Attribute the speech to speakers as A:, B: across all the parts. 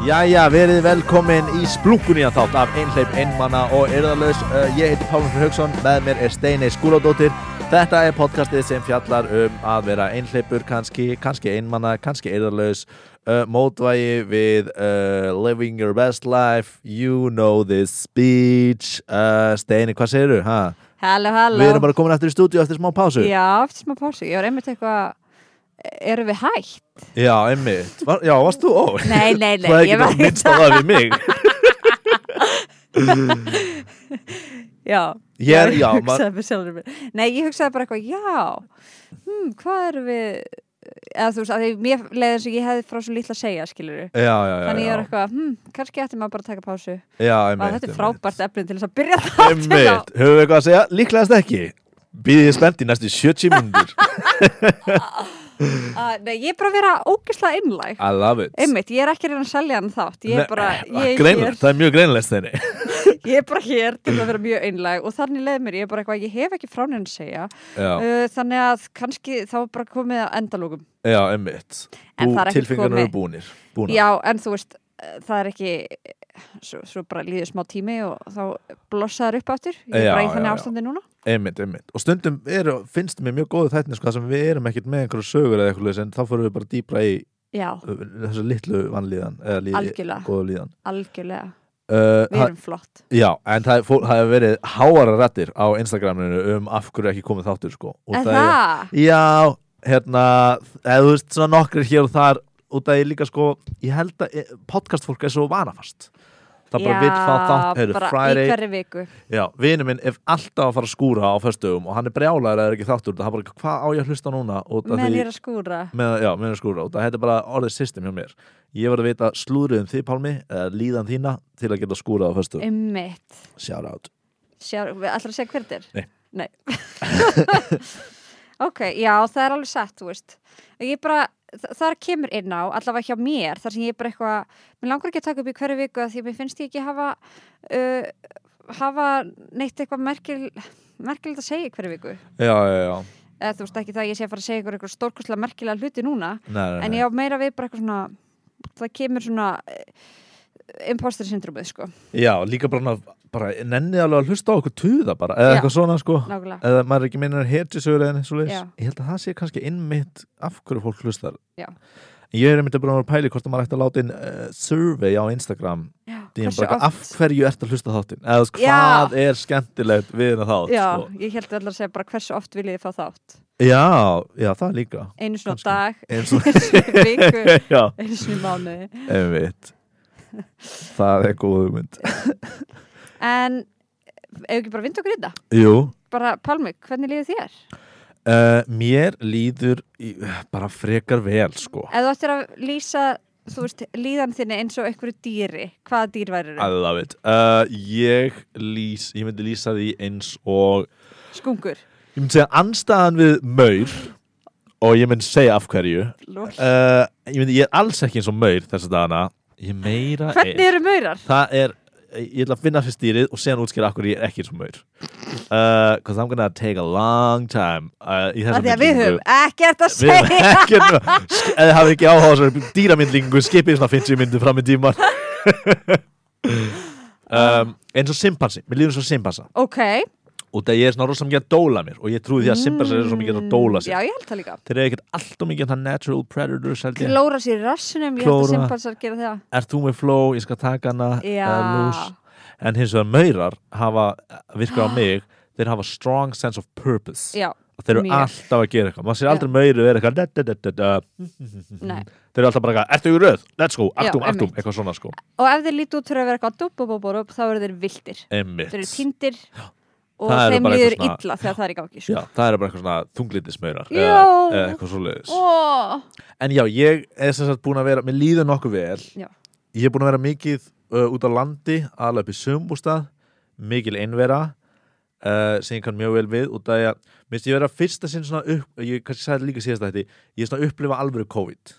A: Jæja, verið velkomin í splunkunýja þátt af Einhleip Einmanna og Erðalös. Uh, ég heiti Pálmur Hauksson, með mér er Steinei Skúladóttir. Þetta er podcastið sem fjallar um að vera einhleipur kannski, kannski einmanna, kannski erðalös, uh, mótvægi við uh, Living Your Best Life, You Know This Speech. Uh, Steini, hvað segirðu? Ha?
B: Halló, halló.
A: Við erum bara komin aftur í stúdíu eftir smá pásu.
B: Já, eftir smá pásu. Ég var einmitt eitthvað, erum við hægt?
A: Já, einmitt. Var, já, varst þú? Ó,
B: Nei, nei, nei.
A: þú hefði ekki
B: ég var-
A: bara minnst á það við mig.
B: Já.
A: Ég er- já,
B: Ég
A: ma-
B: hugsaði bara sjálfur mér. Nei, ég hugsaði bara eitthvað, já, hmm, hvað erum við, eða þú veist, að því mér leiði eins og ég hefði frá svo lítla að segja, skilur
A: Já, já, já.
B: Þannig ég var
A: já.
B: eitthvað, hmm, kannski ætti maður bara að taka pásu.
A: Já,
B: Vá,
A: einmitt.
B: þetta er
A: einmitt.
B: frábært efni til þess að byrja það.
A: Einmitt, höfum við eitthvað að segja? Líklegast ekki Býðið spennt í næstu 70 mínútur
B: nei, ég er bara að vera ógislega einlæg.
A: I love it
B: Einmitt, ég er ekki að reyna að selja hann þátt. Ég
A: Nei, eh,
B: er bara, ég er
A: greinlegt,
B: hér.
A: Ah, Það er mjög greinlegt þenni
B: ég er bara hér til að vera mjög einlæg og þannig leið mér, ég er bara eitthvað, ég hef ekki frá neina að segja
A: Já,
B: uh, þannig að kannski þá er bara komið að endalókum
A: já einmitt
B: En það er ekkert
A: Tilfingarnir eru
B: komið.
A: búnir Búna.
B: já, en þú veist, uh, það er ekki uh, svo, svo bara líður smá tími og þá blossaður upp aftur ég er
A: Já,
B: bara í
A: já,
B: þannig
A: já.
B: ástandi núna
A: Einmitt, einmitt Og stundum eru, finnst mér mjög góðu þættin sko, þar sem við erum ekkert með einhverju sögur eða eitthvað leys, en þá fórum við bara dýpra í
B: já,
A: uh, þessu litlu vannlíðan eða líði,
B: algjörlega,
A: góðu líðan
B: algjörlega
A: uh,
B: við erum flott
A: Já, en það er fólk- það hefur verið háara rættir á Instagraminu um af hverju ekki komið þáttur sko. Og
B: en
A: það er-
B: það,
A: Já, hérna eða þú veist svona nokkrir hér og þar út að ég líka sko, ég held að eh, podcastfólk er svo vanafast það bara vil fá þátt, heyrðu,
B: bara
A: Friday
B: í hverri viku
A: já, vinur minn er alltaf að fara að skúra á föstugum og hann er brjálæður að það er ekki þáttur það er bara, hvað á ég að hlusta núna út af
B: menn
A: því,
B: er að skúra
A: með, já, menn er að skúra út af þetta er bara orðið system hjá mér ég var að vita slúrið um þið Pálmi, eða líðan þína til að geta skúrað á föstugum,
B: ummitt,
A: shout out
B: sjá, við ætlar að segja hvernig þetta er
A: Nei.
B: Nei. ok, já, það er alveg satt, þú veist. Ég bara, þa- þar kemur inn á, allavega hjá mér, þar sem ég bara eitthvað, mér langar ekki að taka upp í hverju viku af því mér finnst ég ekki hafa, uh, hafa neitt eitthvað merkil, merkilegt að segja í hverju viku.
A: já, já, já,
B: Eða þú veist ekki það að ég sé að fara að segja ykkur eitthvað stórkustlega merkilega hluti núna,
A: nei, nei,
B: en
A: nei.
B: ég á meira við bara eitthvað svona, það kemur svona uh, imposter syndromið, sko,
A: já, líka bara, bara nennið alveg að hlusta á okkur tuða bara, eða
B: Já.
A: eitthvað svona sko
B: nákvæmlega.
A: eða maður er ekki meinar hetjusögur eða eins og leis
B: Já.
A: ég held að það sé kannski innmitt af hverju fólk hlustar
B: Já.
A: En ég er einmitt að búin að vera að pæli hvort að maður ætti að láta inn uh, survey á Instagram
B: Já,
A: DM,
B: hversu
A: bara,
B: oft-
A: af hverju ert að hlusta þáttinn eða þú veist,
B: Já.
A: hvað er skemmtilegt við hennar þátt
B: Já,
A: sko.
B: ég held allar að segja bara hversu oft vil ég fá þátt
A: já, já, það líka
B: einu svona
A: Kannski.
B: dag,
A: eins og
B: einu svona viku
A: já,
B: einu svona mánuði
A: einmitt það er góð hugmynd
B: en ef ekki bara vind okkur í þetta
A: jú,
B: bara Palmi, hvernig líður þér?
A: uh, mér líður í, bara frekar vel sko
B: Ef þú ættir að lýsa þú veist, líðan þinni eins og einhverju dýri hvaða dýr værir
A: I love it uh, ég, lýs, ég myndi lýsa því eins og
B: Skungur
A: Ég myndi segja anstæðan við maur og ég myndi segja af hverju
B: Lol.
A: uh, ég, myndi, ég er alls ekki eins og maur þessa dagana ég meira
B: Hvernig eru maurar?
A: það er ég ætla að finna fyrir stýrið og segja útskýra af hverju ég er ekki eins og maur because I'm gonna take a long time uh, í
B: Af
A: þessa
B: því að við
A: myndlíkingu.
B: höfum ekkert að
A: Við höfum
B: segja
A: ekki ef þið hafið ekki áhuga á þessari dýramyndlingu skipið svona 50 myndir fram í tíman um, eins og simpansi mér líður eins og simpansa
B: Ok
A: og það ég er svona rosa mikið að dóla mér og ég trúi því að simpansar eru svo mikið að dóla sér
B: Mm, Já, ég held það líka
A: þeir eru ekkert alltaf mikið að það natural predators held ég
B: Klóra sér í rassunum, ég held að
A: Klóra.
B: simpansar gera það
A: er þú með flow, ég skal taka hana
B: Já.
A: eða lús en hins vegar maurar hafa virkað á mig þeir hafa strong sense of purpose
B: Já,
A: og þeir eru
B: mjög.
A: alltaf að gera eitthvað maður sér aldrei mauru vera eitthvað da, da, da, da, da.
B: nei
A: þeir eru alltaf bara eitthvað, ertu í röð, let's go,
B: Já,
A: aktum, aktum
B: einmitt.
A: eitthvað svona sko,
B: Og ef þeir líti út fyrir að vera eitthvað dup, dup, dup, dup, þá eru þeir viltir.
A: einmitt
B: Þeir eru tindir og
A: Það eru
B: þeim
A: bara
B: líður
A: eitthvað svona-
B: illa þegar það er í gangi.
A: Já,
B: Sko.
A: það eru bara eitthvað svona þunglindismaurar
B: Já.
A: eða, eða eitthvað svoleiðis
B: Ó,
A: En já, ég er sem sagt búin að vera, mér líður nokkuð vel
B: Já.
A: Ég er búin að vera mikið uh, út á landi, alveg upp í sömbústað Mikil einvera uh, sem ég kann mjög vel við út af því að, minnst ég vera fyrsta sinn svona upp ég kannski sagði líka síðast að þetta ég er svona að upplifa alvöru COVID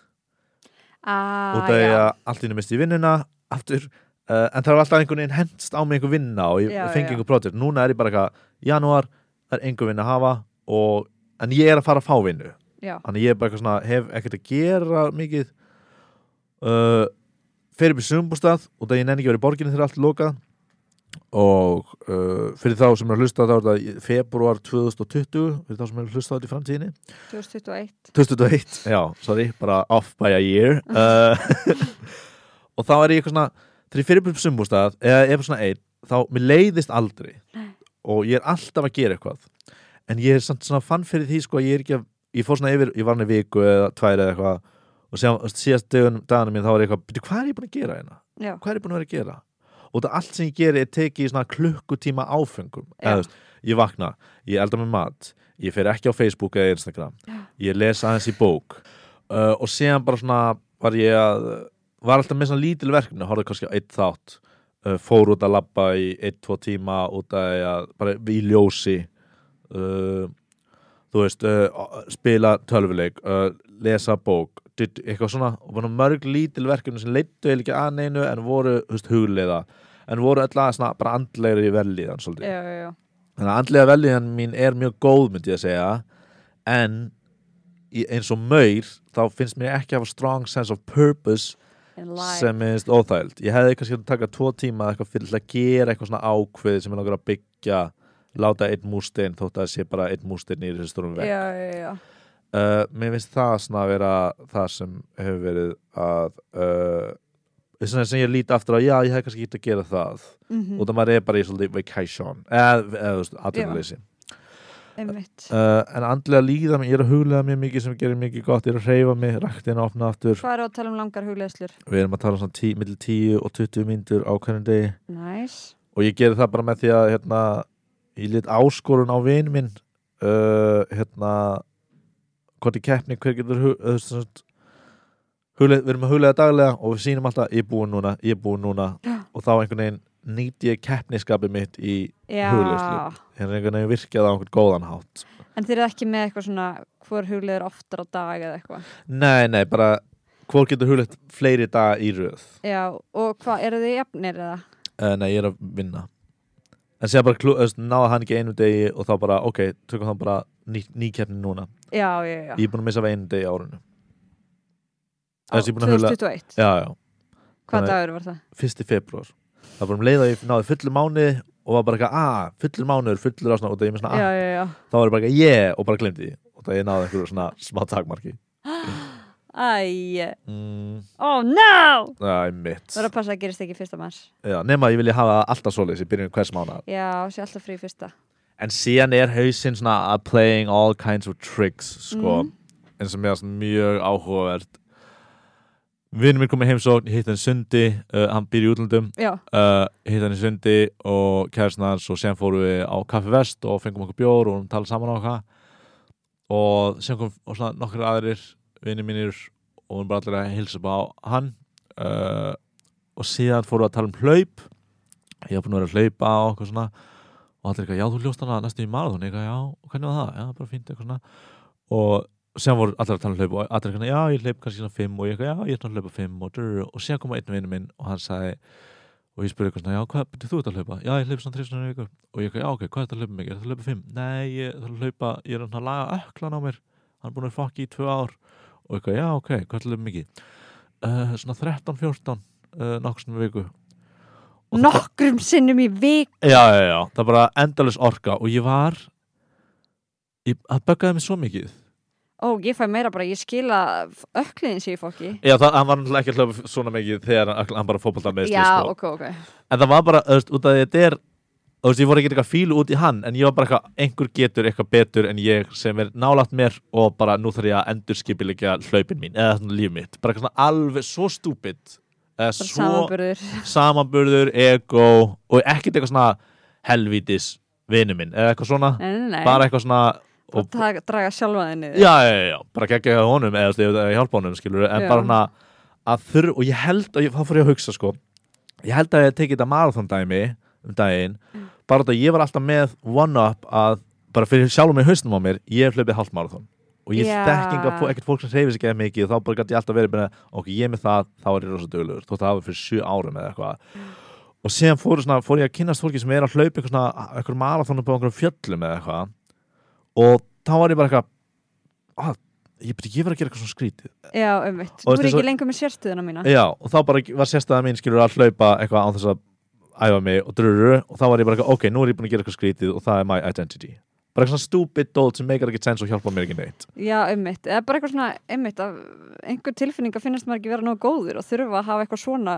B: ah,
A: út af því
B: já.
A: að allt inni misti ég vinnuna aftur, uh, en það var alltaf einhvern veginn hendst á mig einhver vinna og ég
B: Já, já,
A: fengi
B: já.
A: einhver projekt, núna er ég bara eitthvað janúar, það er einhver vinna að hafa og, en ég er að fara að fá vinnu
B: Já.
A: þannig ég er bara eitthvað svona hef ekkert að gera mikið uh, fer upp í sumbústað og það ég nenni ekki verið í borginni þegar allt er lokað og uh, fyrir þá sem er að hlusta þá er það februar 2020 fyrir þá sem er að hlusta þetta í framtíðinni
B: 2021
A: 2001 Já, sorry, bara off by a year uh, Og þá er ég eitthvað svona Þegar ég fyrir upp sumbústað eða ef svona einn, þá mér leiðist aldrei
B: Nei.
A: og ég er alltaf að gera eitthvað en ég er samt svona fann fyrir því sko að ég er ekki að, ég fór svona yfir, ég var hann í viku eða tvær eða eitthvað og síðan, síðast dögun, daganum mín þá var ég eitthvað "Bíddu, hvað er ég búin að gera hérna?
B: Já.
A: Hvað er ég búin að vera að gera? Og það allt sem ég geri er tekið í svona klukkutíma áfengum
B: Já.
A: eða, þú veist, ég vakna, ég elda með mat ég fer ekki á Facebook eða Instagram ég les aðeins í bók uh, og síðan bara svona var ég að var alltaf með svona lítil verkefni horfði kannski á eitt þátt uh, fór út að labba í eitt, tvo tíma út að ég bara í ljósi uh, þú veist uh, spila tölvuleik uh, lesa bók dydd- eitthvað svona og bara mörg lítil verkefni sem leittu ekki að neinu en voru þú veist, hugleiða en voru alltaf svona bara andlegri velliðan svolítið
B: já, já, já.
A: þannig að andlega veljiðan mín er mjög góð myndi ég að segja en í- eins og maur þá finnst mér ekki að hafa strong sense of purpose
B: In life.
A: sem minnst óþægild ég hefði kannski að taka tvo tíma eða eitthvað fyrir að gera eitthvað svona ákveð sem er langar að byggja láta einn mústein þótt að það sé bara einn mústein í þessu stórum
B: já,
A: veg
B: já, já.
A: uh, mér finnst það svona að vera það sem hefur verið að uh, þess vegna sem ég líti aftur á já ég hefði kannski getið að gera það
B: Mm
A: og það maður er bara í svolítið vacation eða, eða þú veist, atvinnuleysi
B: einmitt
A: uh, en andlega líða mér, ég er að huglega mér mikið sem gerir mikið gott, ég er að hreyfa mig raktin að opna aftur,
B: Hvað er að tala um langar hugleðslur?
A: við erum að tala um svona tí, millir 10 og 20 mínútur á hvernig degi
B: Næs.
A: og ég gerir það bara með því að hérna, ég lit áskorun á vin minn uh, hérna hvort í keppni hver getur hug, uh, svona, huglega, við erum að huglega daglega og við sýnum alltaf, ég er búinn núna ég er búinn núna
B: Já.
A: og þá einhvern veginn nýtt ég keppniskapið mitt í
B: Já.
A: Hugleiðslur. hérna einhvern veginn virkjað á einhvern góðan hátt
B: En þeir eru ekki með eitthvað svona hvor hugleður oftar á dag eða eitthvað.
A: Nei, nei, bara hvort getur hugleitt fleiri daga í röð
B: Já, og hvað, eru þið jafnir eða?
A: uh, Nei, ég er að vinna En sér bara, klú, öst, náða hann ekki einu degi og þá bara, ok, tökum hann bara ný, nýkeppni núna
B: Já, já, já.
A: Ég er búin að missa af einu degi á árinu
B: Á
A: þessi ég er búin að hugla-
B: 2021.
A: Já, já,
B: Hvað
A: þannig-
B: dagur var það?
A: fyrsti februar Það var bara um leið að ég náði fullur mánu og var bara eitthvað, að, fullur mánuður, fullur á svona og það ég með svona,
B: Já,
A: að,
B: já, já.
A: þá var ég bara eitthvað, yeah, og bara glemdi því og það ég náði einhverju svona smá takmarki
B: Æ,
A: mm,
B: oh no!
A: Það er mitt
B: Það er að passa að gerist ekki fyrsta mars.
A: Já, nema að ég vilja hafa alltaf svoleiðis í byrjun hvers mánuðar
B: Já, sé alltaf frí fyrsta.
A: en síðan er hausinn svona að playing all kinds of tricks sko,
B: Mhm.
A: eins og mér er mjög áhugavert vinnum minn komið heimsókn, ég hitt hann í sundi uh, hann býr í útlandum,
B: Já,
A: uh, ég hitt hann í sundi og kæristin hans og síðan fórum við á Kaffi Vest og fengum okkur bjór og hún talaði saman á okkar og síðan kom og svona nokkur aðrir vinnir mínir og hún bara allir að hilsa upp á hann uh, og síðan fórum við að tala um hlaup ég hef búin að vera að hlaupa og eitthvað svona og allir eitthvað, já þú hljóst hana næstu í marathon eitthvað, já, og hvernig var það, já, bara fínt eitthvað svona og síðan voru allir að tala um hlaup og allir eitthvað, já, ég hlaup kannski svona 5 og ég eitthvað, já, ég er svona að hlaupa 5 og, drr, og síðan kom einn vinnu minn og hann sagði og ég spurði eitthvað svona, já, hvað, betur þú ert að hlaupa? Já, ég hlaup svona 3 svona ykkur og ég eitthvað, já, ok, hvað er þetta að hlaupa mikið? Er þetta að hlaupa 5? Nei, ég þarf að hlaupa, ég er að laga öklan á mér hann er búin að fokki í 2 ár og eitthvað, já, ok, hvað er þetta að hlaupa mikið? Uh, svona 13-14 uh, nokkur svona viku Og það-
B: nokkrum sinnum í vik.
A: já, já, já, það er bara endalus orka og ég var ég, það böggaði mig svo mikið
B: Ó, ég fæ meira bara, ég skila ökliðin sér í fólki.
A: já, það, hann var náttúrulega ekki að hlaupa svona mikið þegar hann, hann bara fótbolta með
B: Já, ok, ok.
A: en það var bara, þú veist, út af því að þetta er þú veist, ég voru ekki eitthvað fílu út í hann en ég var bara eitthvað, einhver getur eitthvað betur en ég sem er nálagt mér og bara nú þarf ég að endurskipilegja hlaupin mín eða svona líf mitt, bara eitthvað svona alveg svo stúpid eða
B: Bara
A: svo
B: samanburður.
A: samanburður, ego og ekkert eitthvað svona helvítis vinnu minn eða eitthvað svona
B: Nei, nei, nei.
A: bara eitthvað svona og,
B: og það draga sjálfa þig niður
A: já, já, já, já, bara geggja hjá honum eða þú veist, ef ég hjálpa honum, skilur en
B: Já.
A: bara hana að þurr, og ég held og ég, þá fór ég að hugsa, sko ég held að ég tekið þetta marathon dæmi um daginn, bara þetta ég var alltaf með one up að, bara fyrir sjálfum mig hausnum á mér, ég hef hlaupið hálft marathon og ég
B: Já.
A: þekki enga fó- ekkert fólk sem hreyfir sig eða mikið og þá bara gæti ég alltaf verið bara, ok, ég er með það, þá er ég rosa duglegur þótt að hafa fyrir sjö árum eða eitthvað og síðan fór, svona, fór ég að kynast fólki sem er að hlaupa eitthvað svona, eitthvað marathonu på einhverjum fjöllum eða eitthvað og þá var ég bara eitthvað ah, ég, byrja, ég var að gera eitthvað svona skrítið
B: já,
A: Og
B: umvitt, þú
A: þetta
B: er
A: er svo-
B: ekki lengur með sérstuðuna mína
A: já, og þá bara var sérstæða mín skilur að hlaupa eitthvað án þess að æfa mig og drururu og þá var ég bara eitthvað, ok, nú er ég búin að gera eitthvað skrítið og það er my identity bara eitthvað svona stupid dolt sem meikar ekki sense og hjálpa mér ekki neitt
B: já, umvitt, eða bara eitthvað svona umvitt, af einhver tilfinning að finnast maður ekki vera nógu góður og þurfa að hafa eitthvað svona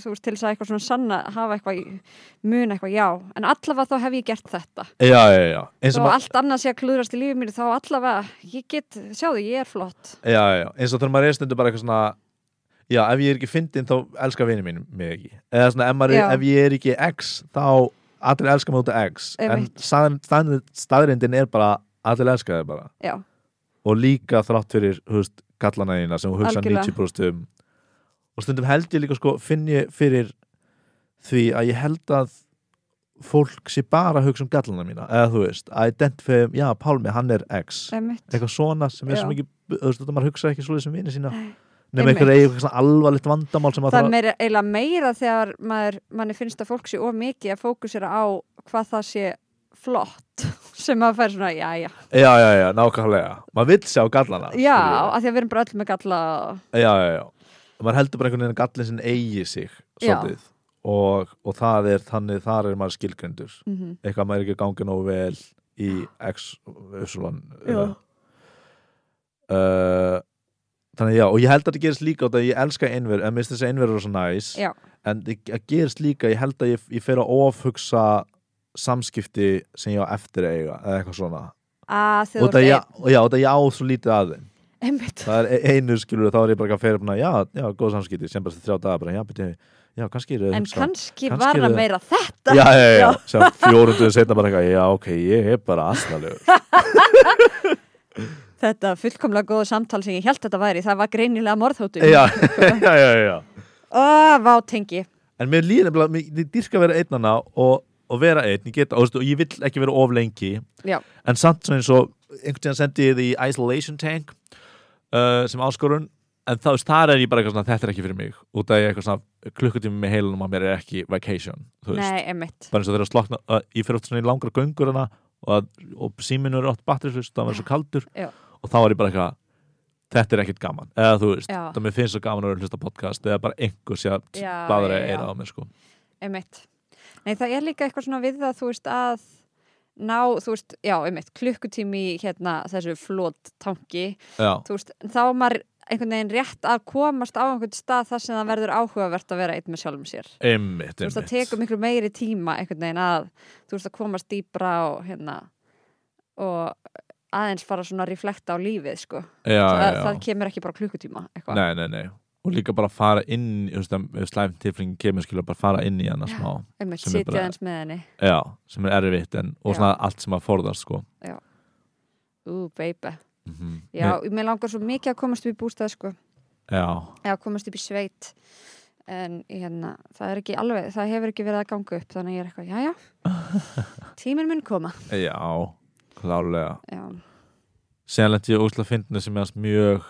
B: þú veist, til þess að eitthvað svona sanna hafa eitthvað, í- muna eitthvað, já en allavega þá hef ég gert þetta
A: já, já, já, eins
B: þó
A: og, ma-
B: allt annað sé að klúðrast í lífið mínu þá allavega, ég get, sjáðu, ég er flott
A: já, já, já. Eins og þegar maður er stundu bara eitthvað svona já, ef ég er ekki fyndin þá elskar vinið mínum mig ekki eða svona, ef, maður,
B: Já.
A: er- ef ég er ekki X þá allir elskar mig út af X en
B: Einmitt.
A: staðan- staðan- staðreyndin er bara allir elskar þig bara
B: já,
A: og líka þrátt fyrir þú veist, kallana þína sem hún hugsa
B: Algjörlega.
A: 90% um og stundum held ég líka sko, finn ég fyrir því að ég held að fólk sé bara að hugsa um gallana mína eða þú veist, að identify um, já, Pálmi, hann er X
B: umvitt
A: eitthvað svona sem er
B: Já.
A: svo mikið þú veist, þetta maður hugsa ekki svolítið sem vini sína nema
B: Einmitt.
A: eitthvað eigi eitthvað svona alvarlegt vandamál sem að
B: það er
A: það,
B: meira, eiginlega meira þegar maður, manni finnst að fólk sé of mikið að fókusera á hvað það sé flott sem maður fær svona, já, já,
A: já, já, já, nákvæmlega maður vill sjá gallana
B: já,
A: skilurðu.
B: af því að við erum bara öll með galla og-
A: já, já, já Og maður heldur bara einhvern veginn að gallin sinn eigi sig
B: Já.
A: svolítið og, og það er þannig, þar er maður skilgrendur
B: Mhm.
A: eitthvað maður er ekki að ganga nógu vel í X, Y eða. uh, þannig að já, og ég held að það gerist líka og það ég elska einver, en minnst þess að einver eru svo næs
B: Já.
A: en það það gerist líka, ég held að ég, ég fer að ofhugsa samskipti sem ég á eftir að eiga eða eitthvað svona
B: að þau
A: og það ég, og já, og það ég á svo lítið að þeim
B: einmitt,
A: það er e- einu skilur þá er ég bara að fyrir já, já, góð samskipti, sem bara þrjá dagar bara, já, beti, já, kannski eru þau
B: en
A: hugsa-
B: kannski
A: kannski
B: var það
A: eru-
B: meira þetta
A: já, já, já, já,
B: Já.
A: sem fjórunduðu setna bara eitthvað, já, ok, ég er bara aðstæðlegur
B: þetta fullkomlega góða samtal sem ég held þetta væri, það var greinilega morðhótu
A: já, já, já, já
B: og vátengi
A: en mér líður nefnilega, mér- ég dyrka að vera einnana og, og vera einn, ég geta, og, veistu, og ég vill ekki vera of lengi,
B: já,
A: en samt svona eins og einhvern tíðan sendi ég því Isolation Tank uh, sem áskorun en þá þar er ég bara eitthvað svona, þetta er ekki fyrir mig út að ég er eitthvað svona klukkutími með heilunum að mér er ekki vacation, þú veist
B: nei, einmitt
A: bara eins og þegar að slokna, að ég fyrir oft svona í langar göngur hana og, að, og síminu er oft batterislust, það verður svo kaldur
B: Já.
A: og þá er ég bara eitthvað þetta er ekkert gaman, eða þú veist
B: Já.
A: það mér finnst svo gaman að vera að hlusta á podcast eða bara einhver sé að
B: Já,
A: bladra
B: já, já.
A: eira á mér sko.
B: einmitt. Nei, það er líka eitthvað svona við það, þú veist, að ná, þú veist, já, einmitt, klukkutími í, hérna, þessu flót tanki,
A: já,
B: þú veist, þá á maður einhvern veginn rétt að komast á einhvern stað þar sem það verður áhugavert að vera einn með sjálfum sér.
A: einmitt,
B: Þú veist, það tekur
A: einmitt
B: miklu meiri tíma einhvern veginn að, þú veist, að komast dýbra og, hérna, og aðeins fara svona að reflekta á lífið, sko.
A: já, já,
B: það,
A: já.
B: það kemur ekki bara á klukkutíma, eitthvað.
A: nei, nei, nei og líka bara fara inn í, þú veist, ef slæm tilfringin kemur skilur bara fara inn í hana
B: Já.
A: smá
B: Einmitt,
A: sem er
B: sitja
A: bara-
B: aðeins með henni.
A: já, sem er erfitt en, og
B: Já.
A: svona allt sem að forðast sko.
B: Ú, baby.
A: mm -hmm.
B: Já, mér langar svo mikið að komast upp í bústað, sko.
A: já,
B: eða komast upp í sveit en hérna, það er ekki alveg það hefur ekki verið að ganga upp, þannig að ég er eitthvað já, já, tíminn mun koma
A: já, klálega
B: já,
A: síðan lendi ég óslega fyndinu sem ég hans mjög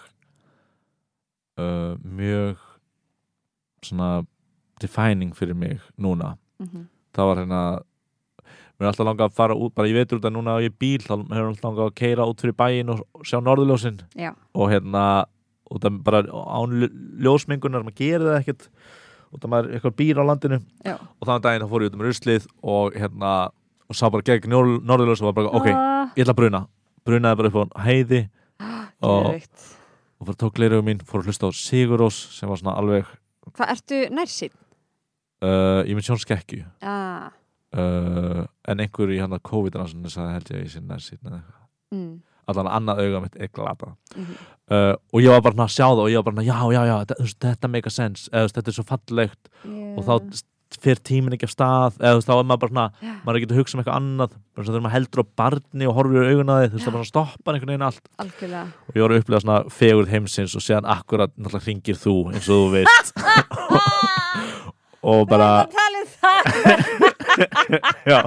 A: uh, mjög svona defining fyrir mig núna
B: mm
A: það var hérna mér er alltaf langað að fara út, bara ég veitur út að núna á ég bíl, þá hefur alltaf langað að keira út fyrir bæin og sjá norðurljósin
B: Já.
A: og hérna út að bara án ljó- ljósmengunar, maður gerir það ekkert út að maður eitthvað býr á landinu
B: já
A: og þannig daginn þá fór ég út um ruslið og hérna og sá bara gegn njól- norðurljós og var bara ok,
B: ah,
A: ég ætla að bruna brunaði bara upp á heiði og-
B: og...
A: og fór að tók leirugum mín, fór að hlusta á Sigurós sem var svona alveg
B: hvað ertu nærsinn?
A: uh, ég mynd sjón skekki
B: Ah,
A: uh, en einhver í hann að COVID-rannsóknir sagði held ég að ég sé nærsýn eða eitthvað
B: mm,
A: allan annað auga mitt er glata
B: mhm.
A: uh, og ég var bara svona að sjá það og ég var bara svona, já, já, já, þetta, þú veist, þetta make a sense eða þú veist, þetta er svo fallegt
B: yeah.
A: og þá st- fer tíminn ekki af stað eða þú veist, þá er maður bara svona,
B: Mm. Já.
A: maður er ekki að hugsa um eitthvað annað bara svona þegar maður heldur á barni og horfir í augun að þið, þú veist, það bara svona stoppar einhvern veginn allt
B: algjörlega
A: og ég var að upplega svona fegurð heimsins og séðan akkurat náttúrulega hringir þú eins og þú veist og bara
B: talið það
A: já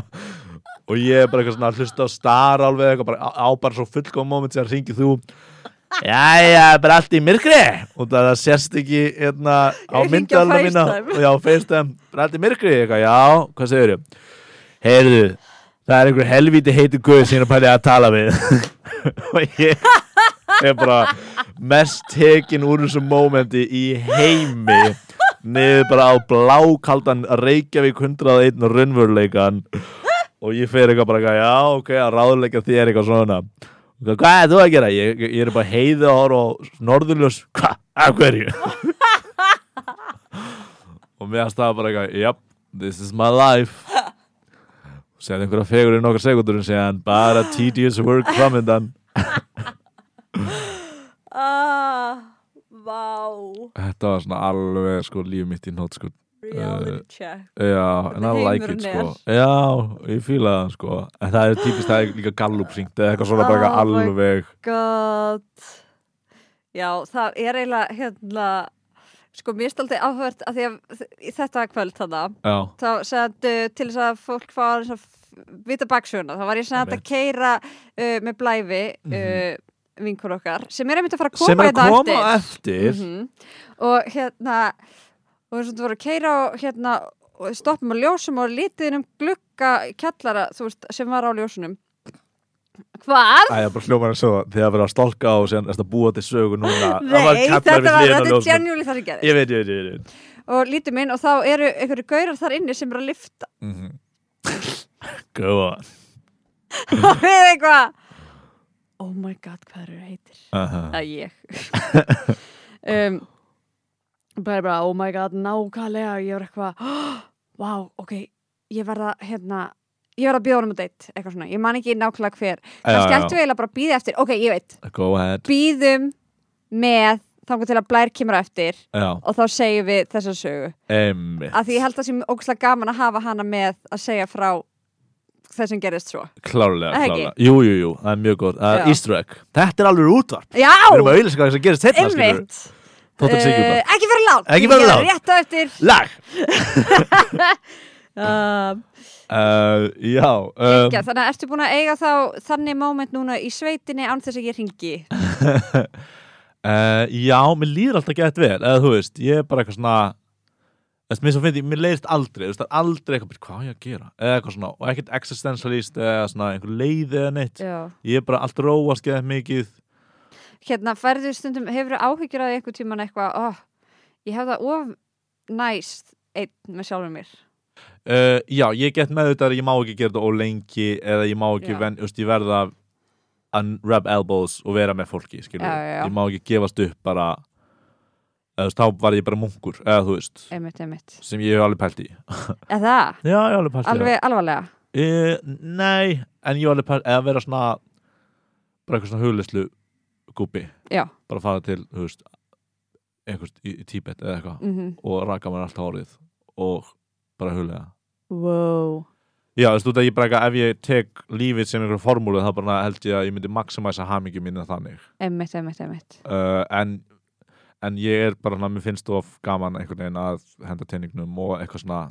A: og ég er bara eitthvað svona að hlusta á star alveg eitthvað bara á- á bara svo fullkom moment sem ringið þú Jæja, bara allt í myrkri og það það sérst ekki hérna á
B: Ég hringi á
A: myndalina mína
B: FaceTime.
A: og já, FaceTime, bara allt í myrkri eitthvað, já, hvað segir ég? Heyrðu, það er einhver helvíti heitu guð sem ég er að pæli að tala við og ég er bara mest tekin úr þessu mómenti í heimi niður bara á blákaldan Reykjavík 101 raunveruleikan og ég fer eitthvað bara eitthvað, já ok, að ráðleika þér eitthvað svona Hvað- hvað er þú að gera? Ég, ég er bara heiðið að horfa á norðurljós hvað, af hverju? og mér staði bara eitthvað yep, this is my life segði einhverja fegur í nokkar sekundur og segði hann, bara tedious work framindan
B: Ah, vá
A: þetta var svona alveg sko líf mitt í nót sko Eh,
B: Reality check
A: Já, en I like it sko
B: heimurinn
A: Já, ég fíla það sko En það er típist það er líka gallup syngt eða eitthvað svona bara eitthvað
B: Oh my-
A: alveg
B: God Já, það er eiginlega hérna sko mér staldi áhvert að því að í þetta kvöld þarna
A: Já,
B: þá sagði til þess að fólk fá aðeins að f- vita baksuguna, þá var ég sagði að
A: Einmitt. Mhm.
B: keira uh, með blæfi uh, vinkur okkar, sem er einmitt að fara að koma
A: sem er að
B: hérna
A: koma
B: eftir.
A: á eftir
B: -hmm. og hérna og þess að þú voru að keira og hérna og stoppum á ljósum og lítið inn um glugga kjallara, þú veist, sem var á ljósunum Hvað?
A: Æ, það er bara hljómar að segja það Þegar það verið að stálka á og síðan erst að búa til sögu núna Það
B: Nei, þetta
A: kallari
B: var,
A: hliðin á
B: þetta er
A: ljósinu.
B: genjúli það sem gerði
A: Ég veit, ég veit, ég veit
B: og lítum inn og þá eru einhverju gaurar þar inni sem eru að lifta
A: Mhm. Go on
B: og við eitthvað Oh my god, hvað eru heitir?
A: Aha.
B: að ég um, bara bara, oh my god, nákvæmlega ég var eitthvað, oh, wow, ok ég verða, hérna ég verða að bjóða honum að deitt, eitthvað svona, ég man ekki nákvæmlega hver, kannski
A: já.
B: ættum við eiginlega bara að býða eftir ok, ég veit,
A: Go ahead
B: býðum með þangur til að blær kemur á eftir
A: Já,
B: og þá segjum við þessa sögu
A: emmitt
B: að því ég held að sem ógslag gaman að hafa hana með að segja frá þess sem gerist svo
A: Klárlega,
B: Ekki?
A: klárlega Jú, jú, jú, það er mjög góð Það
B: Já.
A: er Easter egg Þetta er alveg útvarp
B: Já,
A: Við erum að auðvitað hvað sem gerist hérna, skilur
B: einmitt
A: Þóttir
B: Eh,
A: sig ekki útvarp
B: Ekki fyrir lán
A: um Ekki fyrir
B: Ég er
A: langt.
B: Rétt á eftir
A: Lag
B: uh,
A: Uh, já, um,
B: Já, þannig að ertu búin að eiga þá þannig moment núna í sveitinni án þess að ég ringi
A: uh, já, mér líður alltaf gett vel eða þú veist, ég er bara eitthvað svona þú veist, mér, svo fyndi, mér leiðist aldrei þú veist, það er aldrei eitthvað, "Bíddu, hvað á ég að gera eða eitthvað svona, og ekkert existentialist eða svona einhver leið eða neitt
B: Já.
A: ég er bara allt róast geðið mikið
B: Hérna, færðu stundum, hefur áhyggjur að eitthvað tíman eitthvað, oh, ég hef það of næst einn með sjálfum mér
A: uh, já, ég get með þetta að ég má ekki gera þetta ólengi eða ég má ekki,
B: Já.
A: ven, þú veist, ég verða að rub elbows og vera með fólki skilur,
B: Já, já, já.
A: ég má ekki gefast upp bara eða þú veist, þá var ég bara munkur eða þú veist,
B: Einmitt, einmitt
A: sem ég hef alveg pælt í
B: Eða,
A: já, ég hef alveg pælt í það.
B: alveg alvarlega
A: Uh, nei, en ég var alveg pæl- eða vera svona bara eitthvað svona hugleyslu gúbi
B: Já.
A: bara fara til, þú veist einhvers í, í Tíbet eða eitthvað
B: mm
A: og raka mér allt hárið og bara huglega
B: Wow
A: Já, þú veist, út að ég bara eitthvað ef ég tek lífið sem einhver formúlu þá bara held ég að ég myndi maximæsa hamingi mínu þannig
B: Einmitt, einmitt, einmitt
A: uh, en, en ég er bara svona, mér finnst of gaman einhvern veginn að henda teiningnum og eitthvað svona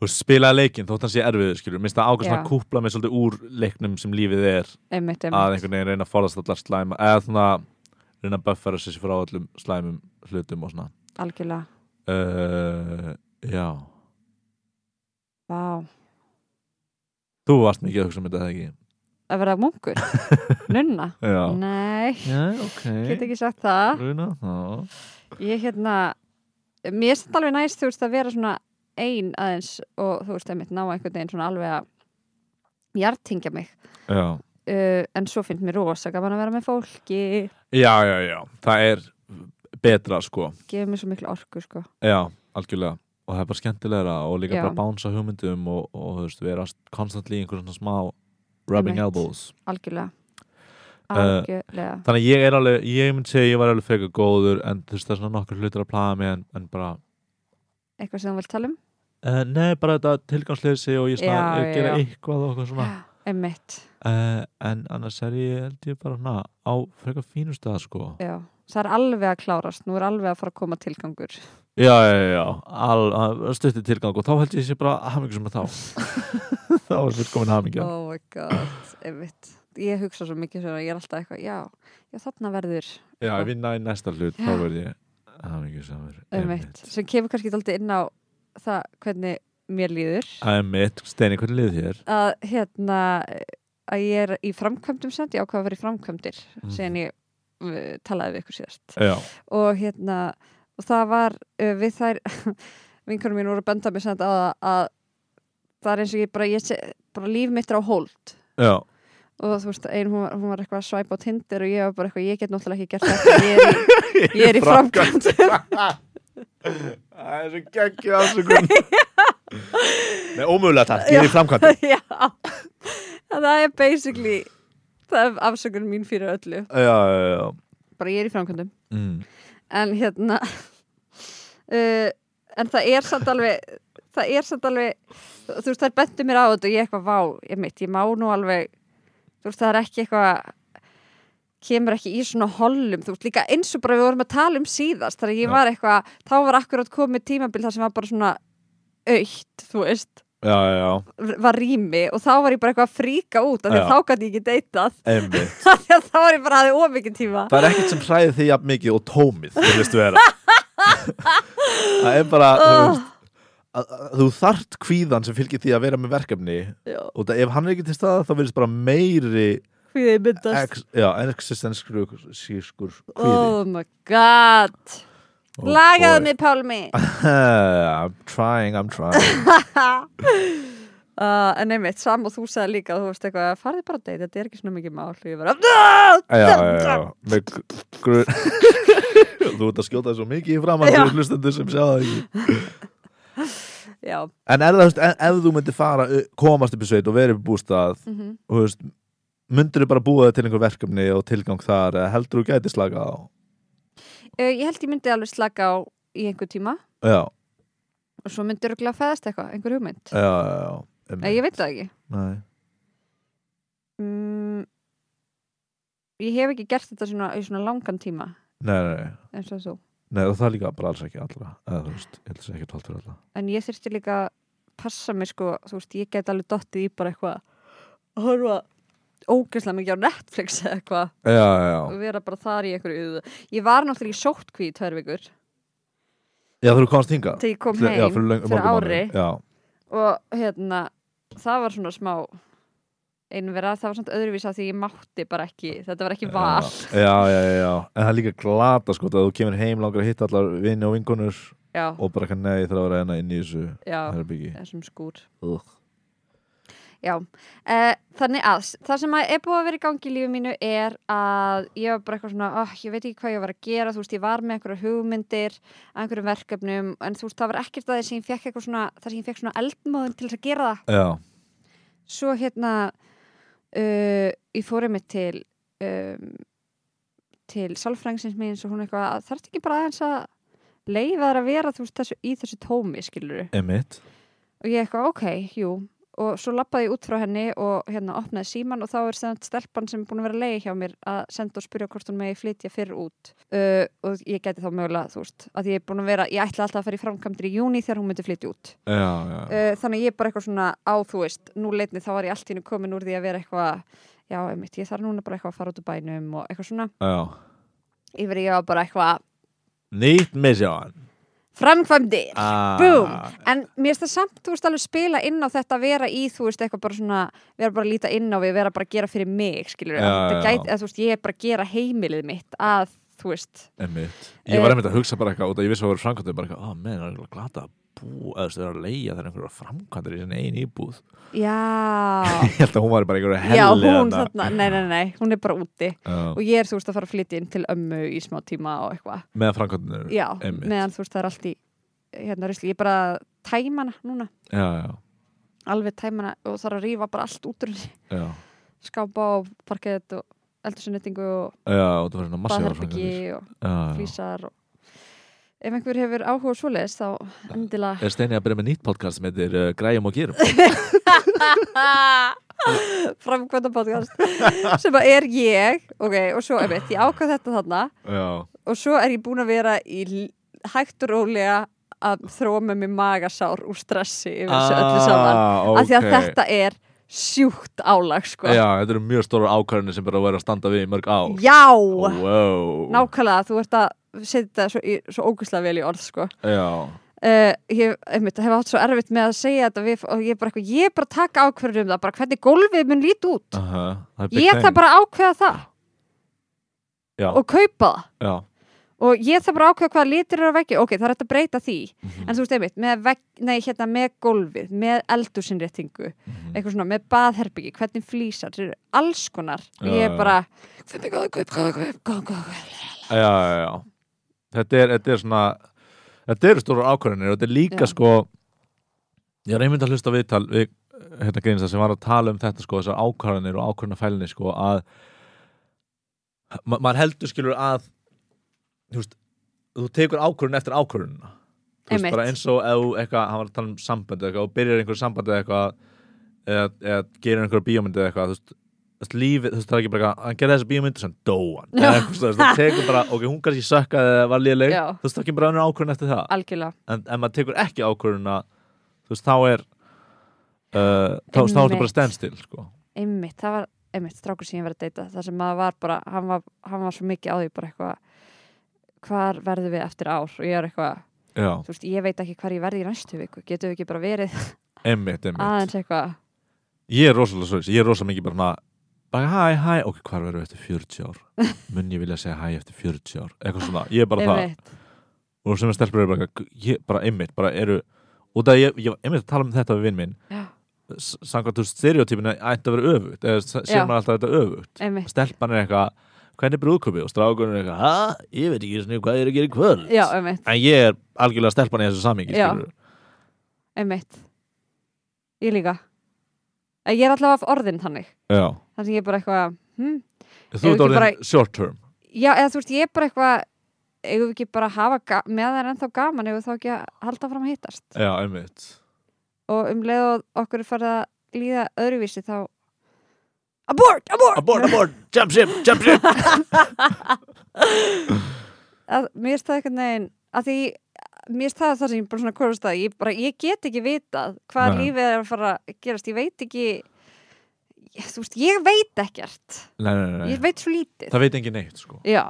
A: þú veist, spila leikinn þótt hans ég erfiður skilur, minnst það ákveð svona
B: Já.
A: kúpla mig svolítið úr leiknum sem lífið er
B: Einmitt,
A: að
B: einmitt
A: einhvern veginn reyna að forðast allar slæma eða svona reyna að buffera sér frá allum slæmum hlutum og svona
B: Algjörlega
A: uh, já,
B: Vá
A: þú varst mikið að hugsa um þetta eða ekki
B: Að verða munkur Nunna
A: já,
B: Nei,
A: já ok
B: Mm. get ekki sagt það
A: Runa, já.
B: ég hérna mér finnst alveg næst þú veist að vera svona ein aðeins og þú veist einmitt ná einhvern veginn svona alveg að hjartingja mig
A: Já.
B: uh, en svo finnst mér rosa gaman að vera með fólki
A: já, já, já það er betra sko
B: gefur mér svo miklu orku sko
A: Já, algjörlega og það er bara skemmtilegra og líka
B: Já.
A: bara bánsa hugmyndum og, og þú veist, vera konstantli í einhverjum svona smá rubbing
B: Einmitt.
A: elbows
B: algjörlega
A: Eh,
B: algjörlega
A: Þannig að ég er alveg, ég myndi segja að ég var alveg frekar góður en þú veist það er svona nokkur hlutir að plaga mig en, en bara,
B: eitthvað sem þú vilt tala um
A: uh, nei bara þetta tilgangsleysi og ég svona
B: Já,
A: já,
B: já,
A: gera
B: já.
A: eitthvað og eitthvað svona
B: einmitt
A: uh, en annars er ég held ég bara svona á frekar fínum stað sko
B: já það er alveg að klárast nú er alveg að fara að koma tilgangur
A: Já, já, já, já. al, al, stutti tilgang og þá held ég sé bara hamingjum sem þá þá er fullkomin hamingja
B: oh my god einmitt ég hugsa svo mikið svona ég er alltaf eitthvað já já þarna verður
A: Já,
B: Sko.
A: ef ég næ næsta hlut,
B: Já.
A: þá verð ég hamingjusamur.
B: einmitt sem kemur kannski alltaf inn á það hvernig mér líður
A: Æmitt, Steini, hvernig lið þér?
B: að hérna að ég er í framkvæmdum sent, ég ákvað að vera í framkvæmdir
A: Mm.
B: síðan ég uh, talaði við ykkur síðast
A: já,
B: og hérna, og það var uh, við þær, vinkunum mín voru að benda mér sent að, að það er eins og ég bara, ég sé, bara líf mitt er á hold
A: já,
B: og þú veist, ein, hún, var, hún var eitthvað að svæpa á Tinder og ég var bara eitthvað, ég get náttúrulega ekki gert þetta ég er í, ég er í framkvæmd
A: það er svo geggju afsökun Nei, ómögulega takk, ég er í framkvæmd
B: já það er basically það er afsökun mín fyrir öllu
A: Já, já, já
B: bara ég er í framkvæmdum
A: mm.
B: en hérna uh, en það er samt alveg það er samt alveg þú veist þær bentu mér á þetta og ég eitthvað vá ég mitt, ég má nú alveg þú veist það er ekki eitthvað kemur ekki í svona hollum þú veist líka eins og bara við vorum að tala um síðast þar að ég
A: Já.
B: var eitthvað, þá var akkurat komið tímabil þar sem var bara svona aukt, þú veist,
A: Já, já, já,
B: var rými og þá var ég bara eitthvað að fríka út af því
A: Já.
B: að þá gæti ég ekki deytað
A: einmitt
B: af því að þá var ég bara að hafa ómikið tíma
A: Það er ekkert sem hræði þig jafn mikið og tómið þú veist vera Það er bara þú,
B: Oh.
A: veist, að, að, þú þart kvíðan sem fylgir því að vera með verkefni
B: Já.
A: og það, ef hann er ekki til staða þá verðist bara meiri
B: Því þið myndast
A: ex, já, existenskur sískur kvíði
B: Oh my god
A: Oh
B: Lagaðu
A: boy.
B: mig Pálmi
A: I'm trying, I'm trying
B: uh, En einmitt, Sam og þú sagði líka þú veist eitthvað, farði bara að deyta, þetta er ekki svona mikið mál og ég var að
A: Já, já, já, já Með gru- Þú ert að skjóta þessu mikið í framan
B: Já.
A: þú hlustendur sem sjá það ekki
B: Já,
A: En er það, þú veist, ef, ef þú myndir fara ö, komast upp í sveit og verið upp í bústað
B: mm -hmm.
A: og þú veist, myndir þú bara búa þig til einhver verkefni og tilgang þar eða heldur þú gæti slaka á
B: uh, ég held ég myndi alveg slaka á í einhver tíma
A: já,
B: og svo myndi örgulega fæðast eitthvað, einhver hugmynd
A: já, já, já.
B: Nei, ég veit það ekki
A: Nei.
B: mm, Ég hef ekki gert þetta svona, í svona langan tíma
A: Nei, nei, nei,
B: eins og þú
A: nei, og það er líka bara alls ekki allra eða þú veist, ég held þess ekki tólt fyrir alla
B: en ég þurfti líka að passa mig sko, þú veist, ég get alveg dottið í bara eitthvað að horfa ógeðslega mikið á Netflix eða eitthvað
A: já, já,
B: og vera bara þar í einhverju uðu. Ég var náttúrulega í sóttkví í tvær vikur
A: já, þú komast hingað
B: til ég kom
A: Til-
B: heim
A: já, fyrir, löng,
B: fyrir
A: mörgum
B: ári
A: árum. já,
B: og hérna, það var svona smá einverða, það var samt öðruvísa því ég mátti bara ekki, þetta var ekki val
A: já, já, já, já, en það er líka glata sko, að þú kemur heim langar að hitta allar vini og vinkonur
B: Já,
A: og bara ekki nei, ég þarf að vera enna inn í þessu
B: já,
A: herbyggi
B: þessum skúr
A: Ugh.
B: Já, eh, þannig að það sem að er búið að vera í gangi í lífi mínu er að ég var bara eitthvað svona, oh, ég veit ekki hvað ég var að gera, þú veist, ég var með einhverjar hugmyndir, að einhverjum verkefnum, en þú veist, það var ekkert að þess að ég fekk eitthvað svona, þar sem ég fekk svona eldmóðin til þess að gera það.
A: já,
B: Svo hérna, uh, ég fórið mig til, um, til sálfrængsins mín, svo hún eitthvað, þarf þetta ekki bara aðeins að leifa þær að vera, þú veist, þessu, í þessu tómi, skiluru
A: emitt
B: og ég eitthvað, ok, jú og svo lappaði ég út frá henni og hérna opnaði síman og þá er sem sagt stelpan sem er búin að vera leiði hjá mér að senda og spyrja hvort hún megi flytja fyrr út uh, og ég geti þá mögulega, þú veist að ég er búin að vera, ég ætla alltaf að fara í framkvæmdir í júni þegar hún myndi flytja út
A: já, já, já,
B: uh, þannig að ég er bara eitthvað svona á, þú veist nú leitni þá var ég allt í hennu komin úr því að vera eitthvað já, einmitt, ég þarf núna bara eitthvað að fara út úr bænum og eitthvað svona,
A: já.
B: yfir í ég var bara eitthvað
A: nýtt misjón
B: framkvæmdir
A: ah.
B: Boom. En mér finnst það samt, þú veist, alveg spila inn á þetta að vera í, þú veist, eitthvað bara svona vera bara að líta inn á við, vera bara að gera fyrir mig skilur,
A: Já,
B: að,
A: já.
B: gæti, að þú veist, ég er bara að gera heimilið mitt að, þú veist,
A: Einmitt. Ég
B: Eh,
A: var einmitt að hugsa bara eitthvað út að ég vissi að það voru framkvæmdur bara eitthvað, að menn, það er eitthvað glata að bú eða það er að leia þegar einhverja framkvæmdur í sinni einn íbúð
B: já
A: Ég held að hún var bara einhverja helli
B: já, hún
A: þarna.
B: þarna, nei, nei, nei, hún er bara úti
A: Já,
B: og ég er, þú veist, að fara að flytja inn til ömmu í smá tíma og eitthvað,
A: Með framkvæmdur
B: já,
A: Einmitt.
B: meðan þú veist, það er allt í, hérna, rusli, ég er bara að tæma hana núna,
A: Já, já,
B: alveg tæma hana og þarf að rífa bara allt út úr henni,
A: já
B: skápa og parkett og eldursunettingu og
A: Já, og það var svona massíðar
B: baðherbyggi
A: framkvæmdur
B: og
A: Já, já.
B: flýsar og ef einhver hefur áhuga á svoleiðis þá endilega
A: Er Steini að byrja með nýtt podcast sem heitir uh, Græjum og Gerum?
B: framkvæmda podcast sem að er ég ok, og svo einmitt, ég ákvað þetta þarna
A: já,
B: og svo er ég búin að vera í l- hægt og rólega að þróa með mér magasár úr stressi yfir þessu
A: Ah,
B: öllu saman
A: okay.
B: af því að þetta er sjúkt álag sko.
A: Já, þetta eru mjög stóra ákvarðinu sem bara verður að standa við í mörg ár
B: Já!
A: wow.
B: nákvæmlega, þú ert að setja þetta svo, í- svo ógustlega vel í orð sko.
A: Já,
B: uh, ég einmitt, hef átt svo erfitt með að segja þetta við, og ég er bara eitthvað, ég er bara að taka ákverður um það bara hvernig gólfið mun lít út
A: Aha, það er big
B: ég
A: thing.
B: þarf bara að ákveða það
A: Já.
B: og kaupa það
A: Já,
B: og ég þarf bara að ákveða hvaða litur eru á veggi ok, það er hægt að breyta því
A: Mhm.
B: en þú veist einmitt, með, vegg, nei, hérna, með gólfið með eldursinréttingu
A: Mhm.
B: eitthvað svona, með baðherbyggi, hvernig flýsar þeir eru alls konar,
A: Já,
B: ég
A: já.
B: er bara hvernig góða, góða, góða, góða, góða, góða
A: já, já, já. Þetta, er, þetta er svona þetta eru stóra ákvörðinir og þetta er líka
B: Já.
A: sko ég er einmitt að hlusta á viðtal við hérna greinsta sem var að tala um þetta sko þessar ákvörðinir og ákvörðinafælinni sko að ma maður heldur skilur að þú veist þú tekur ákvörðin eftir ákvörðinna þú veist
B: Einmitt.
A: bara eins og ef þú eitthvað hann var að tala um sambandi eitthvað og byrjar einhverju sambandi eitthvað eða, eða gerir einhverju bíómyndi eitthvað þú veist þú veist, lífið, þú veist, það er ekki bara eitthvað, hann gerði þessa bíómyndu sem dóan, eða eitthvað, þú veist, það tekur bara ok, hún kannski sökkaði eða var léleg
B: Já.
A: þú veist, það kemur bara önnur ákvörðin eftir það
B: algjörlega,
A: en ef maður tekur ekki ákvörðina þú veist, þá er uh, þá, þá er þetta bara
B: Einmitt.
A: standstill sko.
B: einmitt, það var einmitt strákur sem ég var að deyta, það sem maður var bara hann var, hann var svo mikið á því bara eitthvað hvar verðum við eftir ár og ég er eitthvað,
A: já,
B: þú veist, ég veit ekki hvar ég verði í næstu viku, getum við ekki bara verið
A: einmitt, einmitt
B: aðeins eitthvað
A: ég er rosalega svo, ég er rosalega mikið bara svona, bara hæ, hæ, ok, hvar verður við eftir 40 ár mun ég vilja segja hæ eftir 40 ár eitthvað svona, ég er bara það
B: einmitt,
A: og sem er stelpur eru bara, eitthvað, ég, bara einmitt bara eru, út af ég, ég var einmitt að tala um þetta við vinn minn
B: Já.
A: S- samkvæmt úr stereotypinu ætti að vera öfugt eða s- sér
B: Já.
A: maður alltaf þetta öfugt
B: einmitt
A: stelpan er eitthvað, hvernig brúðköpi og strákurinn er eitthvað, hæ, ég veit ekki einu sinni hvað ég er að gera í kvöld
B: já, einmitt
A: en ég er algjörlega stelpan í þessu samíki
B: Já. einmitt ég líka En ég er allavega orðin þannig
A: Já.
B: þannig að ég er bara eitthvað hm?
A: þú
B: Ef
A: ert
B: ekki
A: orðin
B: bara-
A: short term
B: já, eða þú veist, ég er bara eitthvað eigum við ekki bara að hafa ga- með það er ennþá gaman eigum við þá ekki að halda fram að hittast
A: já, einmitt
B: og um leið og okkur er farið að líða öðruvísi þá abort, abort
A: abort, abort, jump ship, jump ship
B: að, mér finnst það eitthvað neginn að því, mér finnst það það sem ég bara svona korust að ég, bara, ég get ekki vitað hvað
A: Nei.
B: lífið er að fara að gerast ég veit ekki ég, þú veist, ég veit ekkert
A: nei, nei, nei,
B: ég veit svo lítið
A: það veit engin neitt sko.
B: Já,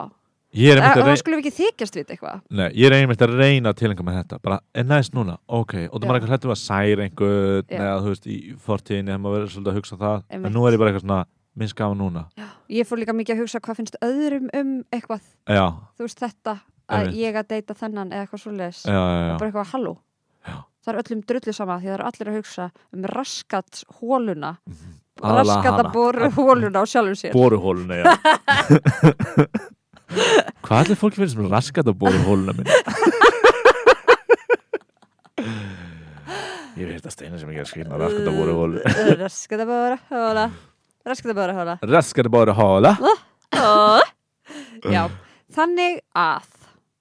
A: ég er
B: það
A: einmitt að
B: rey...
A: reyna
B: skulum við ekki þykjast við eitthvað
A: Nei, ég er einmitt að reyna að tilenga með þetta bara, er næst núna, ok, og þú
B: Já.
A: maður eitthvað hlættum að særa einhvern
B: Já.
A: eða þú veist, í fortíðinni, eða maður verður svolítið að hugsa um það
B: Einmitt.
A: en nú er ég bara eitthvað svona, minnst gaman núna
B: Ég fór líka mikið að hugsa hvað finnst öðrum um eitthvað,
A: já,
B: þú veist þetta að
A: Einmitt.
B: ég að deyta þennan eða eitthvað svoleiðis
A: já, já, já,
B: bara eitthvað halló
A: Já.
B: Það er öllum drullu sama því það eru allir að hugsa um raskat hóluna
A: Aðalega
B: raskata
A: hana.
B: boru hóluna á sjálfum sér
A: boruhóluna, já hvað allir fólki finnst sem raskat á boruhóluna minn ég veit að steina sem ekki er skrifna raskat á
B: Uh.
A: boruhóluna
B: Raskata boru hóla Raskata boru hóla
A: raskat á boruhóla
B: Já, þannig að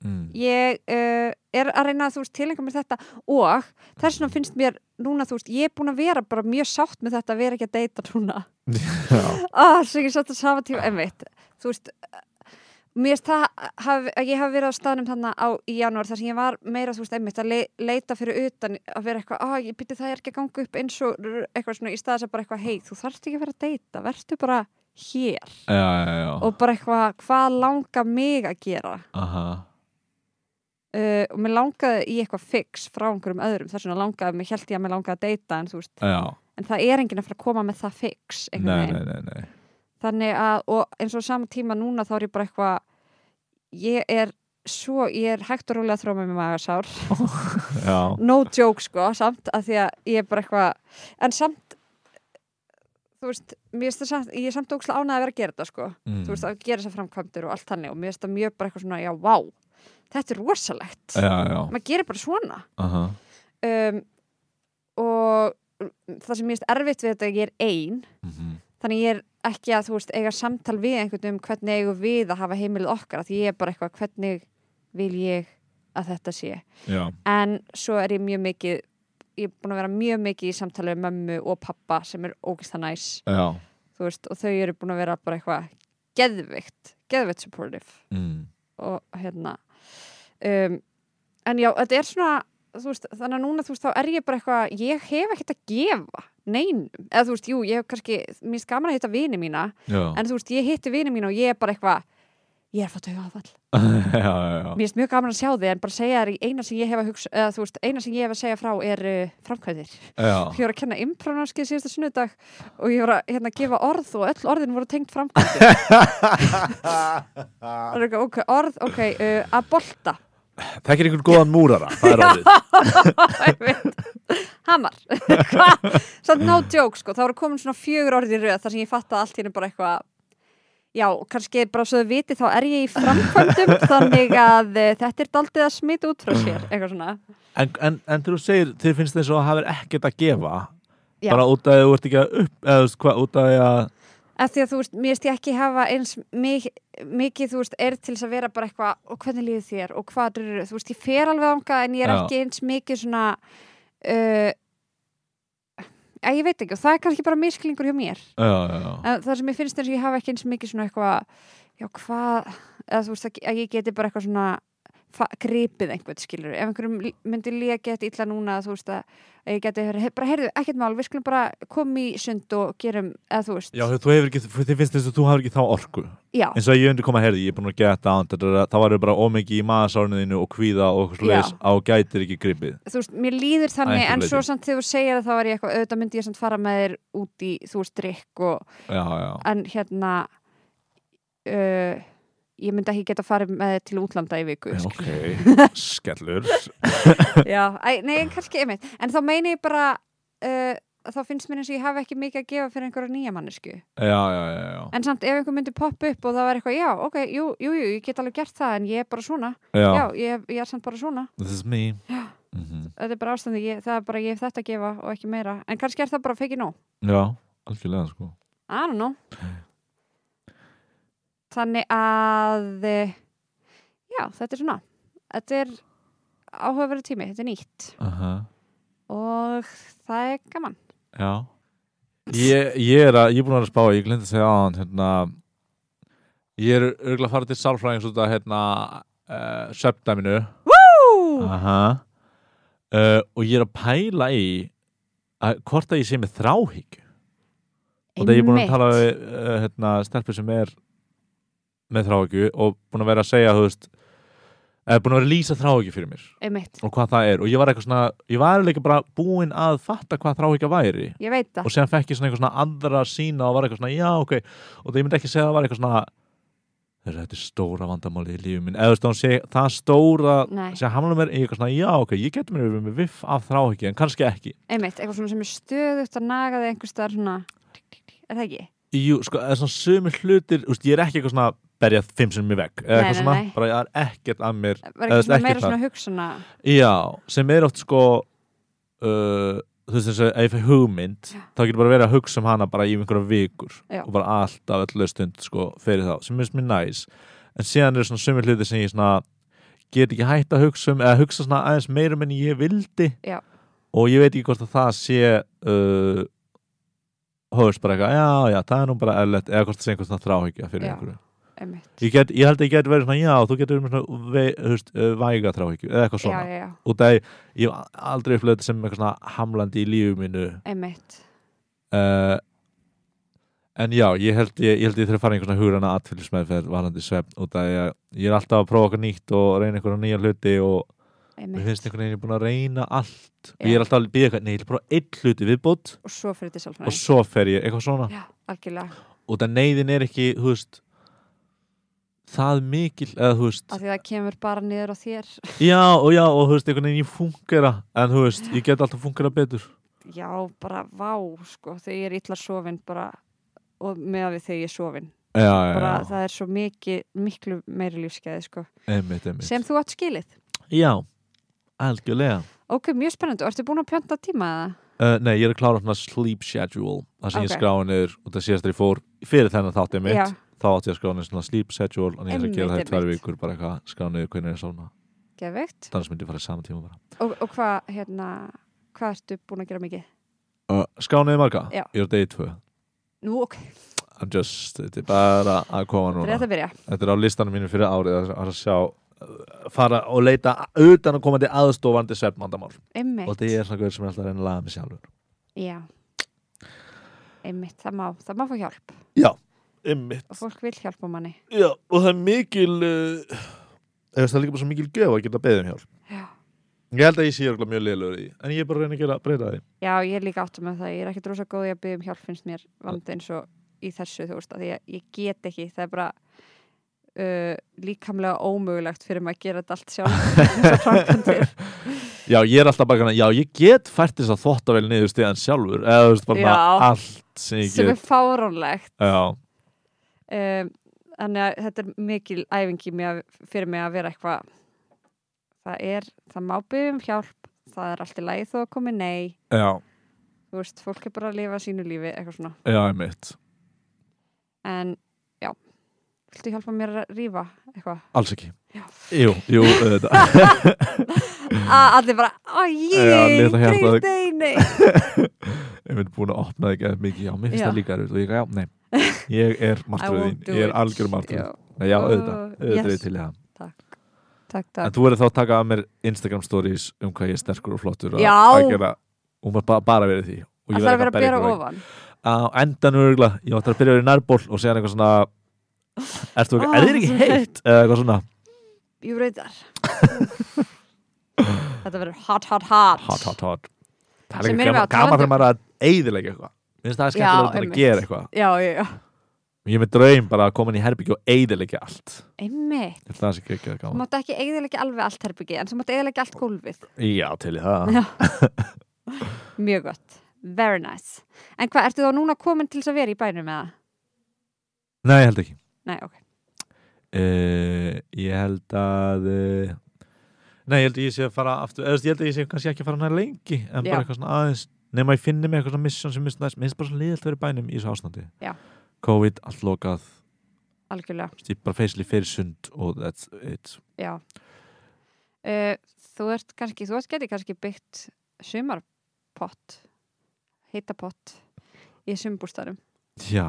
A: mm.
B: ég uh, er að reyna að þú veist tilengja mér þetta og þess vegna finnst mér núna þú veist, ég er búin að vera bara mjög sátt með þetta að vera ekki að deyta núna
A: já,
B: ah, svo ekki sátt að sama tíma einmitt, þú veist eh, mér finnst það haf, að ég hafi verið á staðnum þannig á í janúar þar sem ég var meira þú veist einmitt að le, leita fyrir utan að vera eitthvað, ah, ég byrja það er ekki að ganga upp eins og r- eitthvað svona í staðis að bara eitthvað hei, þú þarft ekki að vera að deyta, vertu bara hér
A: já, já, já.
B: og bara eitthvað, hvað langar mig að gera
A: aha
B: uh, og mér langaði í eitthvað fix frá einhverjum öðrum, þess vegna langaði mér held ég að mér langaði að deyta en þú veist,
A: já,
B: en það er enginn að fara að koma með það fix einhvern
A: nei,
B: veginn.
A: nei, nei, nei.
B: þannig að, og eins og á sama tíma núna þá er ég bara eitthvað ég er svo, ég er hægt og rólega að þróma með magasár,
A: já,
B: no joke sko samt, að því að ég er bara eitthvað en samt þú veist, mér finnst það samt, ég er samt ókslega ánægð að vera að gera þetta sko,
A: mm.
B: þú veist, að gera þessar framkvæmdur og allt þannig og mér finnst það mjög bara eitthvað svona, já, vá þetta er rosalegt,
A: já, já,
B: maður gerir bara svona
A: aha
B: um, og það sem mér finnst erfitt við þetta er að ég er ein
A: mhm,
B: þannig ég er ekki að þú veist eiga samtal við einhvern um hvernig eigum við að hafa heimilið okkar af því ég er bara eitthvað hvernig vil ég að þetta sé
A: já,
B: en svo er ég mjög mikið ég er búin að vera mjög mikið í samtali við mömmu og pappa sem er ógist að næs
A: já
B: þú veist og þau eru búin að vera bara eitthvað geðvikt, geðvikt supportive
A: mm.
B: og hérna um, en já, þetta er svona þú veist, þannig að núna þú veist, þá er ég bara eitthvað ég hef ekkert að gefa neinum, eða þú veist, jú, ég hef kannski mér finnst gaman að hitta vini mína,
A: já,
B: en þú veist, ég hitti vini mína og ég er bara eitthvað ég er að fá tauga áfall
A: já, já, já.
B: Mér finnst mjög gaman að sjá þig en bara segja þér í eina sem ég hef að hugsa, eða þú veist, eina sem ég hef að segja frá er uh, framkvæðir.
A: já.
B: Ég var að kenna imprónáskið síðasta sunnudag og ég var að hérna, gefa orð og öll orðin voru tengt framkvæðir. ok, orð, ok, uh, að bolta,
A: Þekkir einhvern góðan múrara, það er orðið.
B: Ég veit. hamar, hvað, samt no joke sko, það voru komin svona fjögur orð í röð þar sem ég fattaði allt hérna bara eitthvað, já, kannski bara svo þau viti þá er ég í framkvæmdum þannig að uh, þetta er daldið að smita út frá sér, eitthvað svona.
A: En, en, en þegar þú segir, þið finnst þess að hafa ekkert að gefa,
B: Já.
A: bara út af því að þú ert ekki að upp, eða þú veist hvað, út af því að,
B: af því að þú veist, mér veist ég ekki hafa eins mik mikið, þú veist, er til þess að vera bara eitthvað, og hvernig líður þér og hvað er, þú veist, ég fer alveg ánga en ég er
A: Já.
B: ekki eins mikið svona uh, að ég veit ekki, og það er kannski bara misklingur hjá mér,
A: já, já, já.
B: en það sem ég finnst eins og ég hafa ekki eins mikið svona eitthvað já, hvað, eða þú veist, að- að ég geti bara eitthvað svona fa- gripið einhvern skilur, ef einhverjum lí- myndi líka geta illa núna, þú veist, að að ég geti verið, "Hey, bara heyrðu, ekkert mál, við skulum bara koma í sund og gerum, eða þú veist
A: Já, þú hefur ekki, þið finnst þess að þú hafur ekki þá orku.
B: já.
A: eins og ég undir koma að herði, ég er búin að geta án þá varum bara ómikið í maðursárinu þínu og kvíða og okkur
B: Já.
A: slags á gætir ekki gripið
B: þú veist, mér líður þannig
A: einhverju
B: en
A: leyti.
B: svo samt þegar þú segir að þá var ég eitthvað auðvitað myndi ég samt fara með þér út í þú veist, drikk og,
A: já, já,
B: en hérna uh, ég myndi ekki geta farið með þér til útlanda í viku skilur.
A: ok, skellur
B: já, æ, nei, en kannski einmitt en þá meini ég bara uh, þá finnst mér eins og ég hafi ekki mikið að gefa fyrir einhverja nýja mannesku
A: já, já, já, já,
B: en samt ef einhver myndi poppa upp og það var eitthvað já, ok, jú, jú, jú, ég get alveg gert það en ég er bara svona, já,
A: já.
B: ég, ég er samt bara svona
A: this is me mm
B: þetta er bara ástandi, ég, það er bara ég hef þetta að gefa og ekki meira, en kannski er það bara fekið nóg
A: já, algjörlega sko
B: I don't know Þannig að eh, já, þetta er svona þetta er áhugaverið tími, þetta er nýtt
A: uh
B: og það er gaman
A: já ég, ég er að, ég er búin að vera að spá ég glemt að segja án, hérna ég er örgulega að fara til sálfræðings út að hérna, uh, söpdæminu
B: Ú,
A: Aha. Uh, og ég er að pæla í að, hvort að ég sé með þráhyggju og það ég er búin að tala við uh, hérna, stelpur sem er með þráhyggju og búin að vera að segja þú veist, eða búin að vera að lýsa þráhyggju fyrir mér
B: einmitt,
A: og hvað það er og ég var eitthvað svona, ég var líka bara búin að fatta hvað þráhyggja væri
B: ég veit það
A: og séðan fekk ég svona eitthvað svona aðra sína og var eitthvað svona, já ok og það ég myndi ekki segja að það var eitthvað svona "Heyrðu, þetta er stóra vandamáli í lífum minn eða þú veist, hún sé, það stóra
B: Nei.
A: sem hamla mér í eitthvað svona, já ok, ég getur mér yfir með viff af þráhyggju en kannski ekki
B: einmitt, eitthvað svona sem er stöðugt að naga þig einhvers staðar svona er það ekki?
A: Jú, sko, það er svona sömur hlutir úst, ég er ekki eitthvað svona berja fimm sem mér vekk eða
B: Nei,
A: eitthvað
B: nei,
A: svona,
B: nei.
A: bara ég er ekkert að mér
B: Var
A: Eða
B: eitthvað svona
A: ekki
B: meira
A: það.
B: svona hugsana
A: já, sem er oft sko uh, þú veist þess að ef ég fæ hugmynd þá getur bara verið að hugsa um hana bara í einhverja vikur
B: Já.
A: og bara alltaf öllu stund sko fyrir þá, sem finnst mér næs en síðan eru svona sömur hlutir sem ég svona get ekki hægt að hugsa um eða hugsa svona aðeins meira um en ég vildi
B: Já.
A: og ég veit ekki hvort að það sé uh, höfst bara eitthvað, já, já, það er nú bara eðlert, eða hvort það sé einhvers svona þráhyggja fyrir
B: Já.
A: einhverju
B: einmitt,
A: ég, get, ég held að ég get verið svona, já, þú getur verið með svona ve, hefst, væga þráhyggju eða eitthvað
B: já,
A: svona
B: já, já,
A: út af ég hef aldrei upplöðið þetta sem eitthvað svona hamlandi í lífu mínu
B: einmitt
A: uh, en já, ég held ég, ég held ég þurf að fara í einhvern svona hugræna atfylgismeðferð varandi svefn út af ég, ég er alltaf að prófa okkur nýtt og reyna einhverja nýja hluti og mér
B: einmitt,
A: finnst einhvern veginn ég er búin að reyna allt og
B: Já.
A: ég er alltaf að býða eitthvað, nei, ég er bara einn hluti viðbútt
B: og svo fyrir þetta
A: og
B: sjálfræðing
A: svo fer ég eitthvað svona
B: já, algjörlega,
A: og það neyðin er ekki, þú veist það mikil, eða þú veist
B: af því það kemur bara niður á þér
A: Já, og já, og þú veist, einhvern veginn ég fungera en þú veist, ég get alltaf fungera betur
B: já, bara vá, sko, þegar ég er illa sofin bara, og meða við þegar ég er sofin
A: Já, já,
B: bara
A: já,
B: það er svo mikið, miklu meiri lífskeiði, sko,
A: einmitt, einmitt
B: sem þú átt skilið
A: Já, algjörlega
B: ok, mjög spennandi, og ertu búin að pjönda tíma eða?
A: uh, Nei, ég er að klára svona sleep schedule það sem
B: Ok.
A: ég skráði niður og það síðast þegar ég fór fyrir þennan þáttið mitt
B: Já.
A: þá átti ég að skráði niður svona sleep schedule en ég er að
B: Einmitt,
A: gera það í tvær
B: einmitt.
A: vikur bara eitthvað, skráði niður hvernig ég er að sofna
B: geðveikt,
A: þannig myndi ég fara í sama tíma bara
B: og, og hvað, hérna hvað ertu búin að gera mikið?
A: uh, Skráði niður marga,
B: Já.
A: ég er á degi tvö
B: nú, ok,
A: I'm just, þetta er bara að koma
B: það
A: núna
B: er þetta að byrja
A: þetta er á listanum mínu fyrir árið að, að sjá uh, fara og leita utan að komandi aðstofandi svefnmandamál og
B: einmitt,
A: þetta er svona gaur sem er alltaf að reyna að laga mig sjálfur
B: já einmitt, það má, það má fá hjálp
A: já, Einmitt.
B: og fólk vil hjálpa manni
A: Já, og það er mikil uh, eða það er líka bara svo mikil göf að geta beðið um hjálp
B: Já.
A: Ég held að ég sé örugglega mjög liðlegur í því, en ég er bara að reyna að gera breyta því
B: Já, ég er líka áttum með það, ég er ekkert rosa góð í að byggja um hjálp finnst mér vandi eins og í þessu þú veist, að því að ég get ekki, það er bara uh, líkamlega ómögulegt fyrir maður að gera þetta allt sjálf þessar framkvæmdir.
A: Já, ég er alltaf bara kannan, já, ég get fært þess að þvottavel niður stíðan sjálfur eða þú veist bara
B: Já.
A: allt sem ég
B: sem
A: get
B: er fáránlegt
A: Já,
B: um, þannig að þetta er mikil æfingi mér, fyrir mig að vera eitthvað það er, það má byggja um hjálp það er allt í lagi þó að komi nei
A: já,
B: þú veist, fólk er bara að lifa sínu lífi eitthvað svona,
A: já, einmitt
B: en já viltu hjálpa mér að rífa eitthvað
A: Alls ekki
B: Já.
A: Jú, jú, auðvitað
B: að Ah, allir bara, æjé,
A: Já, litla hjartað.
B: greið deini
A: Ég mynd búin að opna þig eða mikið, já, mér finnst
B: Já.
A: það líka erfitt og ég, já, nei Ég er martröð
B: won't do
A: þín, ég er
B: it.
A: algjör martröð
B: Já.
A: Nei, Já, auðvitað,
B: Oh,
A: auðvitað er
B: yes.
A: ég til í það
B: takk,
A: En
B: takk,
A: þú verður þá að taka af mér Instagram stories um hvað ég er sterkur og flottur að-
B: Já.
A: að gera, og maður bara, bara verið því og
B: það er að vera að bera
A: ykkur vegg.
B: ofan
A: á endanum örgulega, ég ætti að byrja að vera í nærból og segja hann eitthvað svona Ertu eitthvað,
B: Ah,
A: er þér ekki
B: svo
A: heitt? Eða eitthvað svona
B: jú reyðar þetta verður hot, hot, hot
A: hot, hot, hot Það er
B: Sem
A: ekki
B: erum við
A: gaman
B: á
A: gaman þegar
B: talandi-
A: maður er að eyðilega eitthvað Minnst það er
B: Já,
A: skemmtilega út að
B: einmitt.
A: gera eitthvað
B: já, já, já,
A: Ég er með draum bara að koma inn í herbyggju og eyðilega allt
B: einmitt
A: Ég held að Það sé ekki ekki
B: þú
A: gaman
B: mátt ekki eigðilega alveg allt herbyggi en þú mátt eigðilega allt gólfið
A: Já, til í það
B: Já. mjög gott, very nice en hvað, ertu þá núna komin til þess að vera í bænum eða?
A: Nei, ég held ekki
B: nei, ok,
A: uh, ég held að uh, nei, ég held að ég sé að fara aftur, eða þú veist, ég held að ég sé kannski ekki að fara nær lengi en bara
B: Já.
A: eitthvað svona aðeins nema ég finni mig eitthvað svona mission sem minnst næst minnst bara svona liðalt verið bænum í þessu ástandi
B: Já.
A: COVID, allt lokað,
B: algjörlega
A: þú veist, ég bara feysli fyrir sund og that's it
B: Já uh, Þú ert kannski, þú ert getið kannski byggt sumarpott hitapott í sumbústarum
A: já,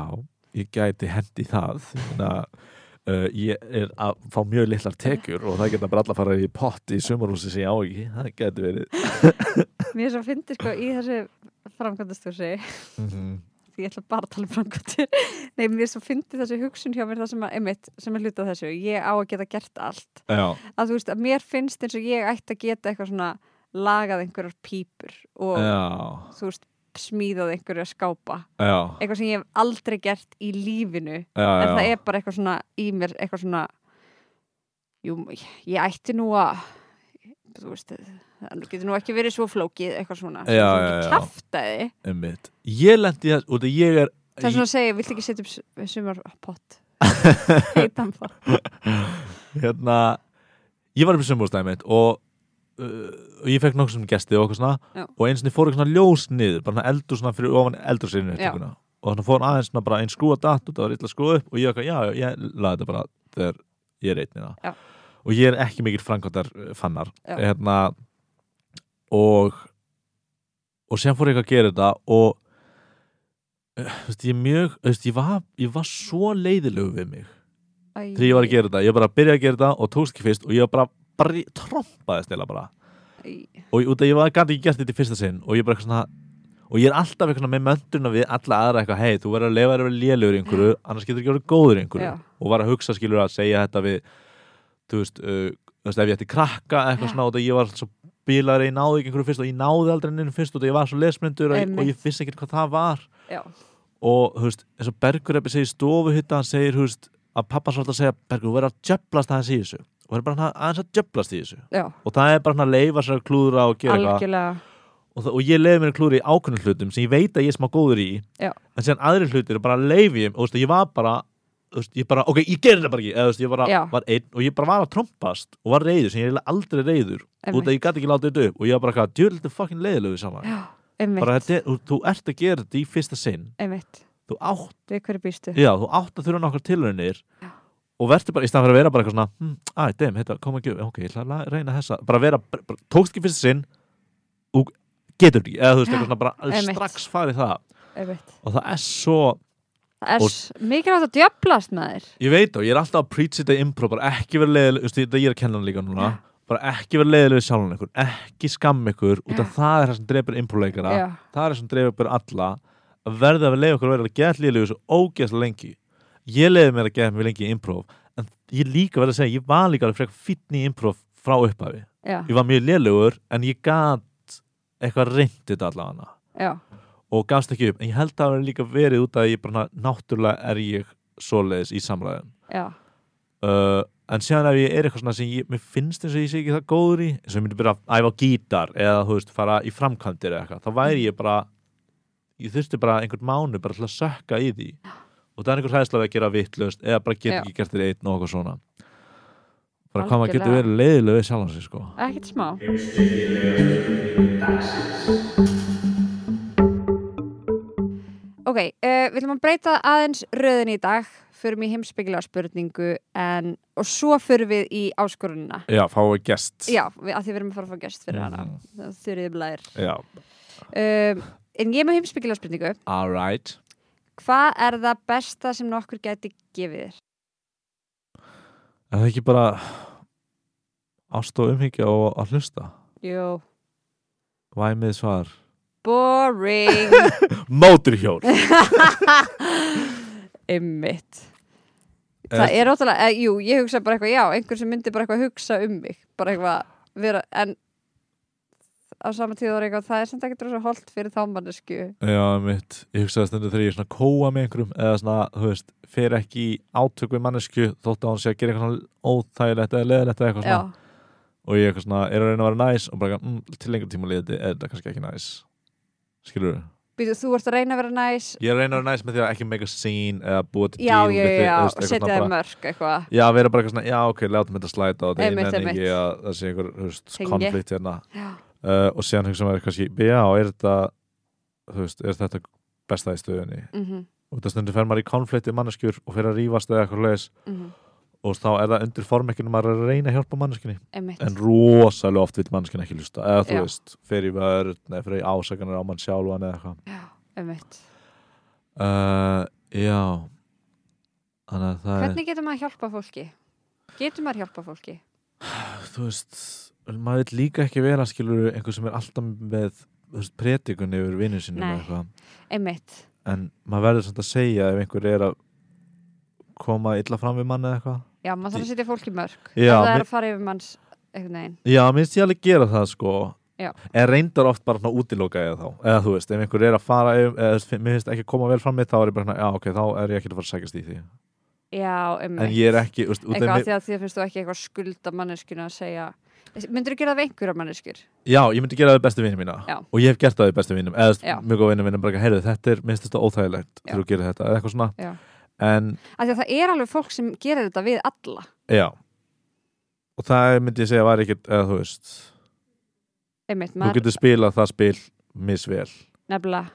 A: ég gæti hendi það þannig að Uh, ég er að fá mjög litlar tekjur og það geta bara alla að fara í pott í sumarhúsi sem ég á ekki, það getur verið
B: Mér svo fyndi sko í þessu framkvæmdastúrsi
A: mm -hmm.
B: því ég ætla bara að tala um framkvæmdur Nei, mér svo fyndi þessu hugsun hjá mér það sem að, einmitt, sem er hluta þessu ég á að geta gert allt
A: Já,
B: að þú veist að mér finnst eins og ég ætti að geta eitthvað svona lagað einhverjar pípur og
A: já,
B: þú veist smíðað einhverju að skápa
A: já,
B: eitthvað sem ég hef aldrei gert í lífinu
A: já,
B: en það
A: já.
B: er bara eitthvað svona í mér eitthvað svona jú, ég, ég ætti nú að þú veist það getur nú ekki verið svo flókið eitthvað svona
A: Já, já, já.
B: kæftæði
A: Einmitt. Ég lendi þess, út að ég er
B: það er svona að segja, vilt ekki setja upp s- sumarpott heitan pott
A: hérna ég var upp í sumbúrstæði mitt og, uh, og ég fekk nokkuð sem gesti og okkur svona
B: Já.
A: og eins og ég fór eitthvað svona ljós niður bara svona eldur svona fyrir ofan eldur sinni
B: Já.
A: og þannig fór aðeins svona bara einn skrúa datt og það var illa skrúa upp og ég eitthvað, já, já, ég laði þetta bara þegar ég er einn
B: Já.
A: hérna og ég er ekki mikill framkvæmdar eh, fannar
B: Já.
A: hérna og og sem fór ég eitthvað að gera þetta og eh, þú veist, ég er mjög, þú veist, ég var ég var svo leiðilegu við mig þegar ég var að gera þetta, ég bara byrjaði að gera þetta og tókst ekki fyrst og ég bara, bara trompaði stila bara
B: gera
A: og ég- út af ég var gæti ekki gert þetta í fyrsta sinn og ég bara eitthvað svona og ég er alltaf eitthvað svona með möndurna við alla aðra eitthvað, hei, þú verður að lefa þér að vera lélugur í einhverju annars getur ekki að vera góður í einhverju
B: Já.
A: og var að hugsa skilur að segja þetta við þú veist, uh, þú veist ef ég ætti krakka eitthvað
B: Já.
A: svona og það ég var svo bílar ég náði ekki einhverju fyrst og ég náði aldrei nefnum fyrst og það ég var svo lesmyndur og, og ég vissi ekkert hvað það var
B: já,
A: og þú veist, eins og Bergur eppi segir stofuhytta, hann segir, þú veist að pappa svolítið að segja, Bergur, þú verður að djöblast aðeins í þessu og verður bara hann að- aðeins að djöblast í þessu
B: já,
A: og það er bara hann að leifa sér að klúðra og gera eitthvað
B: algjörlega
A: og, það- og ég leiði mér að klúðra í ákveðnum hlutum sem ég veit að ég er smá góður í
B: Já.
A: en síðan aðrir hlutir er bara að leifi og þú veist, ég var bara, þú veist, ég bara ok, ég gerði þetta bara ekki, eða þú veist, ég bara
B: Já.
A: var einn og ég bara var að trompast og var reyður sem ég er eiginlega aldrei reyður út
B: einmitt,
A: að ég gæti ekki látið þetta upp og ég var bara eitthvað, djúrlítið fucking leiðilegu saman
B: já, einmitt,
A: bara, þetta er- þú, þú ert að gera þetta í fyrsta sinn
B: einmitt.
A: þú átt
B: við hverju býstu
A: Já, þú átt að þurfa nokkar tilraunir
B: Já.
A: og verður bara, í staðan fyrir að vera bara eitthvað svona hm, Æ, dem, heita, koma ekki, ok, ég ætla að reyna þessa bara vera, bara, bara- tókst ekki fyrst sinn og getur þetta ekki, eða þú veist,
B: Já,
A: eitthvað svona bara alveg
B: einmitt.
A: strax farið það
B: einmitt.
A: og það er svo,
B: það er
A: Og-
B: s- mikilvægt að djöblast með þér
A: ég veit þá, ég er alltaf að preach þetta impro, bara ekki vera leiðileg veist, þetta ég er að kenna hann líka núna, bara ekki vera leiðileg sjálfan ykkur, ekki skamm ykkur út af
B: Já.
A: það er það sem dreipur improleikara
B: já,
A: það er það sem dreifir upp fyrir alla að verða að leiða okkur að vera að geta líðlegu svo ógeðslega lengi ég leiði mér að geða mér lengi í improv en ég líka verið að segja, ég var líka alveg frekar fítni í improv frá upphafi
B: já,
A: ég var mjög lélugur en ég gat eitthvað reyndið allavega
B: já,
A: og gafst ekki upp en ég held að það hafi líka verið út af að ég bara náttúrulega er ég svoleiðis í samræðum
B: já,
A: uh, en síðan ef ég er eitthvað svona sem ég, mér finnst eins og ég sé ekki það góður í eins og ég myndi bara að æfa á gítar eða þú veist fara í framkvæmdir eða eitthvað þá væri ég bara ég þurfti bara einhvern mánu bara til að sökka í því og það er einhver hræðsla við að gera vittlust eða bara get
B: Já.
A: ekki gert þér einn og eitthvað svona bara hvað maður getur
B: Algjörlega.
A: verið leiðilega við sjálfan sig sko
B: ekkert smá Ok, uh, við ætlum að breyta aðeins röðin í dag förum í heimspeglega spurningu en, og svo förum við í áskorunina
A: já, fáið gest
B: Já, við, að því við erum að fara að fá gest fyrir hana
A: Mhm.
B: það er þurrið blæðir
A: já.
B: um, En ég er með heimspeglega spurningu
A: all right
B: Hvað er það besta sem nokkur geti gefið þér?
A: Er það ekki bara ást og umhyggja og að hlusta?
B: Jú,
A: Væmið svar.
B: boring
A: Móturhjól!
B: Einmitt Það er ótrúlega, eh, jú, ég hugsa bara eitthvað, já, einhver sem myndi bara eitthvað hugsa um mig bara eitthvað, vera, en á sama tíð var eitthvað, það er samt ekkert rosa holt fyrir þá mannesku
A: Já, mitt. Ég hugsaði stundu þegar ég er svona að kóa með einhverjum eða svona, þú veist, fer ekki í átök við mannesku þótt að hún sé að gera eitthvað svona óþægilegt eða leðilegt eða eitthvað
B: Já,
A: svona. Og ég eitthvað svona, er að reyna að vera næs og bara, eitthvað, mm, til lengur tíma liðið er þetta kannski ekki næs. Skilur
B: býtu, þú ert að reyna að vera næs
A: Ég er að reyna að vera næs með því að ekki mega scene eða búa til
B: Já,
A: deal
B: já,
A: við þig, þú
B: já, já,
A: veist, eitthvað
B: setja
A: svona bara-
B: þér mörk eitthvað
A: Já, vera bara eitthvað svona, já ok, látum þetta slæta og það
B: Einmitt,
A: er ekki
B: einmitt.
A: að það sé einhver þú veist,
B: Tengi.
A: konflikt hérna
B: Já,
A: uh, og síðan hugsa maður kannski, já, er þetta þú veist, er þetta besta í stöðunni
B: mhm,
A: og það stundur fer maður í konflikt í manneskjur og fer að rífast eða eitthvað leis
B: mhm,
A: og þá er það undir formekinu maður er að reyna að hjálpa manneskjunni
B: einmitt
A: en rosalega oft vil manneskjunni ekki hlusta eða þú
B: Já.
A: veist, fer í vörð, neða fer í ásakanir á mann sjálfan eða eitthvað
B: Já, einmitt
A: uh, Já Þannig að það
B: Hvernig getur maður að hjálpa fólki? Getur maður að hjálpa fólki?
A: þú veist, maður vil líka ekki vera skilur einhver sem er alltaf með þú veist, predikun yfir vinnu sinni
B: Nei. Einmitt,
A: en maður verður samt að segja ef einhver er að koma illa fram við manni eða eitthvað
B: já, maður þarf að setja fólki mörk
A: Já,
B: Ef það
A: mér-
B: er að fara yfir manns einhvern veginn
A: já, minnst ég alveg gera það sko
B: Já.
A: en reyndar oft bara svona útiloka ég þá eða þú veist, ef einhver er að fara yfir, eða, þú veist, mér finnst ekki að koma vel fram við þá er ég bara, svona, já ok, þá er ég ekki að fara að sækast í því
B: Já, einmitt
A: en ég er ekki, þú veist, út af
B: eitthvað af
A: mér-
B: því að því að finnst þú ekki eitthvað skulda manneskinu að segja myndur þú gera það við einhverja manneskjur
A: Já, ég myndi gera það við bestu vinnum mína
B: Já.
A: og ég hef gert það við bestu vinnum eða þú veist,
B: Já.
A: mjög góð vinnum mínum bara, heyrðu, þetta er minnst þetta óþægilegt
B: Já.
A: þegar þú gerir þetta, eða eitthvað svona
B: Já.
A: en,
B: af því að það er alveg fólk sem gerir þetta við alla
A: já og það myndi ég segja var ekkert, eða þú veist
B: einmitt,
A: þú
B: maður
A: getur spilað það spil misvel
B: nefnilega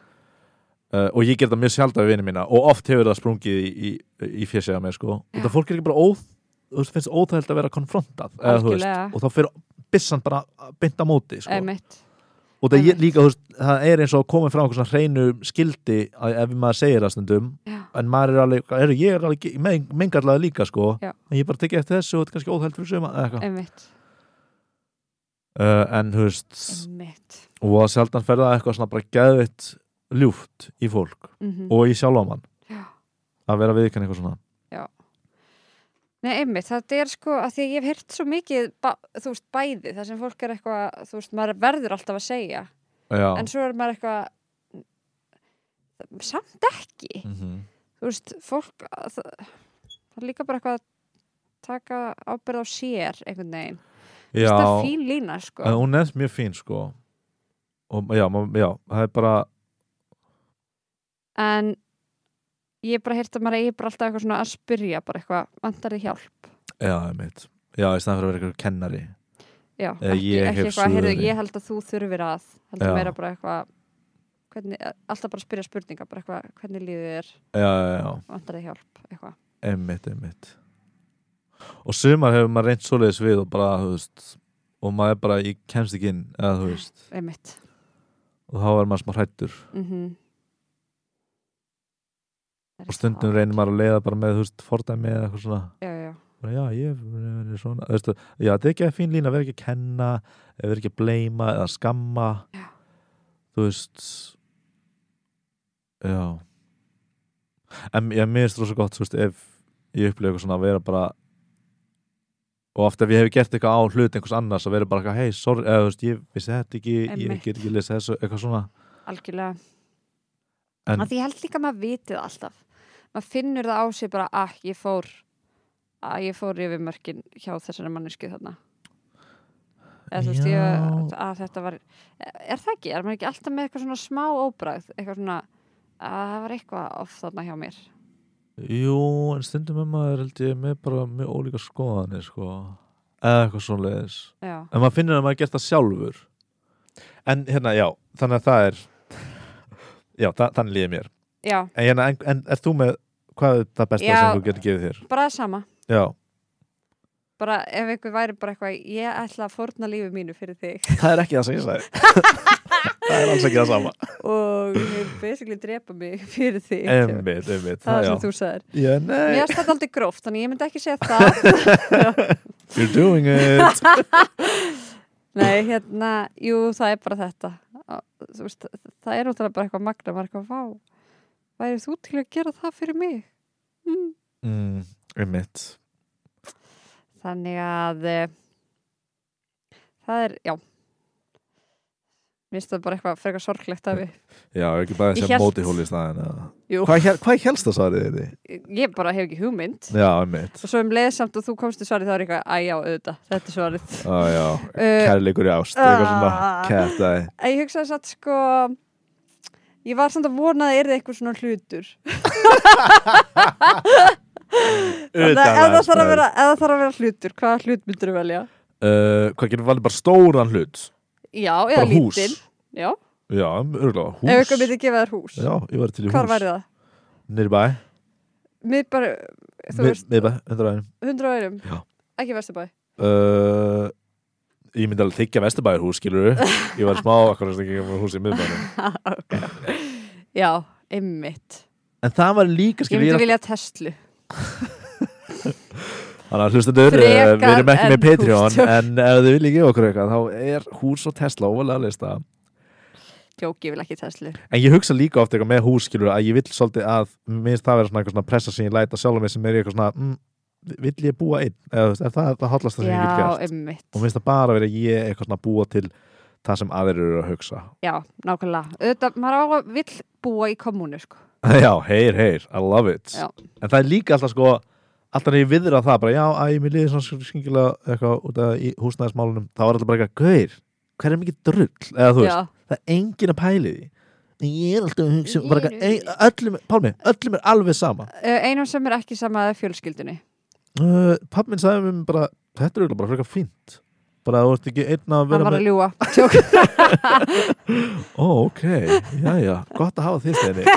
A: uh, og ég ger það mjög sjálf við vinnum mína og oft hefur það sprungið í, í, í fjösið að mér, sko og
B: Já.
A: það fólk er ekki bara óþ þú veist, finnst óþægilegt að vera konfrontað eða, þú veist,
B: Algjörlega.
A: og þá fyrir byssan bara beint á móti, sko
B: einmitt,
A: og það, ég,
B: Einmitt.
A: líka, þú veist, það er eins og komið frá einhver svona hreinu skildi að, ef maður segir það stundum
B: Já.
A: en maður er alveg, er, ég er alveg meng, mengarlega líka sko,
B: Já.
A: en ég bara tekið eftir þessu og þetta er kannski óþælt fyrir suma uh,
B: einmitt,
A: en þú veist,
B: einmitt
A: og að sjaldan ferða eitthvað svona bara geðvitt ljúft í fólk
B: mhm.
A: og í sjálfamann
B: Já.
A: að vera viðkann eitthvað svona
B: Nei, einmitt, þetta er sko að því að ég hef hirt svo mikið ba- þú veist, bæði, það sem fólk er eitthvað þú veist, maður verður alltaf að segja
A: Já.
B: en svo er maður eitthvað samt ekki
A: mm
B: þú veist, fólk það, það er líka bara eitthvað að taka ábyrð á sér einhvern veginn
A: Já.
B: Þetta er fín lína, sko.
A: En hún er mjög fín sko og já, ma- já það er bara
B: En ég hef bara heyrt að maður eigi bara alltaf eitthvað svona að spyrja bara eitthvað, vantar þið hjálp?
A: já, það er mitt, já, í stæðan fyrir að vera eitthvað kennari
B: Já,
A: Eh,
B: ekki,
A: ég
B: ekki
A: hef
B: eitthvað, heyrðu,
A: svörin.
B: ég held að þú þurfir að, heldur
A: Já.
B: meira bara eitthvað, hvernig, alltaf bara að spyrja spurninga, bara eitthvað, hvernig lífið er,
A: já, já, já
B: vantar þið hjálp, eitthvað.
A: einmitt, einmitt og sumar hefur maður reynt svoleiðis við og bara, þú veist og maður er bara, ég kemst ekki inn eða þú veist,
B: Einmitt.
A: og þá er maður smá hrættur
B: Mm
A: og stundum reynir maður að leiða bara með, þú veist, fordæmi eða eitthvað svona
B: Já, já, já.
A: bara, já, ég er- er svona, þú veist já, þetta er ekki að fín lína, vera ekki að kenna vera ekki að bleima eða skamma
B: Já.
A: þú veist já en ég minnst rosa gott, þú veist, ef ég upplifa eitthvað svona að vera bara og oft ef ég hef gert eitthvað á hlut einhvers annars að vera bara eitthvað, hei, sorry, eða þú veist, ég vissi þetta ekki, ég
B: Einmitt.
A: get ekki lesa þessu, eitthvað svona
B: algjörlega
A: En-
B: en, því ég held líka að maður viti það alltaf maður finnur það á sig bara að ég fór að ég fór yfir mörkin hjá þessari mannesku þarna eða þú veist ég
A: Já.
B: að þetta var er það ekki, er maður ekki alltaf með eitthvað svona smá óbræð eitthvað svona að það var eitthvað off þarna hjá mér
A: Jú, en stundum um maður held ég með bara mjög ólíka skoðanir, sko eða eitthvað svona leiðis
B: já,
A: en maður finnir að maður gert það sjálfur en hérna, já, þannig að það er já, það, þannig líði mér
B: já
A: en, hérna, en, en er þú með, hvað er það besta
B: Já.
A: sem þú getur gefið þér?
B: bara það sama
A: Já,
B: bara ef einhver væri bara eitthvað ég ætla að fórna lífi mínu fyrir þig
A: það er ekki það sem ég sagði það er alls ekki það sama
B: og basically drepa mig fyrir þig
A: einmitt, einmitt,
B: það
A: það
B: er
A: já
B: sem þú sagðir
A: já,
B: Mér
A: nei,
B: finnst þetta aldrei gróft, þannig ég myndi ekki segja það.
A: you're doing it
B: Nei, hérna, jú, það er bara þetta. Á- Þú veist, það er náttúrulega bara eitthvað magna, maður er eitthvað, vá, værið þú til að gera það fyrir mig? Mm.
A: mm, einmitt
B: Þannig að e, það er, já, mér finnst það bara eitthvað frekar sorglegt af við.
A: já, ekki bara
B: Ég
A: þessi
B: hélt-
A: mótihóli í staðin eða-
B: Jú.
A: hvað, hér- hvað helst það svarið þið?
B: Ég bara hef ekki hugmynd.
A: já, einmitt,
B: Og svo um leiðsamt og þú komst í svarið, þá er eitthvað, æ, já, auðvitað, þetta er svarið.
A: á, já
B: Uh,
A: kærleikur í ást, eitthvað svona
B: Ah.
A: kæftæði
B: að ég hugsaði satt sko ég var samt að vona að það yrði eitthvað svona hlutur Þannig að ef það þarf að vera, ef það þarf að vera hlutur hvaða hlut myndur þú velja?
A: uh, hvað getur valið bara stóran hlut
B: Já, eða
A: bara hús
B: lítinn Já,
A: já, örgulega, hús
B: ef eitthvað myndi gefa þér hús
A: já, ég var til í
B: Hvar
A: hús
B: væri það?
A: nýri bæ,
B: Mér bara, þú veist,
A: nýri bæ, undir aðeins
B: hundra öðrum
A: Já.
B: Ekki Vesturbæ
A: uh, ég myndi alveg þykja Vesturbæður hús, skilur ég var smá, akkur að ekki hús í miðbæðinu
B: Já, einmitt
A: en það var líka,
B: Ég
A: skilur
B: myndi
A: ég
B: vilja Tesla
A: þannig að hlustendur, uh,
B: Frekar
A: við erum ekki með
B: en
A: Patreon
B: hústjón.
A: en ef þið viljið gefa okkur eitthvað þá er hús og Tesla óvalega lista
B: Jók, ég vil ekki Tesla
A: en ég hugsa líka ofta eitthvað með hús, skilur að ég vill svolítið að, minnst það vera svona eitthvað svona pressa sem ég læta sjálf mig sem er í eitthvað svona mm, vill ég búa einn, eða þú veist, er það, það hotlast það sem ég vil
B: Já,
A: gert
B: einmitt
A: og minnst það bara verið að ég eitthvað svona búa til það sem aðrir eru að hugsa
B: Já, nákvæmlega Þetta, maður á að vill búa í kommunu, sko
A: já, heyr, heyr, I love it
B: Já.
A: en það er líka alltaf sko alltaf þegar ég viðra það bara, já, æ, mér liði svona skingilega eitthvað út af í húsnæðismálunum þá er alltaf bara eitthvað, gaur, hver er mikið drull eða þú veist,
B: Já,
A: það er engin að pæli því en ég er alltaf að hugsa um bara
B: Ég
A: eitthvað,
B: er-
A: ein- öllum, Pálmi, öllum er alveg sama
B: Ö, einum sem er ekki sama að fjölskyldunni
A: uh, papp minn sagði mér bara þetta er auðvitað bara frekar fínt bara þú ert ekki einn að
B: Hann
A: vera
B: var að
A: með
B: ljúa
A: ó, ok, já, já, gott að hafa því steini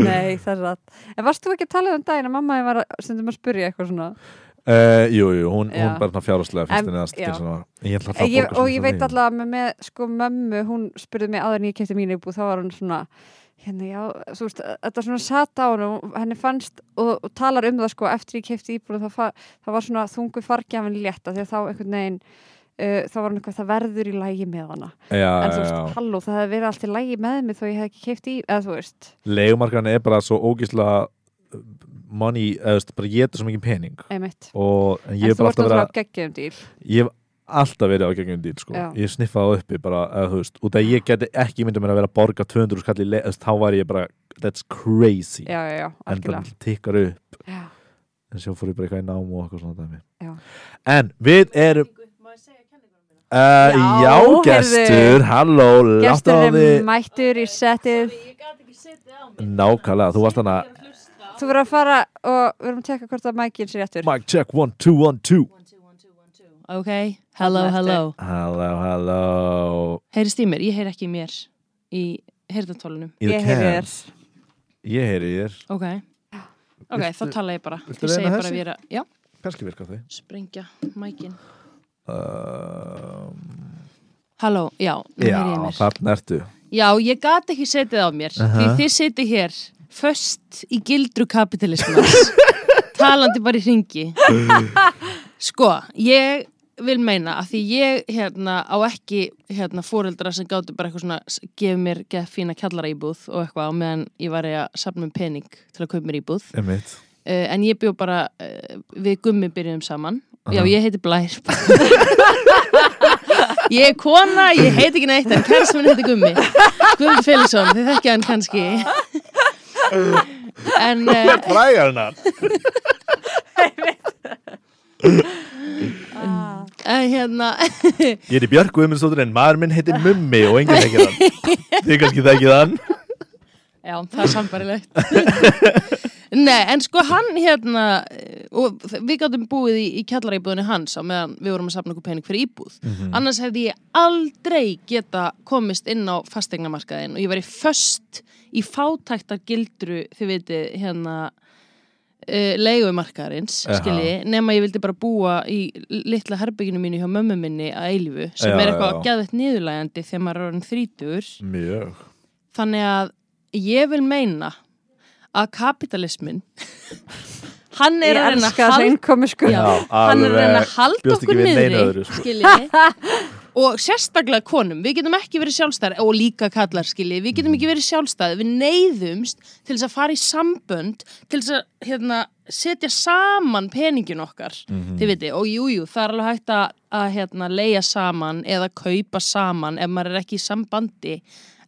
B: Nei, það er rætt En varst þú ekki að tala um daginn að mamma þín var að- stundum að spurja eitthvað svona
A: uh, jú, jú, hún,
B: Já.
A: hún bara svona fjárháslega
B: En-
A: finnst henni að
B: já.
A: skilja svona ég ætla alltaf að
B: ég,
A: borga sem
B: Og ég
A: sem
B: veit
A: því.
B: alltaf að með, með sko mömmu hún spurði mig áður en ég kefti mín íbúð þá var hún svona hérna já, þú veist, þetta svona sat á hún og henni fannst og, og talar um það sko eftir ég kefti íbúð þá, fa- þá var svona þungu fargjafin létta því að þá einhvern veginn Uh, þá var hann eitthvað það verður í lægi með hana
A: já,
B: en þú
A: já,
B: veist,
A: Ah, já.
B: halló, það hefði verið allt í lægi með mig þó ég hef ekki keift í, eða þú veist
A: leigumarkaðan er bara svo ógísla money, eða þú veist, bara getur svo mikið pening
B: einmitt,
A: og en ég
B: en
A: hef bara
B: þú ert um
A: alltaf verið
B: náttúrulega
A: að-
B: vera... geggjum dýl
A: ég hef alltaf verið á gegnum dýl sko.
B: Já.
A: ég sniffaði það uppi bara, eða þú veist út að ég geti ekki myndið mér að vera að borga 200 skall í leið, þú veist, þá var ég bara that's crazy,
B: já, já, já,
A: en
B: algjörlega
A: það tikkar upp
B: Já.
A: en svo fór ég bara eitthvað í nám og eitthvað svona dæmi
B: Já.
A: en við erum Uh, já,
B: Já, heyrðu.
A: gestur, halló, látt á
B: Gestur er
A: því
B: mættur í settið
A: Nákvæmlega, þú varst þannig að
B: Þú verður að fara og við erum að tekka hvort að mækinn sé réttur
A: Mic check, one, two, one, two
C: Ok,
B: Þarna
C: hello,
B: ertu.
C: hello.
A: Halló, halló
C: Heyrist í mér? Ég heyr ekki í mér í heyrðartólunum.
A: Í the
B: Ég heyri
A: cans. Ég heyri þér
C: Ok. Ok, þá
A: Viltu-
C: tala ég bara.
A: viltu
C: Ég segi
A: reyna
C: bara
A: þessi?
C: að ég er að, já,
A: Kannski virka þau
C: sprengja mækin.
A: um,
C: Halló, já, nú
A: Já,
C: heyri ég í mér.
A: þarna ertu
C: Já, ég gat ekki setið á mér. Því
A: Aha.
C: þið setið hér, föst í gildru kapitalismans, talandi bara í ringi. Sko, ég vil meina að því ég hérna á ekki hérna fóreldra sem gáttu bara eitthvað svona s- gefið mér geð fína kjallara íbúð og eitthvað á meðan ég var að safna um pening til að kaupa mér íbúð
A: Einmitt.
C: uh, en ég bjó bara uh, við gummi byrjum saman já
A: Aha.
C: ég heiti Blær ég er kona ég heiti ekki neitt en kærst minn heiti gummi Gummi Félagsson, þið þekkja hann kannski en uh,
A: Frægar hennar
C: uh, hérna
A: Ég heiti Björk Guðmundsdóttir en maður minn heiti Mummi og enginn þekkir hann Þið kannski þekkið hann
C: Já, það er sambarilegt. Nei, en sko hann hérna, eh, og þ- við gáttum búið í, í kjallaríbúðinu hans á meðan við vorum að safna okkur pening fyrir íbúð.
A: Mm.
B: Mhm.
C: Annars hefði ég aldrei geta komist inn á fastegnamarkaðin og ég væri föst í fátæktar gildru, þið veitir, hérna, uh, leigumarkaðarins,
A: Jaha.
C: skiljiði, nema ég vildi bara búa í litla herbygginu mínu hjá mömmu minni að eilífu, sem
A: Já,
C: er
A: já,
C: eitthvað
A: já.
C: geðvett niðurlægandi þegar maður er orðin þrítur.
A: Mjög
C: Þannig að ég vil meina að kapitalismin hann er að
B: Ég
C: reyna
B: elska
C: að
B: þessu
C: halda
B: innkomi sko
C: Já, hann er að reyna að halda
A: bjóst ekki
C: okkur
A: við neinu
C: niðri
A: öðru, sko.
C: skiljiði. og sérstaklega konum við getum ekki verið sjálfstæðar og líka kallar skiljiði, við getum ekki verið sjálfstæðar við neyðumst til þess að fara í sambönd til þess að hérna, setja saman peningin okkar
A: Mhm.
C: þið viti, og jújú, jú, það er alveg hægt að, að hérna, leia saman eða kaupa saman ef maður er ekki í sambandi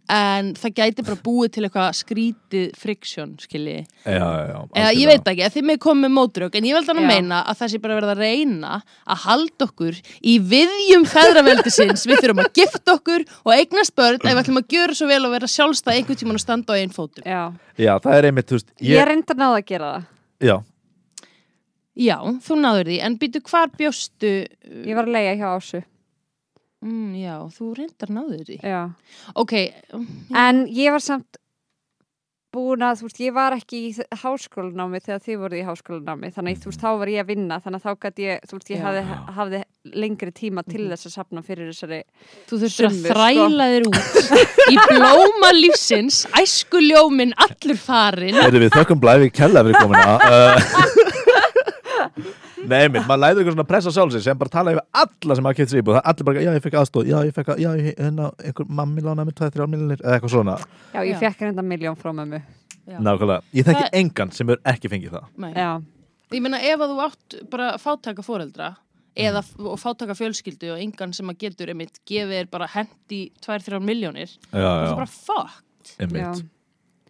C: en það gæti bara búið til eitthvað skrítið friksjón, skiljiði
A: Já, já, já
C: Eða, ég veit ekki, að þið með komið með mótrök en ég vil þannig
B: Já.
C: að meina að það sé bara verið að reyna að halda okkur í viðjum feðraveldisins, við þurfum að gifta okkur og eignast börn ef við ætlum að gjöra svo vel og vera sjálfstæð einhvern tímann og standa á einn fótum
B: Já,
A: Já, það er einmitt, þú veist
B: ég
A: ég,
B: reyndi að náða að gera það
A: Já,
C: Já, þú náður því, en býtu hvar bjóstu
B: Ég var að leiga hjá Ásu
C: mm, Já, þú reyndar náður því
B: Já.
C: Ok,
B: En ég var samt búin að, þú veist, ég var ekki í þ- háskólanámi þegar þið voruð í háskólanámi þannig, að, þú veist, þá var ég að vinna þannig að þá gæti ég, þú veist, ég
C: Já.
B: hafði, hafði lengri tíma til þess að safna fyrir þessari
C: þú þurftur að
B: Summur, sko.
C: þræla þér út í blóma lífsins, æskuljómin allur farinn
A: Heyrðu, við þökkum blæfi kella fyrir komina uh, Nei, einmitt, maður læður eitthvað svona að pressa sjálfsins sem bara tala yfir alla sem maður keitt sér íbúð það er allir bara, já, ég fekk aðstóð, já, ég fekk að, já, ég, hérna, einhver mammi lánaði mér 2-3 miljonir eða eitthvað svona,
B: Já, ég
C: Já.
B: fekk reynda miljón frá mömmu
C: Já.
A: nákvæmlega Ég þekki
C: Það-
A: engan sem hefur ekki fengið það
C: Nei.
B: Já,
C: Ég meina ef að þú átt bara fátaka foreldra eða f-
A: Mm.
C: og fátaka fjölskyldu og engan sem að getur einmitt gefið er bara hendi 2-3 miljónir
A: Já,
C: það
A: já,
C: er bara fuck
B: já,
A: einmitt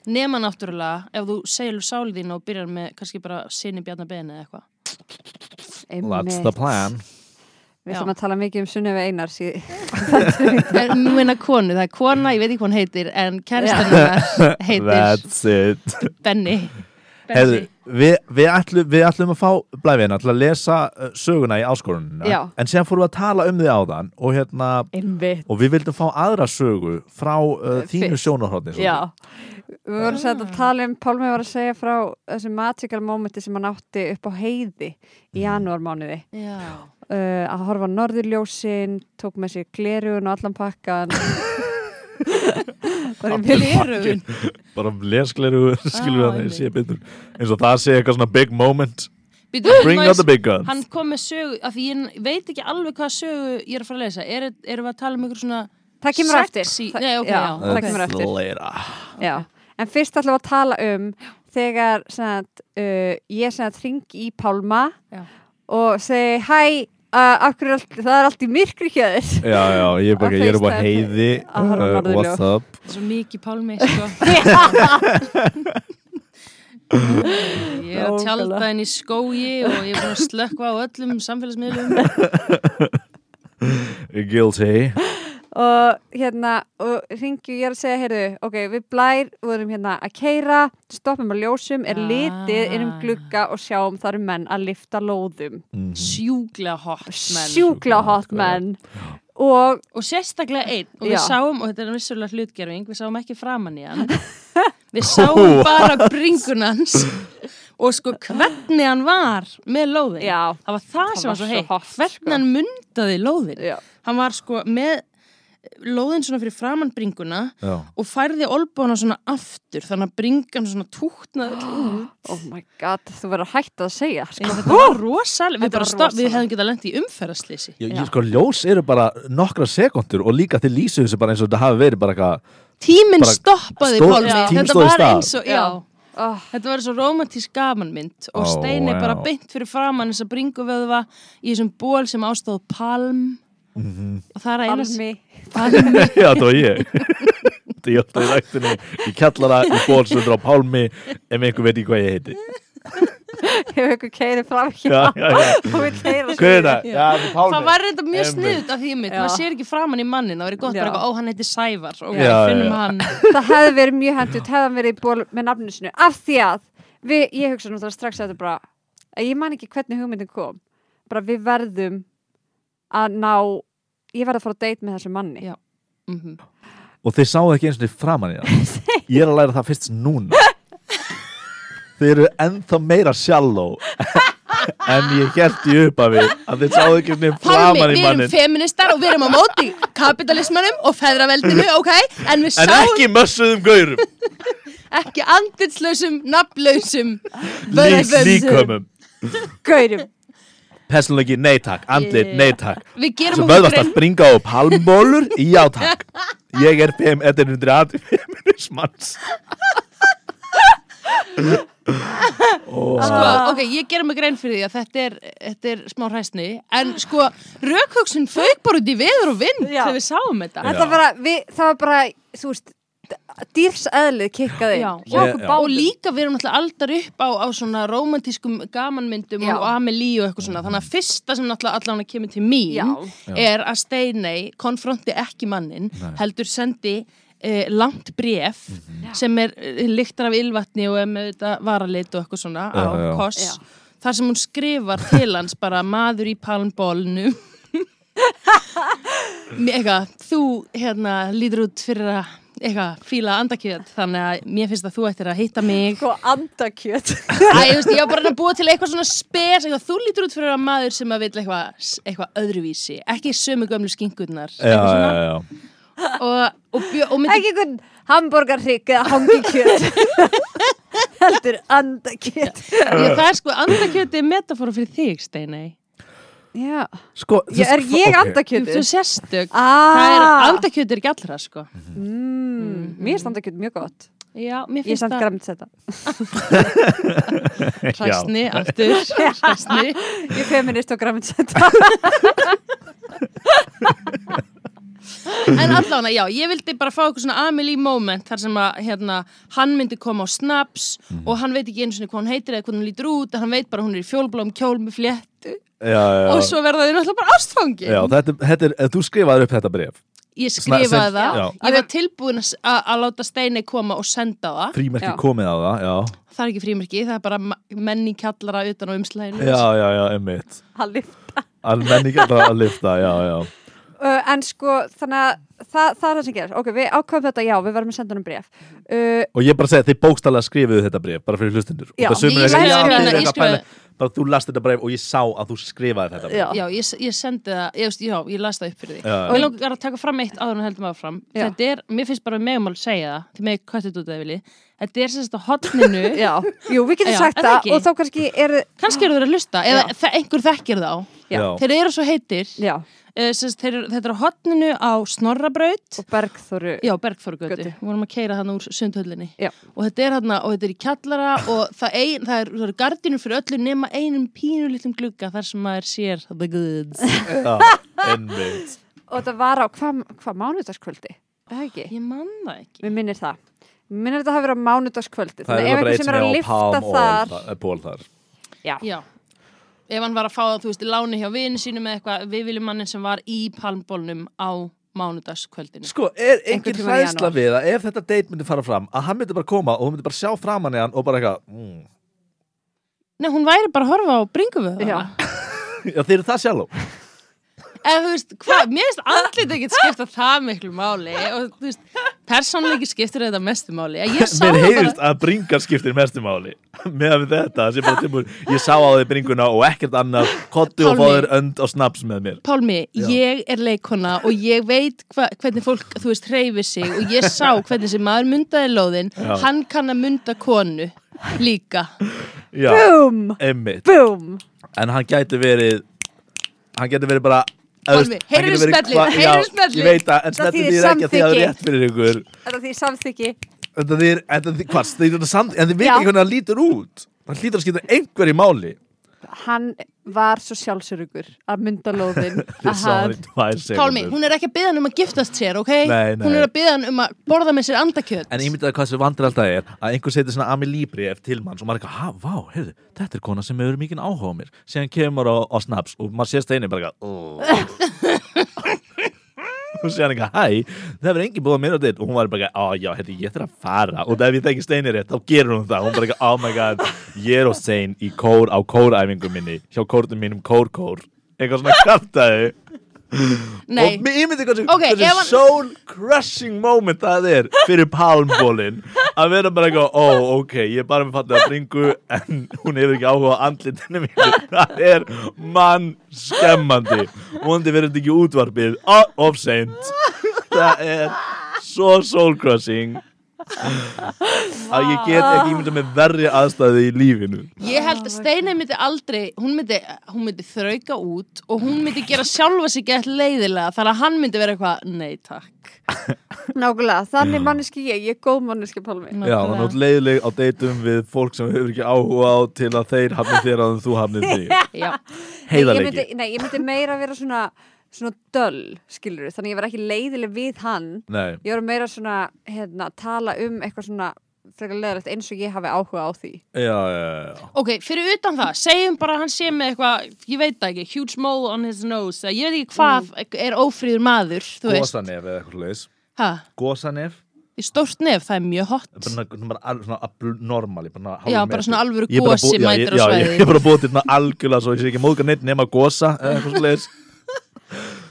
C: nema náttúrulega ef þú selur sálið þín og byrjar með kannski bara sinni bjarnabeni eða eitthvað
A: That's the
B: einmitt
A: plan
B: Við
C: Já.
B: ætlum að tala mikið um Sunnefi Einars í...
C: En nú meina konu, það er kona, ég veit ekki hvað hún heitir en kæristan hennar heitir
A: That's it
C: Benny
A: Heyrðu, við, við, ætlum, við ætlum að fá blæfiðina til að lesa uh, söguna í áskorunina
B: Já.
A: en síðan fórum við að tala um því áðan og, hérna,
B: Einmitt
A: og við vildum fá aðra sögu frá uh, þínu
B: Fyrst.
A: sjónarhóttni
B: Já, við vorum að segja að tala um Pálmi var að segja frá þessu magical momenti sem hann átti upp á heiði í janúarmánuði
C: Já,
B: uh, að horfa á norðurljósin tók með sér glerugun og allan pakkan bara mjög
C: glerugun
A: bara leskleru skilur við
C: Ah,
A: að það
C: einmitt.
A: sé betur eins og það sé eitthvað svona big moment
C: Býtu,
A: bring
C: má ég
A: out the big guns
C: hann kom með sögu, af því ég veit ekki alveg hvað sögu ég er að fara að lesa er, erum við að tala um ykkur svona
B: það kemur
C: Sexy.
B: eftir Þa-
C: Nei, ok,
B: já,
C: já,
B: það
C: ok.
B: kemur eftir
A: Later.
B: já. en fyrst ætlum við að tala um þegar sagt, uh, ég sagt, ringi í Pálma
C: Já.
B: og segi hæ uh, af hverju er allt, það er allt í myrkri hjá þér
A: já, já, ég er bara,
B: Á
A: ég er bara
B: FaceTime.
A: heiði
B: Að horfa á
A: uh,
B: norðurljós.
A: what's up
C: Svo mikið pálmi, sko. ég er að tjálta henni í skógi og ég er búin að slökka á öllum samfélagsmiðlum.
A: guilty
B: og hérna og ringju ég er að segja, heyrðu, ok, við blær vorum hérna að keira, stoppum að ljósum er
C: Ah.
B: litið inn um glugga og sjáum það eru menn að lifta lóðum
A: Mhm.
C: Sjúglega hot menn.
B: sjúkla hot menn og
C: og sérstaklega einn. Og við
B: Já.
C: sáum, og þetta er vissulega hlutgerfing, við sáum ekki framan í hann. Við sáum bara bringun hans og sko hvernig hann var með lóðin.
B: já,
C: Það var það,
B: Það
C: sem
B: var
C: var svo
B: svo
C: heitt.
B: hot,
C: hvernig
B: sko.
C: hann mundaði lóðin.
B: já
C: hann var sko með lóðin svona fyrir framann bringuna
A: já,
C: og færði olbóna svona aftur þannig að bringan svona tútnaði öll út
B: Oh my god, þú verður hægt að segja
C: Já,
B: sko.
C: þetta var rosalega, við,
B: Þetta var
C: bara stopp- við
B: rosalegt.
C: hefðum getað lent í umferðarslýsi
A: já,
B: Já.
A: ég sko ljós eru bara nokkra sekundur og líka til lýsu þessu bara eins og þetta hafi verið bara eitthvað
C: Tíminn
A: Bara
C: stoppaði
A: stóð-
C: Pálmi,
A: tíminn
C: þetta
A: stóð í
C: var
A: stað.
C: eins og, já,
B: Já. oh,
C: þetta var svo romantísk gamanmynd og
A: Ó,
C: Steini bara
A: já.
C: beint fyrir framann þess að bringu vöðva í þessum ból sem ástóð Palm
A: Mhm.
C: og það er að eina
B: Almi
C: Palmi
A: já, það var ég þetta ég alltaf í ræktinni í kjallara, í bólsundur á pálmi ef einhver veit ekki hvað ég heiti
B: Hefur ykkur keiri fram hjá
A: já, já, já,
B: og við keira
A: hver er það? já, þetta er pálmi
C: Það var reynda mjög
A: Einmitt.
C: sniðut af því mitt,
B: Já.
C: maður sér ekki framann í mannin, það verið gott
B: Já.
C: bara eitthvað, ó hann heiti Sævar og
A: Já, já,
C: finnum
A: já.
C: hann
B: Það hefði verið mjög hendut, hefði hann verið í ból með nafninu sinu Af því að, við, ég hugsa náttúrulega strax að þetta bara að Ég man ekki hvernig hugmyndin kom Bara við verðum að ná Ég verð að fara að date með þessu manni
C: Já. Mhm.
A: og þeir sáu ekki eins og þeir framan í hann ég er að læra það fyrst núna þeir eru ennþá meira shallow en ég held í uppafi að þeir sáu ekki eins og þeir
C: Pálmi,
A: framan í
C: við erum
A: mannin
C: feministar og við erum á móti kapitalismanum og feðraveldinu, ok? En við
A: en
C: sáum
A: ekki mössuðum gaurum
C: ekki andilslausum, nafnlausum
A: Lí-
C: vörðum.
A: líkömum
B: Gaurum,
A: Pessunleiki, nei takk, andlit, nei takk
C: Við gerum
A: Svo
C: okkur
A: vöðvast að springa á palmbólur Já takk Ég er PM 180 feminismans
C: sko, ok, ég gerum mig grein fyrir því að þetta er, þetta er smá hræsni en sko, rökhugsun fauk bara út í veður og vind
B: Já.
C: þegar við sáum þetta
B: þetta
A: Já.
B: bara, við, það var bara Þú veist, dýrseðlið kikkaði
C: Já.
B: hjá okkur
A: Já.
B: báðum
C: og líka við erum alltaf aldar upp á, á svona romantískum gamanmyndum
B: Já.
C: og Amelie og eitthvað svona þannig að fyrsta sem náttúrulega allan að kemur til mín
B: Já.
C: er að Steinei konfronti ekki mannin heldur sendi eh, langt bref
A: Mhm.
C: sem er eh, lyktar af ylvatni og er með þetta varalit og eitthvað svona
A: Já,
C: á
A: já.
C: koss
B: Já.
C: þar sem hún skrifar til hans bara maður í palmbólnu eitthvað, þú hérna lítur út fyrir að eitthvað, fíla andakjöð þannig að mér finnst að þú ættir að hitta mig
B: Sko andakjöt
C: Æ, ég, veist, ég var bara að búa til eitthvað svona spes eitthvað, þú lítur út fyrir að maður sem að vil eitthvað, eitthvað öðruvísi, ekki sömu gömlu skinkurnar
A: Já, já, já
C: og, og, bjó, og myndi
B: Ekki einhvern hamburgarhrygg eða hangikjöt Heldur andakjöt
C: ég, það er sko andakjöti metafóra fyrir þig Steinei,
B: Já,
A: Sko, þú
B: ég, er
A: veist,
B: ég
A: ok.
C: þú þú
B: andakjötur?
C: sérstök það er
B: Ah,
C: andakjöti er ekki allra sko
B: mm, mér er standakjöt mjög gott
C: já, mér
B: Ég er
C: finnst
B: samt
C: það
B: græmt þetta
C: hræsni aftur hræsni
B: Ég er feminist og græmt þetta
C: En allavega, já, ég vildi bara fá eitthvað svona Amelie moment þar sem að hérna, hann myndi koma á snaps
A: Mhm.
C: og hann veit ekki einu sinni hvað hún heitir eða hvað hún lítur út en hann veit bara að hún er í fjólblóm kjól með fléttu
A: Já, já,
C: og
A: já
C: svo verða þau náttúrulega bara ástfangi
A: Já, þetta, þetta er, þú skrifaður upp þetta bref
C: Ég
A: Sna-
C: skrifaði
A: sem-
C: það,
A: já.
C: ég var tilbúin að- að að láta Steini koma og senda það
A: Frímerki
B: Já.
A: komið á það, já
C: Það er ekki frímerki, það er bara ma- menn í kjallara utan á umslæðinu
A: Já, já, já, emmitt
B: Halli.
A: Almenni geta að lifta, já, já
B: uh, En sko, þannig að það, það er það sem gerir Ok, við ákvæmum þetta, já, við verðum að senda honum bref uh,
A: Og ég bara segi að þeir bókstallega skrifuðu þetta bref Bara fyrir hlustundur
B: Já, hérna
C: ég skrifaði mína, ég skrifaði-
A: Bara þú last þetta bref og ég sá að þú skrifaði þetta bref
B: Já.
C: Já, ég, ég sendi það, ég, veist, já, ég las það upp fyrir því
A: Já, já.
C: og ég langar að taka fram eitt áður en heldum að fram
B: Já.
C: þetta er, mér finnst bara við megum alveg segja það því megum kvættið út að vilji þetta er sem sagt á hotninu
B: Já, jú, við getum
C: Já,
B: sagt
C: er það
B: það
C: ekki?
B: Og þá kannski er
C: kannski eru þeir að hlusta, eða þe- einhver þekkir þá
B: Já.
A: Já.
C: þeir eru svo heitir
B: Já,
C: uh, sagt, þeir, eru- þetta er á hotninu á Snorrabraut
B: og Bergþóru
C: Já, Bergþorugötu,
B: Götu.
C: við vorum að keira þarna úr sundhöllinni
B: Já.
C: og þetta er þarna, og þetta er í kjallara og það, ein, það, er, það er gardinu fyrir öllu nema einum pínu litlum glugga þar sem maður sér the goods
A: Já, einmitt
B: Og þetta var á hvað hva mánudagskvöldi? Er Það ekki?
C: Ég man það ekki
B: Mér minnir það Mér minnir þetta að hafa verið á mánudagskvöldi
A: Það
B: Þannig
A: er
B: ef
A: bara
B: einhver
A: eitt
B: sem
A: sem
B: er
A: er
B: að
A: á
B: lifta
A: Palm
B: þar
A: og Pól þar
B: Já,
C: Já, ef hann var að fá það, þú veist, í láni hjá vinu sínum eða eitthvað, við viljum mannin sem var í palmbólnum á mánudagskvöldinu.
A: Sko, er
B: Einhvern
A: engin
B: tímann í
A: hræðsla
B: janúar.
A: við að ef þetta date myndi fara fram að hann myndi bara koma og þú myndi bara sjá framan í hann og bara eitthvað mm.
C: Nei, hún væri bara að horfa á bringuvöð hana.
A: Já, þeir eru það sjálf
C: Eða þú veist, hvað, mér finnst andlit ekkert skipta það miklu máli og þú veist, persónleiki skiptir þetta mestumáli ég sá
A: Mér
C: það bara
A: heyrist að bringan skiptir mestu máli með að við þetta sem bara tilbúin ég sá á því bringuna og ekkert annað kottu og
C: Pálmi.
A: fóður önd og snaps með mér
C: Pálmi,
A: Já.
C: ég er leikona og ég veit hva, hvernig fólk, þú veist, hreyfir sig og ég sá hvernig þessi maður mundaði lóðin
A: Já.
C: hann kann að munda konu líka
A: Já,
B: Búm,
A: einmitt
B: búm
A: En hann gæti verið hann gæti verið bara
C: Pálmi,
A: Hann
C: heyrðu
A: gæti verið
C: smellið,
A: hva-
C: heyrðu
A: Já,
C: smellið.
A: Ég veit að, en
B: Það
A: smellið
B: þýðir
A: þýr ekki að þið hafa
B: samþykki.
A: rétt fyrir ykkur
B: Þetta því samþyggi
A: Þetta þýr, þetta þýr, hvað, þið þetta samt En þið veit
B: Já.
A: ekki hvernig hann lítur út Hann lítur að skipta einhverju máli
B: Hann var svo sjálfsörugur að mynda lóðin
A: Þið
B: að
A: sá hann
B: hann
A: í tvær
C: Pálmi,
A: sekundur
C: hún er ekki að byggja hann um að giftast sér, ok?
A: Nei, nei.
C: Hún er að byggja hann um að borða með sér andakjöt
A: En ég myndi að hvað sem vandur alltaf er að einhver setur svona Ami Libri eftir til mann og maður er eitthvað, há, vá, heyrðu, þetta er kona sem hefur mikið áhuga á mér síðan kemur á, á snaps og maður sér steinu bara eitthvað og sér hann eitthvað, hæ það verður engin búið að mér á þitt og hún var bara eitthvað, á, já, heyrðu, ég þarf að fara og ef ég þekki steinu rétt, þá gerur hún það hún bara eitthvað, oh my god, ég er á stein í kór á kóræfingu minni hjá kórnum mínum kór-kór eitthvað svona kvartaði
C: Nei,
A: og mér myndi hversu,
C: Ok,
A: hversu
C: ef hann-
A: soul crushing moment það er fyrir pálmbólin að vera bara eitthvað, ó ok ég er bara með fattið að bringu en hún hefur ekki áhuga á andlitinu mínu það er mann skemmandi vondi verður þetta ekki í útvarpið Ó, of seint það er svo soul crushing að ég get ekki ímynda með verri aðstæði í lífinu
C: ég held að Steinei myndi aldrei hún myndi, hún myndi þrauka út og hún myndi gera sjálfa sig gett leiðilega þar að hann myndi vera eitthvað, nei takk
B: Nákvæmlega, þannig manneski ég, ég er góð manneski Pálmi
A: Já, það er náttúrulega leiðileg á deytum við fólk sem hefur ekki áhuga á til að þeir hafnir þér að þú hafnir þig
C: Já,
A: heiðarleiki
B: Ég myndi, nei, ég myndi meira vera svona, svona döll, skilur þannig ég var ekki leiðileg við hann
A: Nei,
B: Ég var meira svona, hérna, tala um eitthvað svona frekar leðilegt eins og ég hafi áhuga á því
A: já, já, já.
C: ok, fyrir utan það, segjum bara að hann sé með eitthvað, ég veit það ekki, huge mole on his nose, eða ég veit ekki hvað
A: Mm.
C: er ófríður maður, þú veist
A: Gósanef eða eitthvað leis
C: ha,
A: Gósanef,
C: í stórt nef, það er mjög hot
A: bara, svona- bara al- svona abnormal bara hálfur
C: Já, bara
A: metri.
C: svona alvöru
A: Ég er bara
C: gosi
A: bú- já, ég-
C: mætir á
A: já,
C: svæðið.
A: ég- Ég er bara búið til svona algjörlega svo ég sé ekki móðga neitt nema gósa eða eitthvað svo leis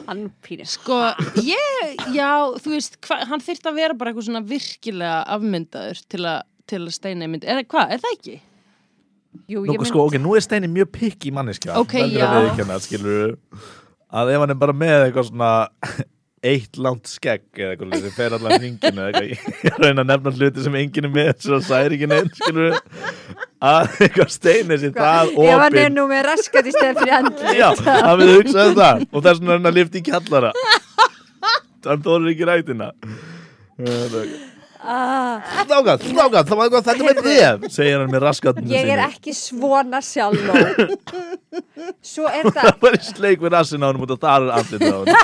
B: Hann pínir
C: sko, ég, já, þú veist hva, hann þyrfti að vera bara eitthvað svona virkilega afmyndaður til að til að steina mynd, eða hvað, er það ekki?
B: Jú,
A: Nú,
B: ég myndi
A: sko, ok, nú er Steini mjög pikk í manneskja
C: Ok,
A: verður
C: já.
A: að viðurkenna, skilurðu. Að ef hann er bara með eitthvað svona eitt langt skegg eða eitthvað leis, sem fer allan hringinu eða eitthvað Ég- ég er að reyna að nefna hluti sem enginn er með svo það særi ekki neitt, skilur að eitthvað Steini
C: Sko,
A: sé það
B: Ef hann er
A: opinn
B: nú með raskat í stæðan fyrir andli
A: Já, hann við hugsaði það og þess vegna er hann að lifta í kjallara Þannig þóður ekki rætina
B: ah,
A: Strákað, strákað, það var eitthvað þetta með þið segir hann með raskatnum
B: Ég er ekki svona sjálf Svo er það
A: Það var í sleik við rassin á hann og það er allir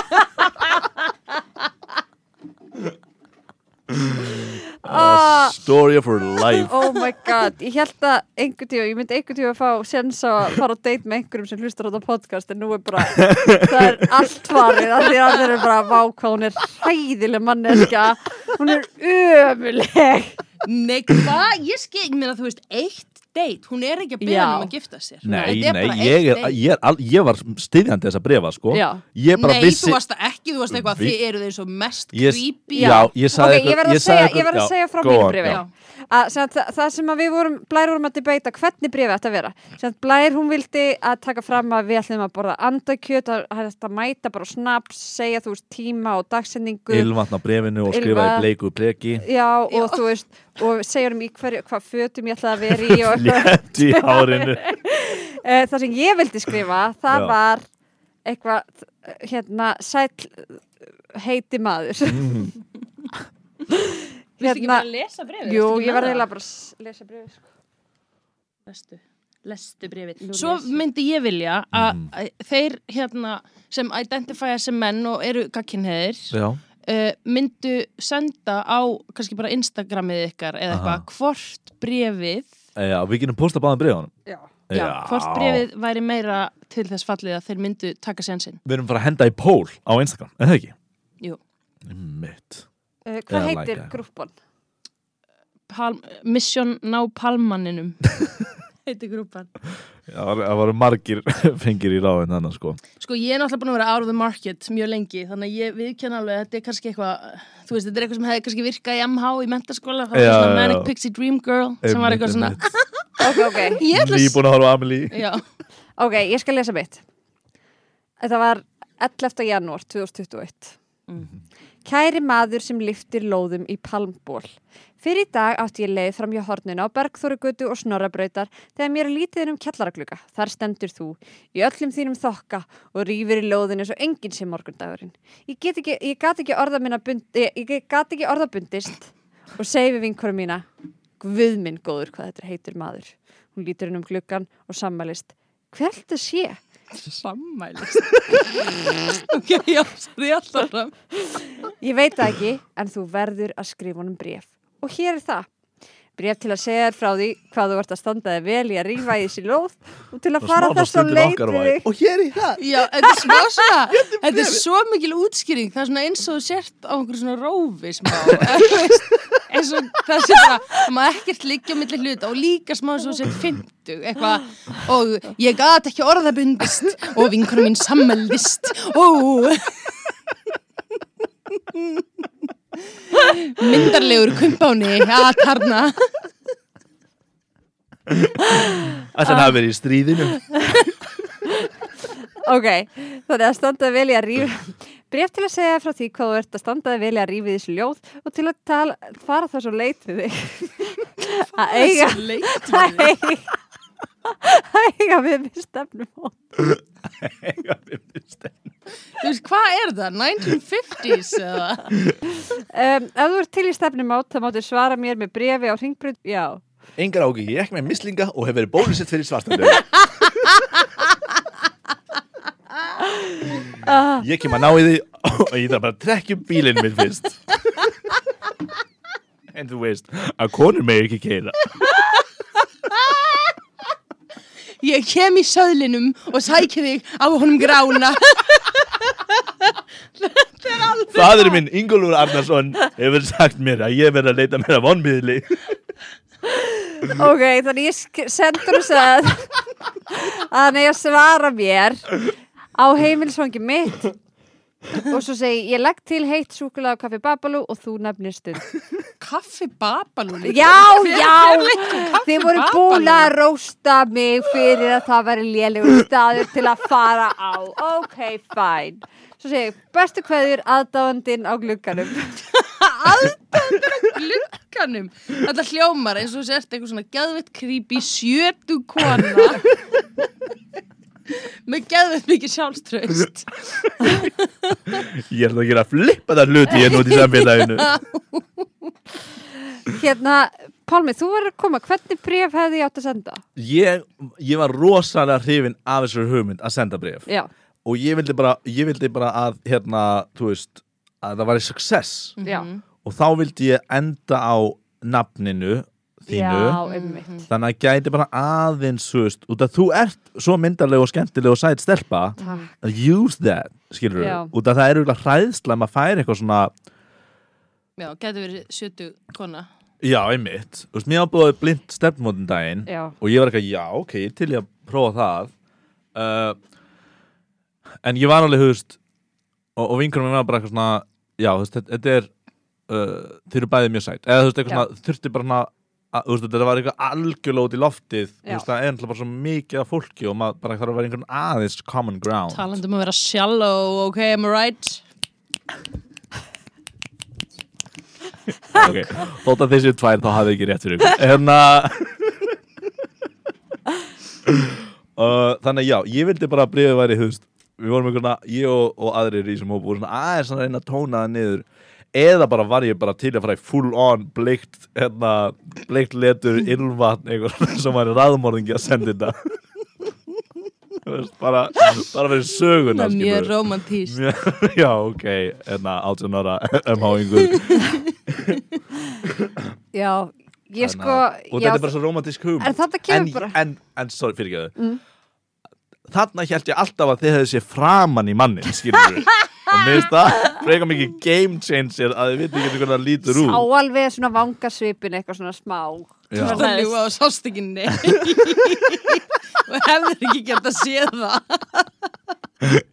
A: á hann
B: ah,
A: Story of her life
B: Oh my god, ég held að einhvern tíma, ég myndi einhvern tíma að fá sens á að fara á date með einhverjum sem hlustar á þetta podcast en nú er bara, það er allt farið að því að þeir eru bara vákvað, hún er hæðileg manneska hún er ömuleg
C: Nei, hvað, ég skil, ég meina, þú veist eitt date, hún er ekki að byrja
B: Já.
C: hann um að gifta sér
A: Nei,
C: Þetta
A: nei,
C: bara eitt
A: ég, er,
C: date.
A: ég, er, al- ég var styðjandi þessa brefa sko
B: Já.
A: Ég bara
C: Nei,
A: vissi
C: þú varst það ekki, þú varst eitthvað,
A: Vi-
C: þið eru þeir svo mest
A: ég,
C: creepy
A: Já, ég sagði
B: Ok, ég verð að segja, ég verð að segja frá mínu
A: brefi
B: brífi að, sem að, þa- það sem að við vorum, Blær vorum að debata hvernig brífi ætti að vera sem að Blær hún vildi að taka fram að við ætlum að borða andakjöt að, að, að mæta bara á snaps, segja þú veist tíma og dagsendingu
A: Ylvatna brefinu og skrifaði
B: Ylva-
A: bleiku bleki
B: Já, og þú veist, og segjum í hverju, hvað fötum ég ætlaði að vera í og eitthvað.
A: Létt í hárinu
B: Eh, það sem ég vildi skrifa, það
A: Já.
B: var eitthvað, eh, hérna, sæll eh, heiti maður. Hérna-
C: Vistu ekki bara lesa brefið?
B: jú, ég var eiginlega bara að s- lesa brefið. Sko.
C: Lestu, lestu brefið Svo myndi ég vilja að
A: Mm.
C: að þeir hérna sem identifæja sem menn og eru gagkinheðir
A: Já,
C: uh, myndu senda á kannski bara Instagramið ykkar eða
A: Aha.
C: eitthvað hvort brefið
A: já Eh, við getum posta báðan brefunum
B: Já.
C: Já, hvort brefið væri meira til þess fallið að þeir myndu taka sénsinn.
A: Við erum að fara að henda í pól á Instagram, er það ekki?
C: Jú.
A: Mitt
B: Eh,
A: Eða
B: hvað heitir
A: lækka.
B: grúppan?
C: Palm, mission ná palmanninum. heiti grúpan
A: Það var- það voru margir fengir í ráðin annars sko
C: Sko ég er náttúrulega búin að vera out of the market mjög lengi þannig að ég viðkenn alveg að þetta er kannski eitthvað þú veist þetta er eitthvað sem hefði kannski virkað í MH í mentaskóla þá var
A: Já, já,
C: svona Manic
A: já.
C: Pixie Dream Girl sem var eitthvað svona
B: ok, ok,
C: ég ætla að
A: Nýbúin að horfa á Amelie
C: Já,
B: ok, ég skal lesa mitt þetta var 11. janúar 2021 Kæri maður sem liftir lóðum í palmból. Fyrir í dag átti ég leið fram hjá horninu á Bergþórugutu og Snorrabrautar þegar mér er lítið um kjallaragluga. Þar stendur þú í öllum þínum þokka og rýfur í lóðinu svo enginn sem morgundagurinn. Ég get ekki, ég gat ekki orða minna bund, ég, ég gat ekki orða bundist og segi við vinkurum mína Guð minn góður hvað þetta er heitur maður. Hún lítur inn um gluggan og sammælist Hvert þetta sé?
C: sammælist Ok, já, sorry, alltaf fram
B: Ég veit það ekki, en þú verður að skrifa honum bref. Og hér er það. Bref til að segja þér frá því hvað þú vart að standa þig vel í að rífa í þessi lóð og til að fara þess að leita þig.
A: Og hér í það
C: Já, þetta er smá svona Þetta er svo mikil útskýring Það er svona eins og þú sért á einhverju svona rófi smá eða þú veist, eins og það sé bara það má ekkert liggja á milli hluta og líka smá eins og þú sért 50 eitthvað og ég gat ekki orðabundist og vinkunum mín sammælist og myndarlegur kumpáni að tarna
A: Þannig að það verið í stríðinu
B: Ok, þannig að standa þig vel í að rífa... Bref til að segja þér frá því hvað þú ert að standa þig vel í að rífa í þessi ljóð og til að tala, fara þess að leita þig. Að eiga... Að eiga... Að eiga við með stefnum
C: Þú veist, hvað er það? 1950s eða?
B: Um, ef þú ert til í stefnumót, þá máttu svara mér með brefi á ringbrut, já.
A: Engar ági, ég er ekki með mislinga og hef verið bólusett fyrir svartandöð Ég kem að ná í því og ég þarf bara að trekkja um bílinn minn fyrst En þú veist að konur með ekki keira
C: Ég kem í söðlinum og sæki þig á honum grána.
A: Fadur minn, Ingólfur Arnarsson hefur sagt mér að ég verð að leita mér að vonmiðli
B: Ok, þannig ég sk- sendur þess að að hann eigi að svara mér á heimilisfangi mitt og svo segi ég legg til heitt súkulega kaffi babalú og þú nefnir stund.
C: Kaffi babalúni.
B: Já, já, þið voru búin að rósta mig fyrir að það væri lélegur staður til að fara á. Ok, fæn. Svo segi ég, bestu kveður aðdáðandinn á glugganum.
C: Glukkanum. Þetta hljómar eins og þú sért eitthvað svona geðvett creepy sjötu kona. Með geðvett mikið sjálfströst.
A: Ég ætla að gera flippa það hluti ég nút í samfélaginu
B: Hérna, Pálmi, þú verður að koma. Hvernig bref hefði ég átt að senda?
A: ég, ég var rosalega hrifin af þessu hugmynd að senda bref
B: Já,
A: og ég vildi bara, ég vildi bara að hérna, þú veist, að það væri success
B: já.
A: og þá vildi ég enda á nafninu þínu
B: Já, einmitt.
A: þannig að gæti bara aðeins þú veist, út að þú ert svo myndarleg og skemmtileg og sæt stelpa
B: Takk.
A: að use that, skilur
B: Já.
A: við út að það er auðvitað hræðsla að maður fær eitthvað svona
C: Já, getur verið sjötu kona.
A: já, einmitt, þú veist, mér ábúið blind stefnmótin daginn
B: Já.
A: og ég var eitthvað, já, ok, ég er til ég að prófa það uh, en ég var alveg, þú veist og, og vinkurum mér var bara eitthvað svona já, þú veist, þetta- þetta er uh, þeir eru bæðið mjög sætt, eða þú veist,
B: Já.
A: eitthvað svona þurfti bara svona, að, þú veist, þetta var eitthvað algjörlega út í loftið, þú
B: Já.
A: veist, það er náttúrulega bara svo mikið af fólki og maður bara þarf að vera einhvern aðeins common ground
C: Talandum um að vera shallow, ok, am I right?
A: Ok, þótt að þessi tvær þá hafði ekki rétt fyrir ykkur hérna uh, þannig að já, ég vildi bara að bríðið væri þú veist, við vorum einhverna, ég og, og aðrir í þessum hópu voru svona aðeins svona að reyna að tóna það niður eða bara var ég bara til að fara í full on bleikt, hérna, bleikt letur ylvatn eitthvað sem var raðmorðingi að senda þetta Þú veist, bara, bara fyrir söguna
C: Það er mjög
A: skilurðu.
C: romantíst.
A: Mjö- Já, ok, enna 18 ára MH-ingur
B: Já, ég sko
A: Og
B: já,
A: þetta er bara svo romantísk hugum
B: En þetta kemur
A: en,
B: bara- Mm.
A: En, en sorry, fyrirgeðu Þarna held ég alltaf að þið hefði sé framan í mannin, skilur og mér finnst það frekar mikið game changer að þið viti ekki hvernig það lítur
B: Sá
A: út
B: alveg svona vangasvipin eitthvað svona smá
A: Já.
C: Það er ljúa á sástekinni og hefur ekki gert að sé það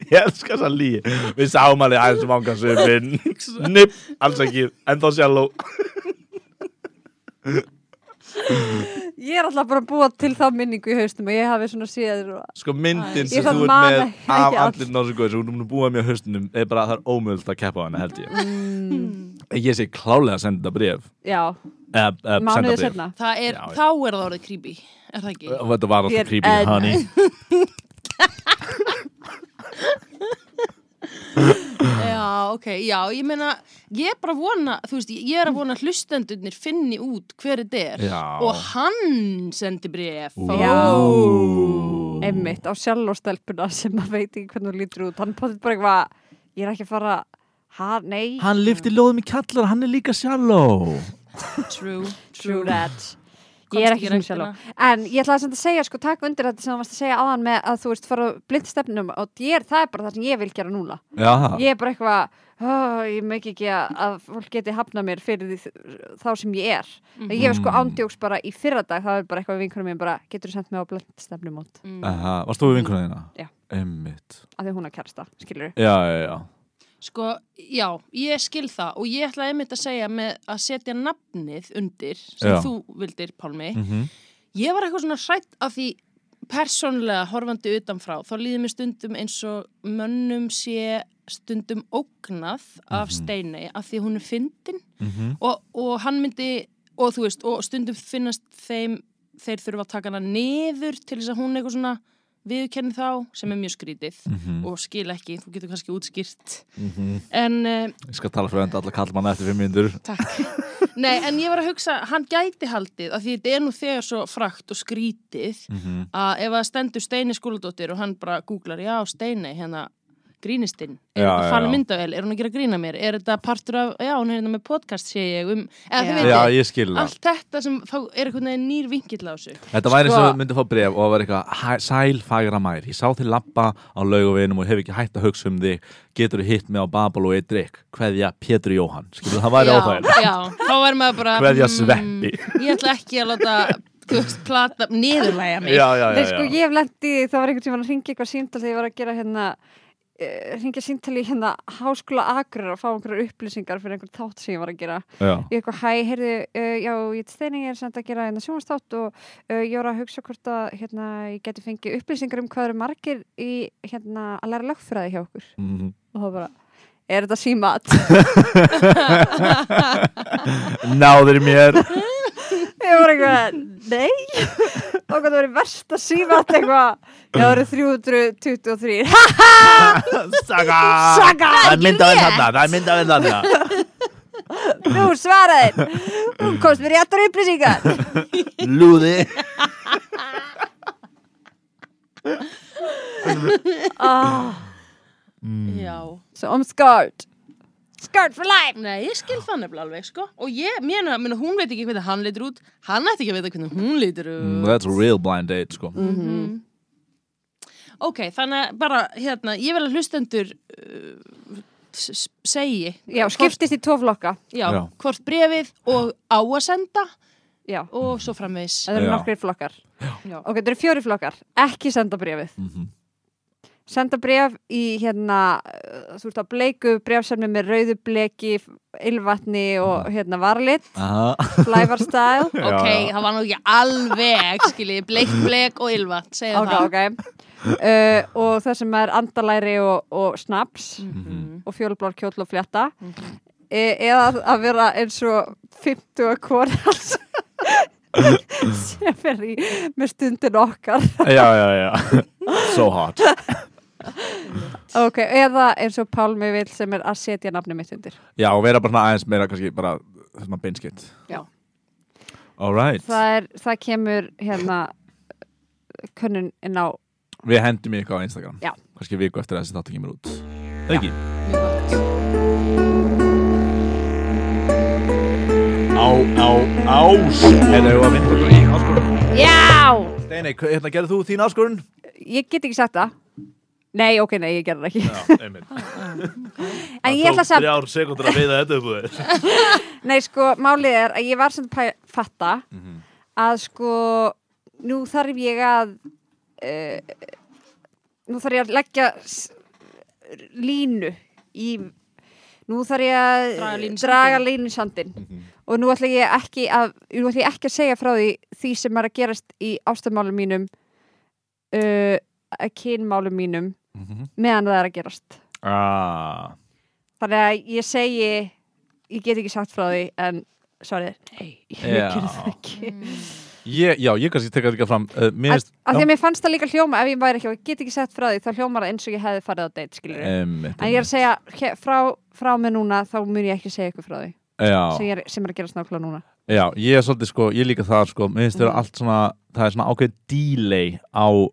A: ég elskar þess að líi við sáum alveg aðeins vanga svipin nipp, alls ekki, en þá sjálf
B: Ég er alltaf bara að búa til þá minningu í haustum og ég hafi svona séð og...
A: sko myndin
B: Ég
A: sem þú ert
B: samt man
A: með
B: ekki
A: af
B: allt.
A: allir náttúrulega sem þú erum búið með höstunum er bara að það er ómöld að keppa á hana held ég
B: Mm.
A: ég sé klálega að senda þetta bréf
B: Já,
A: eða eða senda
B: mánuðið
A: bréf
B: setna
C: Það er,
A: Já, já.
C: þá er það orðið creepy Er það ekki?
A: og þetta var
B: Ég er
A: alltaf creepy,
B: enn.
A: honey
C: Já, ok, já, ég meina ég er bara að vona, þú veist, ég er að vona að hlustendurnir finni út hver þetta er
A: Já.
C: og hann sendi bréf
B: Já.
A: Ó.
B: Einmitt á sjálfstelpuna sem maður veit ekki hvernig hún lítur út Hann potið bara eitthvað Ég er ekki að fara Ha, nei,
A: hann lifti lóðum í kallar, hann er líka sjálf
C: True,
B: true
C: true
B: that
C: Komst
B: Ég er
C: ekki
B: ekki svona sjálf
C: ræktina.
B: En ég ætlaði samt að segja, sko, takk undir þetta sem þú varst að segja aðan með að þú veist fara blindstefnum og ég er, það er bara það sem ég vil gera núna
A: já,
B: Ég er bara eitthvað, oh, ég meik ekki að, að fólk geti hafnað mér fyrir því, þá sem ég er. Ég var sko ándjóks bara í fyrra dag, það er bara eitthvað vinkunum mín bara, getur þú sendt mig á blendstefnum út,
C: Mm.
A: Aha, varst þú við vinkunum þína?
B: Já.
A: Einmitt.
B: af því hún er kærasta, skilur
A: Já, já, já.
C: Sko, já, ég skil það og ég ætla einmitt að segja með að setja nafnið undir sem
A: Já.
C: þú vildir, Pálmi
A: Mm
C: Ég var eitthvað svona hrætt af því persónlega horfandi utanfrá þá líði mér stundum eins og mönnum sé stundum ógnað af
A: Mhm.
C: Steinei af því hún er fyndin og, og hann myndi og þú veist, og stundum finnast þeim þeir þurfa að taka hana niður til þess að hún eitthvað svona viðurkenni þá sem er mjög skrítið
A: Mhm.
C: og skil ekki, þú getur kannski útskýrt en uh,
A: Ég skal tala fyrir enda alla kallmanna eftir fimm minnur.
C: Takk. Nei, en ég var að hugsa, hann gæti haldið að því þetta er nú þegar svo frakt og skrítið
A: Mhm.
C: að ef það stendur Steini skóladóttir og hann bara googlar, já, Steini, hérna, grínistinn, er
A: Já,
C: þetta
A: já,
C: farin
A: já.
C: myndavel, er hún að gera grína mér, er þetta partur af, já, hún er hérna með podcast, sé ég, um, eða
B: Já.
C: þið
A: Já,
C: veitir,
A: ég skil það.
C: allt þetta sem þá er einhvern veginn nýr vinkill á þessu.
A: Þetta væri eins
B: Sko-
A: og þú myndir fá bref og það var eitthvað "Hæ- sæl fagra mær. Ég sá þig lappa á laugaveginum og hef ekki hægt að hugsa um þig. Getur þú hitt mig á Babel og eitt drikk? Kveðja Pétur Jóhann. Skilur það væri áþægilegt.
C: Já, þá væri maður bara,
A: Kveðja
C: mm,
A: Sveppi.
C: ég ætla ekki að láta, þú veist, plata, niðurlæja mig.
A: Já, já,
B: Nei,
A: já. já.
B: sko, ég hef lendið, það var einhvern tímann að ringa eitthvað símtal þegar ég var að gera hérna eh, hringja símtali í hérna háskóla akrar og fá einhverjar upplýsingar fyrir einhvern þátt sem ég var að gera
A: já.
B: ég eitthvað, hæ, heyrðu, uh, já, ég til steining er samt að gera hérna sjónastátt og uh, ég voru að hugsa hvort að hérna, ég geti fengið upplýsingar um hvað eru margir í hérna að læra lögfræði hjá okkur
A: Mhm.
B: og það bara, er þetta símat?
A: Náður í mér.
B: ég voru eitthvað, nei og hvað það verið versta símat eitthvað, já, það eru 323 ha,
A: Saga!
B: Saga!
A: Það er myndavel þarna, það er myndavel þarna.
B: nú svaraðir þú komst mér réttar upplýsingar
A: Lúði.
B: ah,
A: Mm.
C: Já.
B: so I'm scarred scarred for life
C: Nei, ég skil það nefnilega alveg, sko. Og ég, mér meina, hún veit ekki hvernig hann lítur út, hann ætti ekki að vita hvernig hún lítur út. Mhm.
A: Mm, That's a real blind date, sko.
C: Ok, þannig að bara, hérna, ég vil að hlustendur uh, s- s- segi,
B: já, skiptist í tvo flokka
C: já,
A: Já.
C: hvort brefið og á að senda
B: já
C: og svo framvegis.
B: Það eru
A: Já.
B: nokkrir flokkar. Ok, það eru fjóri flokkar. Ekki senda brefið.
A: Mhm.
B: Senda bref í hérna, uh, þú veist á bleiku brefsefni með rauðu bleki, ylvatni og hérna varlit,
A: Aha.
B: flævarstæl.
C: Ok,
A: Já, já.
C: það var nú ekki alveg, skiljið, bleikt, bleik og ylvat, segja
B: ok,
C: það.
B: ok. Uh, og það sem er andalæri og, og snaps
A: Mhm.
B: og fjólublár kjóll og fljata. E eða að vera eins og 50 að korals sem er í með stundin okkar.
A: já, já, já. So hot.
B: Ok, eða eins og Pálmi vill sem er að setja nafni mitt undir.
A: Já, og vera bara svona aðeins meira kannski bara svona beinskitt.
C: Já.
A: All right.
B: það, er, það kemur hérna könnun inn á
A: Við hendum í eitthvað á Instagram.
B: Já.
A: Kannski viku eftir að þessi þáttu kemur út. Það ekki? Á, á, ás. Er það að vinda okkur í áskorun?
B: Já!
A: Steinei, hva- hérna gerðu þú þín áskorun?
B: Ég get ekki sagt það Nei, ok, nei, ég gerði það ekki.
A: Já, einmitt.
B: En ég ætla samt,
A: Þrjár sekundur að veiða þetta upp úr þér.
B: nei, sko, málið er að ég var samt að pæ- fatta
A: Mhm.
B: að sko, nú þarf ég að, uh, nú þarf ég að leggja s- línu í, nú þarf ég að
C: Draga línu í
B: draga
C: sandinn.
B: línu í sandinn. Og nú ætla ég ekki að, nú ætla ég ekki að segja frá því því sem er að gerast í ástamálum mínum, uh, að kynmálum mínum,
A: Mhm.
B: meðan það er að gerast.
A: Ah,
B: Þannig að ég segi ég get ekki sagt frá því en svarið er nei, ég
A: Já.
B: gerði það ekki
A: Ég, já, ég kannski tekka þetta fram uh, Mér
B: af
A: finnst
B: af því að mér fannst það líka hljóma ef ég væri ekki og ég get ekki sagt frá því þá hljómar það eins og ég hefði farið á date skilur
A: Eh,
B: en ég er að segja he- frá, frá mig núna þá mun ég ekki segja ykkur frá því sem,
A: já,
B: ég er, sem er að gera snákla núna
A: já, ég er svolítið sko, ég er líka það sko Mér
B: Mm.
A: finnst vera allt svona, það er svona ákveð delay á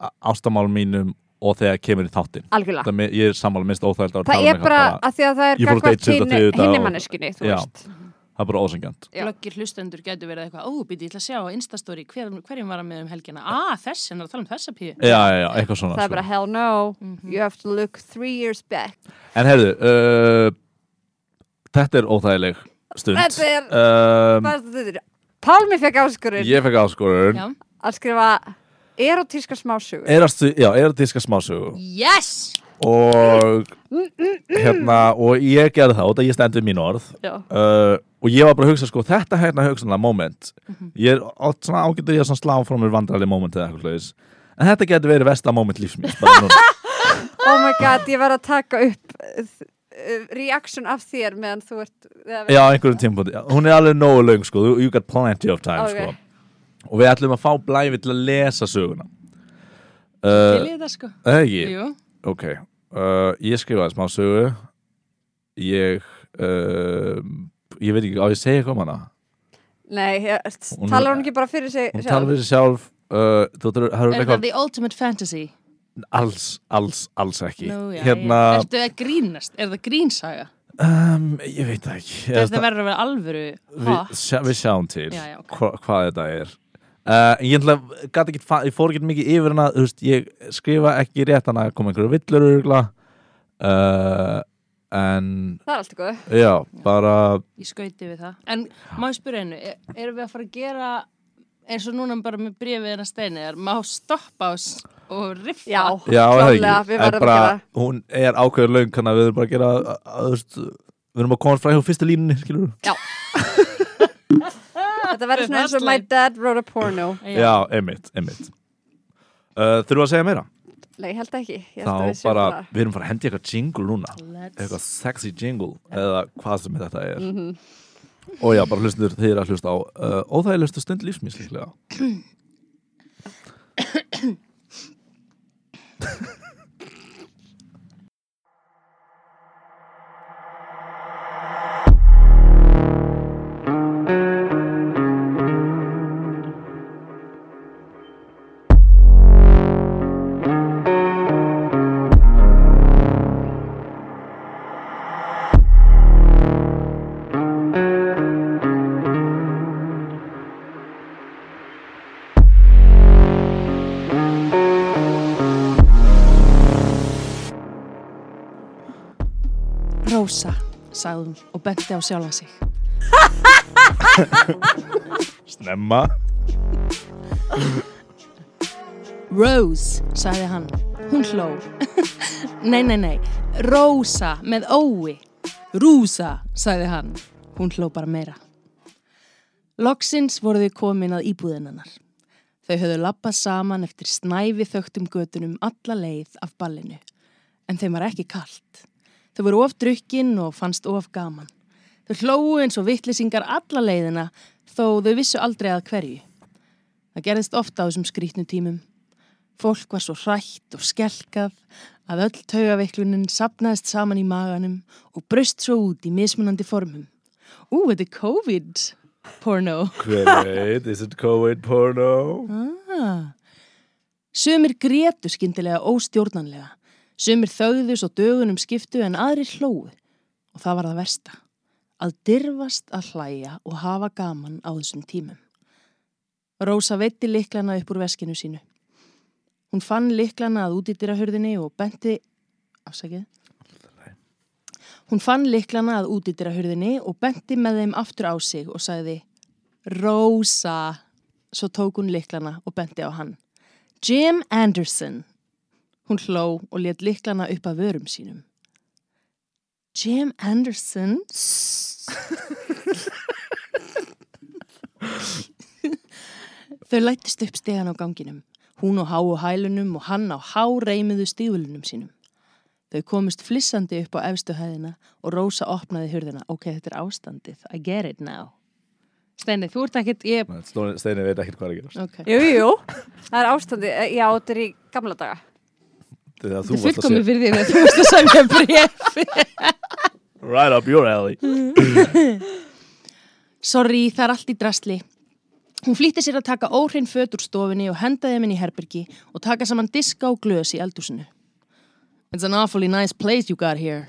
A: á- ástamálum mínum og þegar kemur í þáttinn
B: algjörlega,
A: Það me- Ég er sammála minnst óþægild að vera að
B: Ah. það
A: tala um
B: er
A: eitthvað
B: bara að því að það er
A: Ég fór á date seinna þriðjudag og-
B: hinni manneskinni þú
A: Já.
B: veist
A: Það er bara ósengjant
B: Já.
C: Glöggir hlustendur getur verið eitthvað, ó, býti, ég ætla að sjá á Instastory hver, hverjum var að með um helgina. Ah, þessi, hann er að tala um þessa píu.
A: Já, já, já, eitthvað svona
B: það er
A: sko.
B: bara hell no you have to look three years back
A: En heyrðu, uh, þetta er óþægileg stund
B: Þetta er-
A: um,
B: um, Pálmi fekk áskurinn
A: Ég fekk áskorun
C: Já.
B: að skrifa erotíska smásugur
A: Erastu, já, erotíska smásögu
C: Yes!
A: og hérna, og ég gerði það og það ég stendur mín orð
B: Já.
A: uh, og ég var bara að hugsa, sko, þetta hérna hugsanlega moment, ég er oft svona ágættur í að svona slá frá mér vandrarlega moment eða eitthvað slags, en þetta getur verið versta moment lífsmins, bara núna
B: Oh my god, ég var að taka upp uh, uh, reaction af þér meðan þú ert eða-
A: Já, á einhverjum tímpúti. Hún er alveg nógu löng, sko. You- You got plenty of time,
B: Ok.
A: sko. Og við ætlum að fá blæfi til að lesa söguna.
C: Til
A: Uh,
C: í það, sko.
A: eða ekki?
C: Jú.
A: Ok. Uh, ég skrifaði smá sögu. Ég, uh, ég veit ekki, á ég að segja eitthvað um hana?
B: Nei, ég-
A: Hún-
B: talar hún ekki bara fyrir sig
A: Hún
B: sjálf?
A: talar fyrir sig um sjálf. Uh, þú þurfur, það
C: Er
A: er
C: það
A: eitthvað,
C: the ultimate fantasy?
A: alls, alls, alls ekki.
C: Nú, já,
A: hérna,
C: já. Ertu að grínast? Er það grínsaga?
A: um, ég veit það ekki. Ég veist
C: Þetta
A: það-
C: verður að vera alvöru
A: við,
C: hot.
A: sjá, við sjáum til
C: Já, já, ok.
A: hva, hvað þetta er uh, ég, ætla, gat ekki, fa- ég fór ekki mikið yfir hana þú veist, ég skrifa ekki rétt hana kom einhverju villur örgla uh, en
B: Það er allt góð.
A: já, bara
C: Ég skauti við það. En má ég spyrja einu, er, erum við að fara að gera eins og núna bara með bréfið hennar steini, er má stoppa ás og riffa?
B: Já,
A: já, er það
B: klárlega,
A: ekki,
B: við
A: en
B: verðum
A: bara
B: að gera
A: hún er ákveður löng hann að við erum bara að gera að, að, þú veist, við erum að koma frá hjá fyrstu línunni skilur
B: Þetta verður svona eins og my
C: Hotline.
B: dad wrote a porno
A: já, einmitt, einmitt Uh, þurfum við að segja meira?
B: Nei, ég held ekki ég held að
A: Þá
B: við séum
A: bara, við erum bara að hendi eitthvað jingle núna
C: Let's...
A: eitthvað sexy jingle eða hvað sem þetta er og já, bara hlustundur þeir að hlusta á uh, óþægilegustu stund lífsmins líklega
C: Rósa, sagði hún og benti á sjálfa sig.
A: Snemma
C: Rose, sagði hann. Hún hló. nei, nei, nei. Rósa með ói. Rúsa, sagði hann. Hún hló bara meira. Loksins voru þau komin að íbúðinannar. Þau höfðu lappað saman eftir snæfi þögtum götunum alla leið af ballinu. En þeim var ekki kalt. Þau voru of drukkin og fannst of gaman. Þau hlóu eins og vittlisingar alla leiðina þó þau vissu aldrei að hverju. Það gerðist ofta á þessum skrítnu tímum. Fólk var svo hrætt og skelkað að öll taugaveiklunin sapnaðist saman í maganum og bröst svo út í mismunandi formum. Ú, þetta er COVID porno.
A: hver veit, is it COVID porno?
C: Ah. Sumir grétu skyndilega óstjórnanlega. Sumir þögðu svo dögunum skiptu en aðrir hlóðu. Og það var það versta. Að dirfast að hlæja og hafa gaman á þessum tímum. Rósa veitti liklana upp úr veskinu sínu. Hún fann liklana að útidyrahurðinni og benti, afsakið, hún fann liklana að útidyrahurðinni og benti með þeim aftur á sig og sagði, Rósa, svo tók hún liklana og benti á hann. Jim Anderson. Hún hló og let liklana upp að vörum sínum. Jim Anderson? Þau lættist upp stegan á ganginum. Hún á háu hælunum og hann á háreimuðu stígulunum sínum. Þau komist flissandi upp á efstu hæðina og Rósa opnaði hurðina. Ok, þetta er ástandið. I get it now. Steini, þú ert ekkert, ég...
A: Steini veit ekkert hvað er að gerast
C: Ok.
D: Jú, jú, það er ástandi, eh, já, þetta er í gamla daga.
A: Þegar þú
C: Þetta er
A: varst að
C: fullkomið
A: segja
C: fyrir því að þú varst að semja bref.
A: Right up your alley
C: Sorry, það er allt í drasli. Hún flýtti sér að taka óhrein föt úr stofinni og henda þeim inn í herbergi og taka saman diska og glös í eldúsinu. It's an awfully nice place you got here.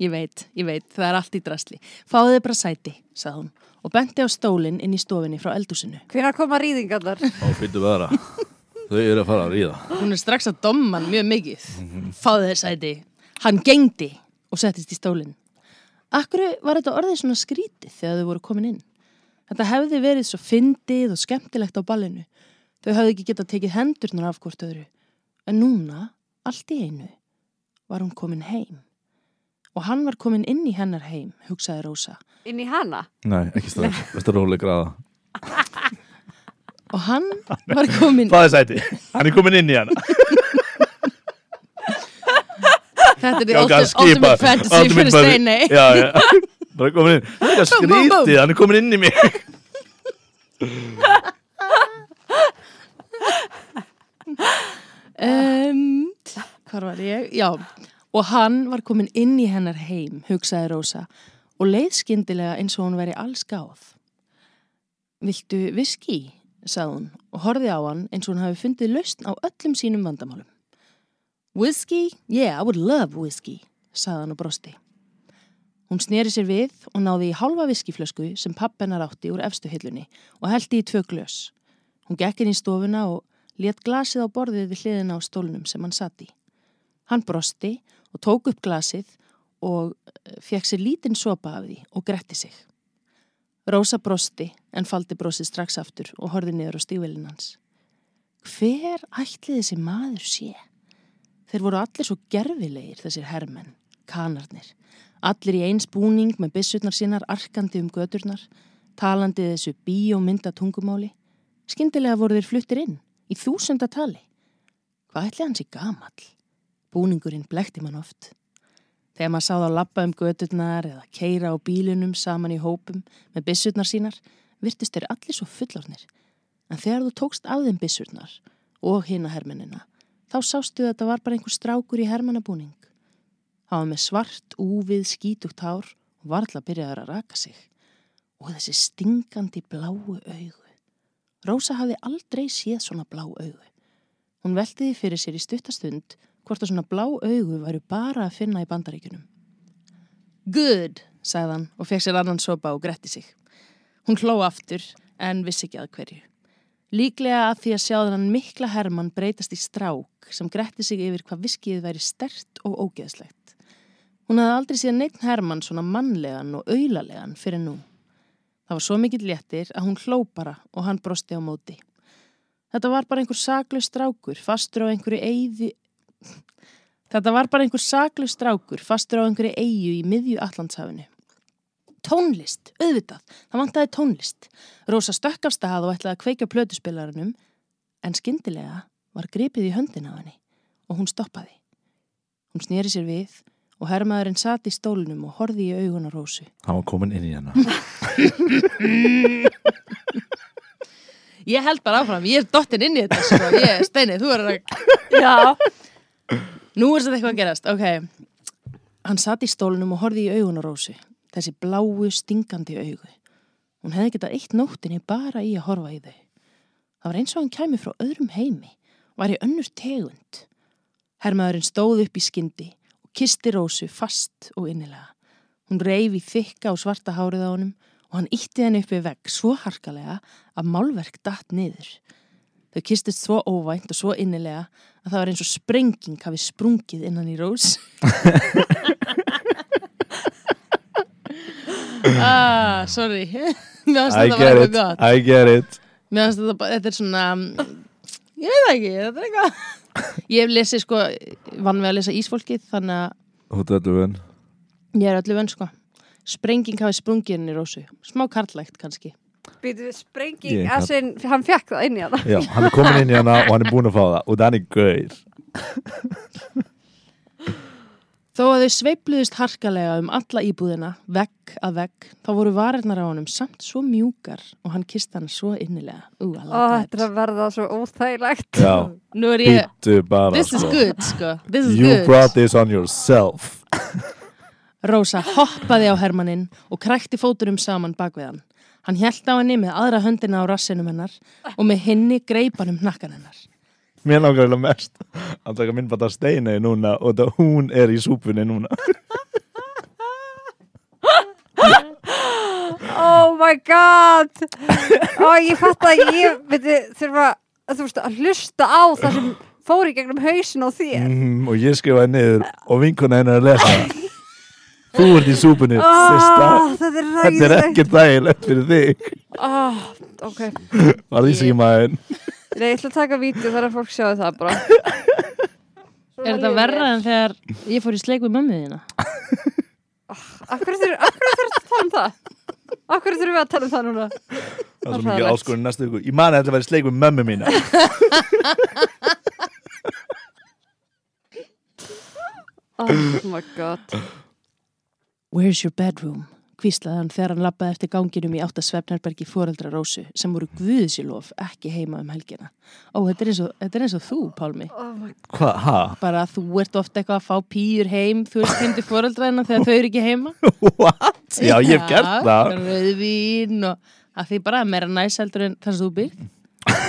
C: ég veit, ég veit, það er allt í drasli. Fáðu þið bara sæti, sagði hún og benti á stólinn inn í stofinni frá eldúsinu.
D: Hvenær koma rýðingarnar?
A: Og fyrir vera Þau eru að fara að ríða
C: Hún er strax að domma hann mjög mikið. Fáðu þið sæti. Hann gengdi og settist í stólinn. Akkur var þetta orðið svona skrítið þegar þau voru komin inn? Þetta hefði verið svo fyndið og skemmtilegt á ballinu. Þau hafði ekki getað tekið hendurnar af hvort öðru. En núna, allt í einu, var hún komin heim. Og hann var komin inn í hennar heim, hugsaði Rósa.
D: Inn í hana?
A: Nei, ekki strax Þetta er róleg gráða
C: Og hann var komin...
A: Fáðið sæti Hann er komin inn í hann Já,
C: Þetta er the
A: hann
C: ultimate,
A: skipar.
C: ultimate fantasy fyrir
A: fantasy.
C: steini.
A: Já, já Bara komin inn Það er
C: Búm, búm, búm.
A: skrítið Hann er komin inn í mig
C: um, Hvar var ég? Já, og hann var komin inn í hennar heim, hugsaði Rósa og leið skyndilega eins og hún væri alls gáð. Viltu viski? sagði hún og horfði á hann eins og hún hafi fundið lausn á öllum sínum vandamálum. Whisky? Yeah, I would love whisky, sagði hann og brosti. Hún sneri sér við og náði í hálfa viskiflösku sem pappennar átti úr efstu hillunni og hælti í tvö glös. Hún gekk inn í stofuna og let glasið á borðið við hliðina á stólnum sem hann satt í. Hann brosti og tók upp glasið og fekk sér lítinn sopa af því og gretti sig. Rósa brosti en faldi brosið strax aftur og horfði niður á stífvelin hans. Hver ætli þessi maður sé? Þeir voru allir svo gerfilegir þessir hermenn, kanarnir. Allir í eins búning með byssutnar sínar arkandi um göturnar, talandi þessu bíómynda tungumáli. Skyndilega voru þeir fluttir inn, í þúsundatali. Hvað ætli hans í gamall? Búningurinn blekti mann oft. Þegar maður sá þá lappa um göturnar eða keira á bílunum saman í hópum með byssurnar sínar, virtust þeir allir svo fullornir. En þegar þú tókst af þeim byssurnar og hina hermennina, þá sástu að þetta var bara einhver strákur í hermannabúning. Það var með svart, úfið, skítugt hár og varla byrjaður að raka sig. Og þessi stingandi bláu augu. Rósa hafði aldrei séð svona blá augu. Hún veltiði fyrir sér í stuttastund hvort að svona blá augu væru bara að finna í bandaríkunum. Good, sagði hann og fekk sér annan sopa og gretti sig. Hún hló aftur en vissi ekki að hverju. Líklega að því að sjáði hann mikla hermann breytast í strák sem gretti sig yfir hvað viskið væri stert og ógeðslegt. Hún hafði aldrei séð neitt hermann svona mannlegan og auðlalegan fyrir nú. Það var svo mikill léttir að hún hló bara og hann brosti á móti. Þetta var bara einhver saklaus strákur fastur á einhverju eyði... Þetta var bara einhver saklaus strákur fastur á einhverju eyju í miðju Allandshafinu. Tónlist, auðvitað, það vantaði tónlist. Rósa stökk af stað og ætlaði að kveika plötuspilaranum en skyndilega var gripið í höndin á henni og hún stoppaði. Hún snýri sér við og herrmaðurinn sat í stólunum og horði í augun á Rósu.
A: Hann var komin inn í hann
C: Ég held bara áfram, ég er dottin inn í þetta sko. ég, Steini, þú er að
D: Já.
C: Nú er þetta eitthvað að gerast, ok Hann satt í stólunum og horfði í augun á Rósu Þessi bláu, stingandi augu Hún hefði getað eitt nóttinni bara í að horfa í þau Það var eins og hann kæmi frá öðrum heimi Var í önnur tegund Hermaðurinn stóð upp í skyndi og kisti Rósu fast og innilega Hún reif í þykka og svarta hárið á honum og hann ítti henni upp við vegg svo harkalega að málverk datt niður Þau kistist svo óvænt og svo innilega að það var eins og sprenging hafi sprungið innan í rós. ah, sorry. Mér
A: I
C: finnst þetta bara
A: get
C: eitthvað
A: it,
C: gott.
A: I get it
C: Mér finnst þetta bara, þetta er svona, mm, ég veit það ekki, þetta er eitthvað. Ég hef lesið sko, vann við að lesa Ísfólkið, þannig að
A: Húttu öllu vön
C: ég er öllu venn sko. Sprenging hafi sprungið inn í rósu. Smá karlægt kannski.
B: Býtu við
A: Ég
B: sprenging,
A: gat-
B: Asvin, hann fekk það inn í hana.
A: Já, hann er komin inn í hana og hann er búin að fá það og það er gauð
C: Þó að þau sveipluðist harkalega um alla íbúðina, vegg að vegg, þá voru varirnar á honum samt svo mjúkar og hann kist hann svo innilega. Ú, að
B: Ó, þetta er að verða svo óþægilegt.
A: Já,
C: Nú er ég,
A: býttu bara
C: this is
A: sko.
C: good, sko. This is
A: You
C: good.
A: brought this on yourself
C: Rósa hoppaði á Hermannin og krækti fóturum saman bak við hann. Hann hjælt á henni með aðra höndina á rassinum hennar og með hinni greipan um hnakkan hennar.
A: Mér langar eiginlega mest að taka myndbata steina í núna og það hún er í súpunni núna
B: Oh my god! Ó, ég fatt að ég, veitu, þurfa, þú veist, að hlusta á það sem fór í gegnum hausin á þér.
A: mm, og ég skrifaði niður og vinkona hennar er að lesa Þú ert í súpunni,
B: Ó,
A: Mm, sista
C: Ah.
B: Ah, þetta er
A: Þetta er
B: ræðilegt.
A: ekkert þægilegt fyrir þig
B: Ó, ok.
A: Var því símaðin
B: Nei, ég ætla að taka vídeo þar að fólk sjáu það bara.
C: Er þetta verra en þegar ég fór í sleik við mömmu þína?
B: Akkur þurfum við að tala um það? Akkur þurfum við að tala um það núna?
A: Það er
B: Það
A: svo
B: er
A: mikið
B: hræðilegt.
A: áskorun næstu ykkur Ég mani að þetta væri sleik við mömmu mína
B: Oh my god.
C: Where's your bedroom? Hvíslaði hann þegar hann lappaði eftir ganginum í átta svefnherbergi fóreldra Rósu sem voru guðsilof ekki heima um helgina. Ó, þetta er eins og, þetta er eins og þú, Pálmi.
A: Hvað, ha?
C: Bara að þú ert ofta eitthvað að fá pýjur heim, þú ert heim til fóreldraðina þegar þau eru ekki heima.
A: What? Já, ég hef gert það
C: Rauðvín og að því bara meira næs heldur en það sem þú býr.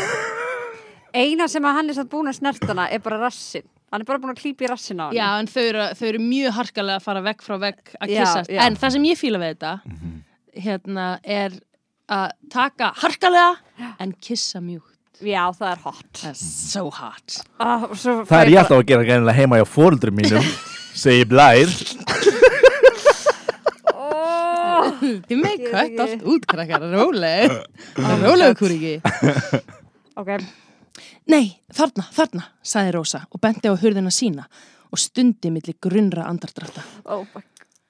B: Eina sem að hann er samt búin að snertana er bara rassin. Hann er bara búin að klípa í rassin á hann.
C: Já, en þau eru, þau eru mjög harkalega að fara vekk frá vekk að
B: Já,
C: kyssast.
B: já.
C: En það sem ég fíla við þetta,
A: Mhm.
C: hérna, er að taka harkalega en kissa mjúkt.
B: Já, það er hot.
A: Mhm.
C: That's so hot.
B: Ah, og svo fæ
A: Það er ég
B: bara-
A: alltaf að gera gænilega heima hjá fóruldrum mínum segi blær
B: Oh,
C: Þið
B: Ég
C: með
B: veit
C: kött
B: ekki.
C: allt út, krakkar, róleg. Róleg kúriki.
B: ok,
C: Nei, þarna, þarna, sagði Rósa og benti á hurðina sína og stundi milli grunnra andardrætta.
B: oh my,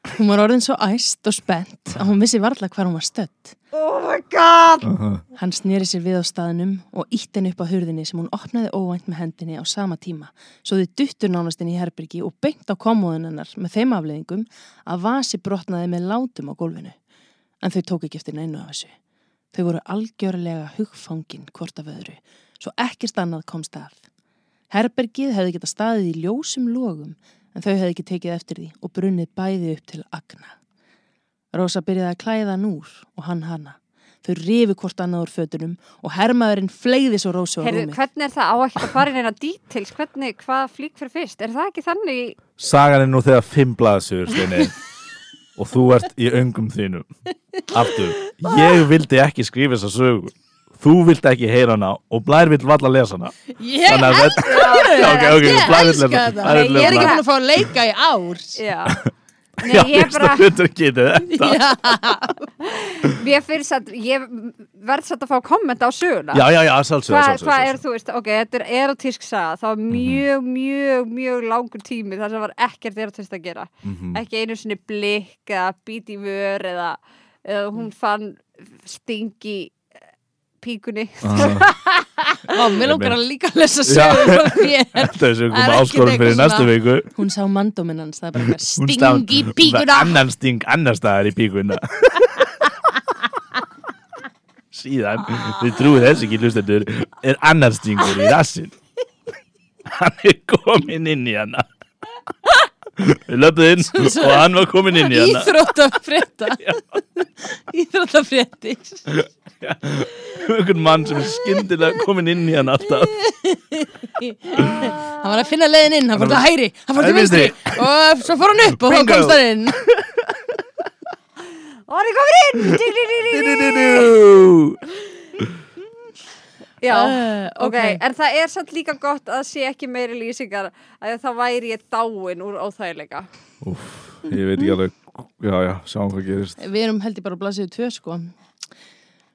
C: Hún var orðin svo æst og spennt að hún vissi varla hvar hún var stödd.
B: oh my god!
C: Hann sneri sér við á staðnum og ítt henni upp á hurðinni sem hún opnaði óvænt með hendinni á sama tíma svo þau duttur nánast inn í herbyrgi og beint á komóðun hennar með þeim afleðingum að vasi brotnaði með látum á gólfinu. En þau tók ekki eftir neinu af þessu. Þau voru algjörlega hugfangin hvort af öðru svo ekkert annað komst að. Herbergið hefði geta staðið í ljósum logum en þau hefði ekki tekið eftir því og brunnið bæði upp til agna. Rósa byrjaði að klæða hann úr og hann hana. Þau rifu hvort annað úr fötunum og hermaðurinn fleiði svo Rósa á
B: Heyrðu,
C: rúmi.
B: hvernig er það á ekki að fara inn eina details? Hvernig, hvað flýk fyrir fyrst? Er það ekki þannig? í-
A: Sagan er nú þegar fimm blaðsugur steini og þú ert í öngum þínum Aftur, ég vildi ekki skrifa þessa sögu Þú vilt ekki heyra hana og Blær vill valla lesa hana
C: Ég
A: Þannig að þetta- Já, ok, ok, Blær vill lesa Blær vill
C: Ég er ekki
A: lesa
C: búin að fá að leika í ár.
B: Já. Nei,
A: Já,
B: ég
A: fyrsta
B: bara,
A: hlutur getið þetta
B: mér finnst að, ég verð satt að fá komment á söguna.
A: Já, já, já, sálsög
B: Hva, hvað er þú veist, ok, þetta er erotísk saga,
A: Mhm.
B: það var mjög, mjög, mjög langur tími þar sem var ekkert erotist að gera
A: Mhm.
B: ekki einu sinni blikk eða bít í vör eða, eða hún fann sting í eh, píkunni
A: Ah.
C: Vá, mér lókar að líka að lesa
A: Já.
C: sögur frá þér.
A: Þetta er sem kom
C: Það er ekkert
A: áskorum fyrir
C: eitthvað
A: næstu
C: svona-
A: viku
C: Hún sá mandóminans, það er bara eitthvað
A: Hún
C: sting í
A: stað-
C: píkuna.
A: Annan sting annar staðar í píkuna Síðan, þið trúið þess ekki hlustendur er annar stingur í rassin Hann er kominn inn í hana Við löpðum inn og hann var kominn inn í hana
C: Íþróttafrétta. Íþróttafréttir.
A: Einhvern mann sem er skyndilega kominn inn í hana alltaf
C: hann var að finna leiðin inn, hann fór til hægri hann fór til
A: Hægri
C: vinstri og svo fór hann upp og hann
A: Bingo.
C: komst hann inn
B: og hann er komin inn Ding, ding, ding, ding.
A: Du-du-du-du.
B: já,
C: uh,
B: ok, en það er samt líka gott að sé ekki meiri lýsingar að þá væri ég dáin úr óþægileika
A: Ég veit ekki alveg, já, já, sjáum hvað gerist
C: Við erum held ég bara að blaðsíðu tvö sko.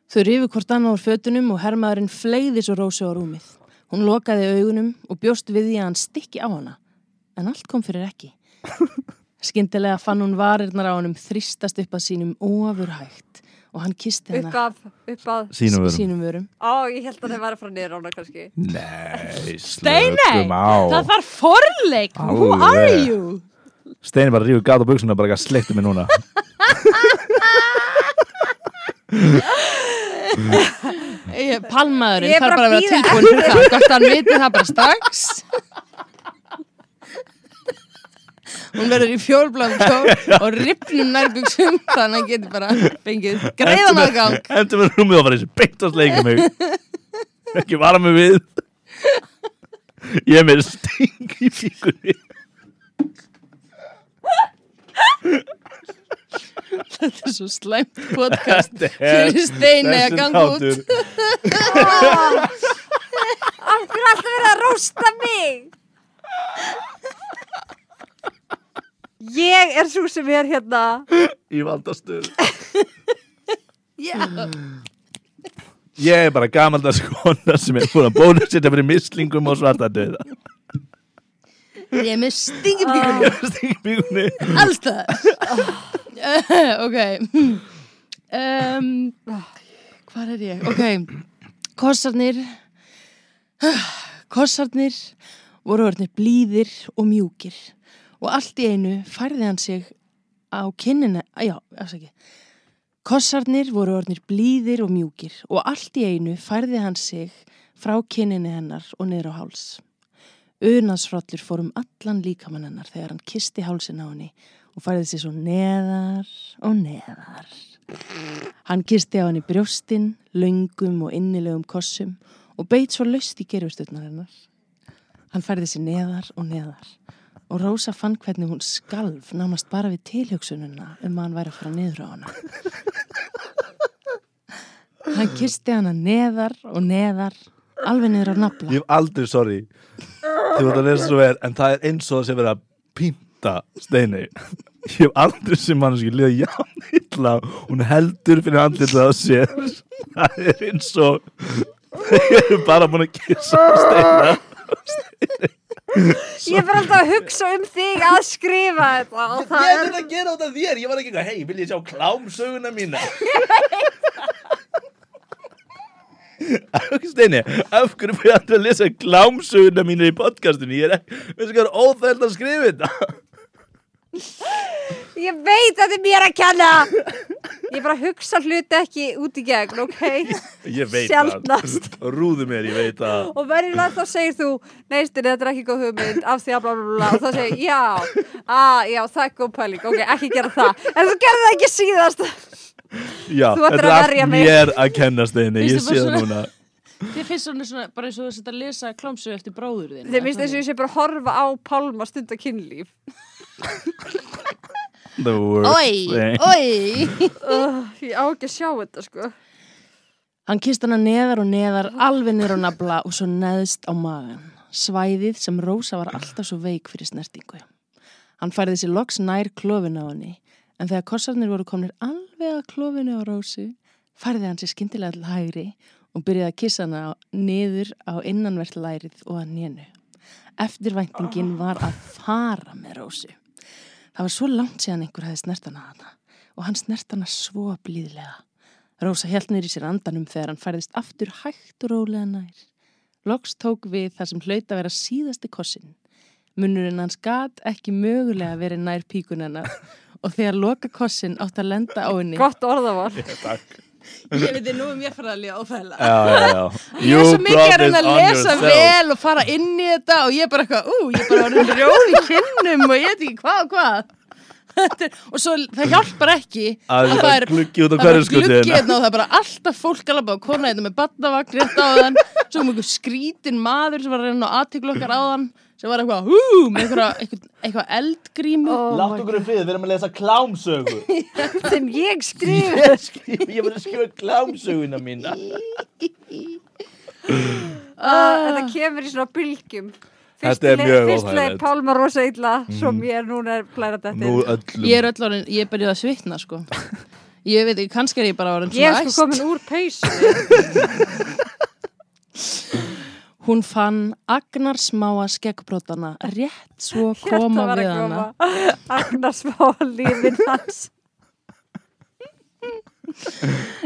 C: Þau rifu hvort annað úr fötunum og hermaðurinn fleiði svo rósu á rúmið. Hún lokaði augunum og bjóst við því að hann stykki á hana. En allt kom fyrir ekki. Skyndilega fann hún varirnar á honum þristast upp að sínum ofurhægt og hann kisti
B: upp
C: hana
B: af, upp af
A: Sýnum við
C: sínum vörum.
B: Ó, ég held að það væri frá niður ána kannski
A: Nei,
C: Steiney,
A: slökum á
C: það þarf forleik! Who
A: Alveg.
C: are you?
A: Steini bara rífur gat á buksuna bara ekki að sleikta mig núna
C: Ég, palmaðurinn
B: Ég er bara
C: þarf bara
B: að
C: að vera tilbúin fyrir það Gott að hann viti það bara strax Hún verður í fjólblóðum kjól og ripnum nærbuksum þannig að hann getur bara fengið greiðan aðgang
A: Endur með rúmið og bara þessi beint að sleika mig Ekki vara mig við Ég er með sting í fíkunni
C: Þetta er svo slæmt podcast Fyrir Steini að ganga út
B: af hverju er alltaf verið að rósta mig ég er svo sem er hérna
A: Í valdastöð
C: yeah.
A: Ég er bara gamaldags kona sem er búin að bónus þetta fyrir mislingum og svarta döða
C: Ég er með stingibíkur
A: Sting í fíkunni
C: alls það ok um, hvað er ég ok, kossarnir kossarnir voru orðinir blíðir og mjúkir og allt í einu færði hann sig á kinnina að já, afsaki kossarnir voru orðinir blíðir og mjúkir og allt í einu færði hann sig frá kinninni hennar og niður á háls Unaðsfrallur fór um allan líkamann hennar þegar hann kisti hálsin á henni og færði sér svo neðar og neðar. Hann kisti á henni brjóstin, löngum og innilegum kossum og beit svo laust í gerfustöðnar hennar. Hann færði sér neðar og neðar og Rósa fann hvernig hún skalf nánast bara við tilhjóksununa um að hann væri að fara niður á hana. Hann kisti hana neðar og neðar alveg niður á nafla.
A: Ég hef aldrei, sorry Þú veit að lesa svo vel, en það er eins og það sé verið að pýnta steini Ég hef aldrei sem mannski liða jafn illa Hún heldur fyrir andlitað á sér Það er eins og Þeir eru bara búin að kissa steina
B: ég verð alltaf að hugsa um þig að skrifa þetta og það er
A: að gera þetta þér, ég var ekki eitthvað Hei, vil ég sjá klámsöguna mína? Steini, af hverju fyrir að lesa klámsöguna mína í podcastinu? Ég er ekki, veist hvað er óþægt að skrifa þetta?
B: Ég veit að þetta er mér að kenna Ég bara hugsa hluti ekki út í gegn, ok?
A: Ég veit
B: Sjaldnast.
A: það, rúðu mér, ég veit það
B: Og verðilega þá segir þú Neistin, þetta er ekki góð hugmynd af því að bla bla bla Og þá segir ég, já, að, já, það er góð pæling Ok, ekki gera það En þú gerði það ekki síðast
A: Já,
B: Þú ættir
A: þetta er
B: að
A: allt
B: verja mig.
A: mér að kenna steini, ég
C: Veistu
A: sé
C: bara
A: það
C: svona-
A: núna
C: Þið finnst svona, svona bara eins og þess að lesa klámsu eftir bróður þinn.
B: Þeir minnst þess að ég sé bara að horfa á Pálma stund og kynlíf
A: The worst
C: Oi,
A: thing
C: oi.
B: uh, Ég á ekki að sjá þetta, sko
C: Hann kýrst hana neðar og neðar, alveg niður á nafla og svo neðst á magan. Svæðið sem Rósa var alltaf svo veik fyrir snertingu. Hann færði sér loks nær klófinu á henni, en þegar kossarnir voru komnir alveg að klófinu á Rósu, færði hann sér skyndilega til hægri og byrjaði að kissa hana á- niður á innanvert lærið og að nénu. Eftirvæntingin var að fara með Rósu. Það var svo langt síðan einhver hefði snert hana hana og hann snert hana svo blíðlega. Rósa held niður í sér andanum þegar hann færðist aftur hægt og rólega nær. Loks tók við þar sem hlaut að vera síðasti kossin. Munurinn hans gat ekki mögulega verið nær píkun hennar og þegar loka kossin átt að lenda á henni.
B: Gott orðavar
A: Takk
C: Ég veit þið nú um ég fara að líða ófæla.
A: Já, já, já
C: Ég er svo mikið að reyna að
A: brought this
C: lesa
A: on yourself.
C: vel og fara inn í þetta og ég er bara eitthvað, ú, ég er bara orðin rjóð í kinnum og ég veit ekki hvað og hvað. Þetta er- og svo það hjálpar ekki
A: Að það er gluggi út á hverju
C: það er bara gluggi
A: skutin
C: hérna og það er bara alltaf fólk alveg og kona hérna með badnavagn rétt á þann svo um einhver skrítin maður sem var að reyna á aðtíklokkar á þann sem var eitthvað hú með einhverja- eitthvað, eitthvað eldgrímu
A: Látt okkur um frið, við erum að lesa klámsögu
B: Sem ég skrif
A: Ég skrif, ég var að skrifa klámsöguna mína
C: Ah.
B: uh, þetta kemur í svona bylgjum Fyrst
A: Þetta er
B: leið-
A: mjög
B: fyrst leið
A: óþægilegt.
B: Pálma rosa illa svo
A: Mhm.
B: mér núna er blæra þetta
A: Nú öllum
C: Ég er öll orðin, ég er bara að svitna sko Ég veit ekki, kannski er ég bara orðin
B: ég
C: svona
B: er
C: æst
B: sko komin úr peysu
C: Hún fann Agnars máa skeggbrótana rétt svo koma við hana
B: Agnars má lífin hans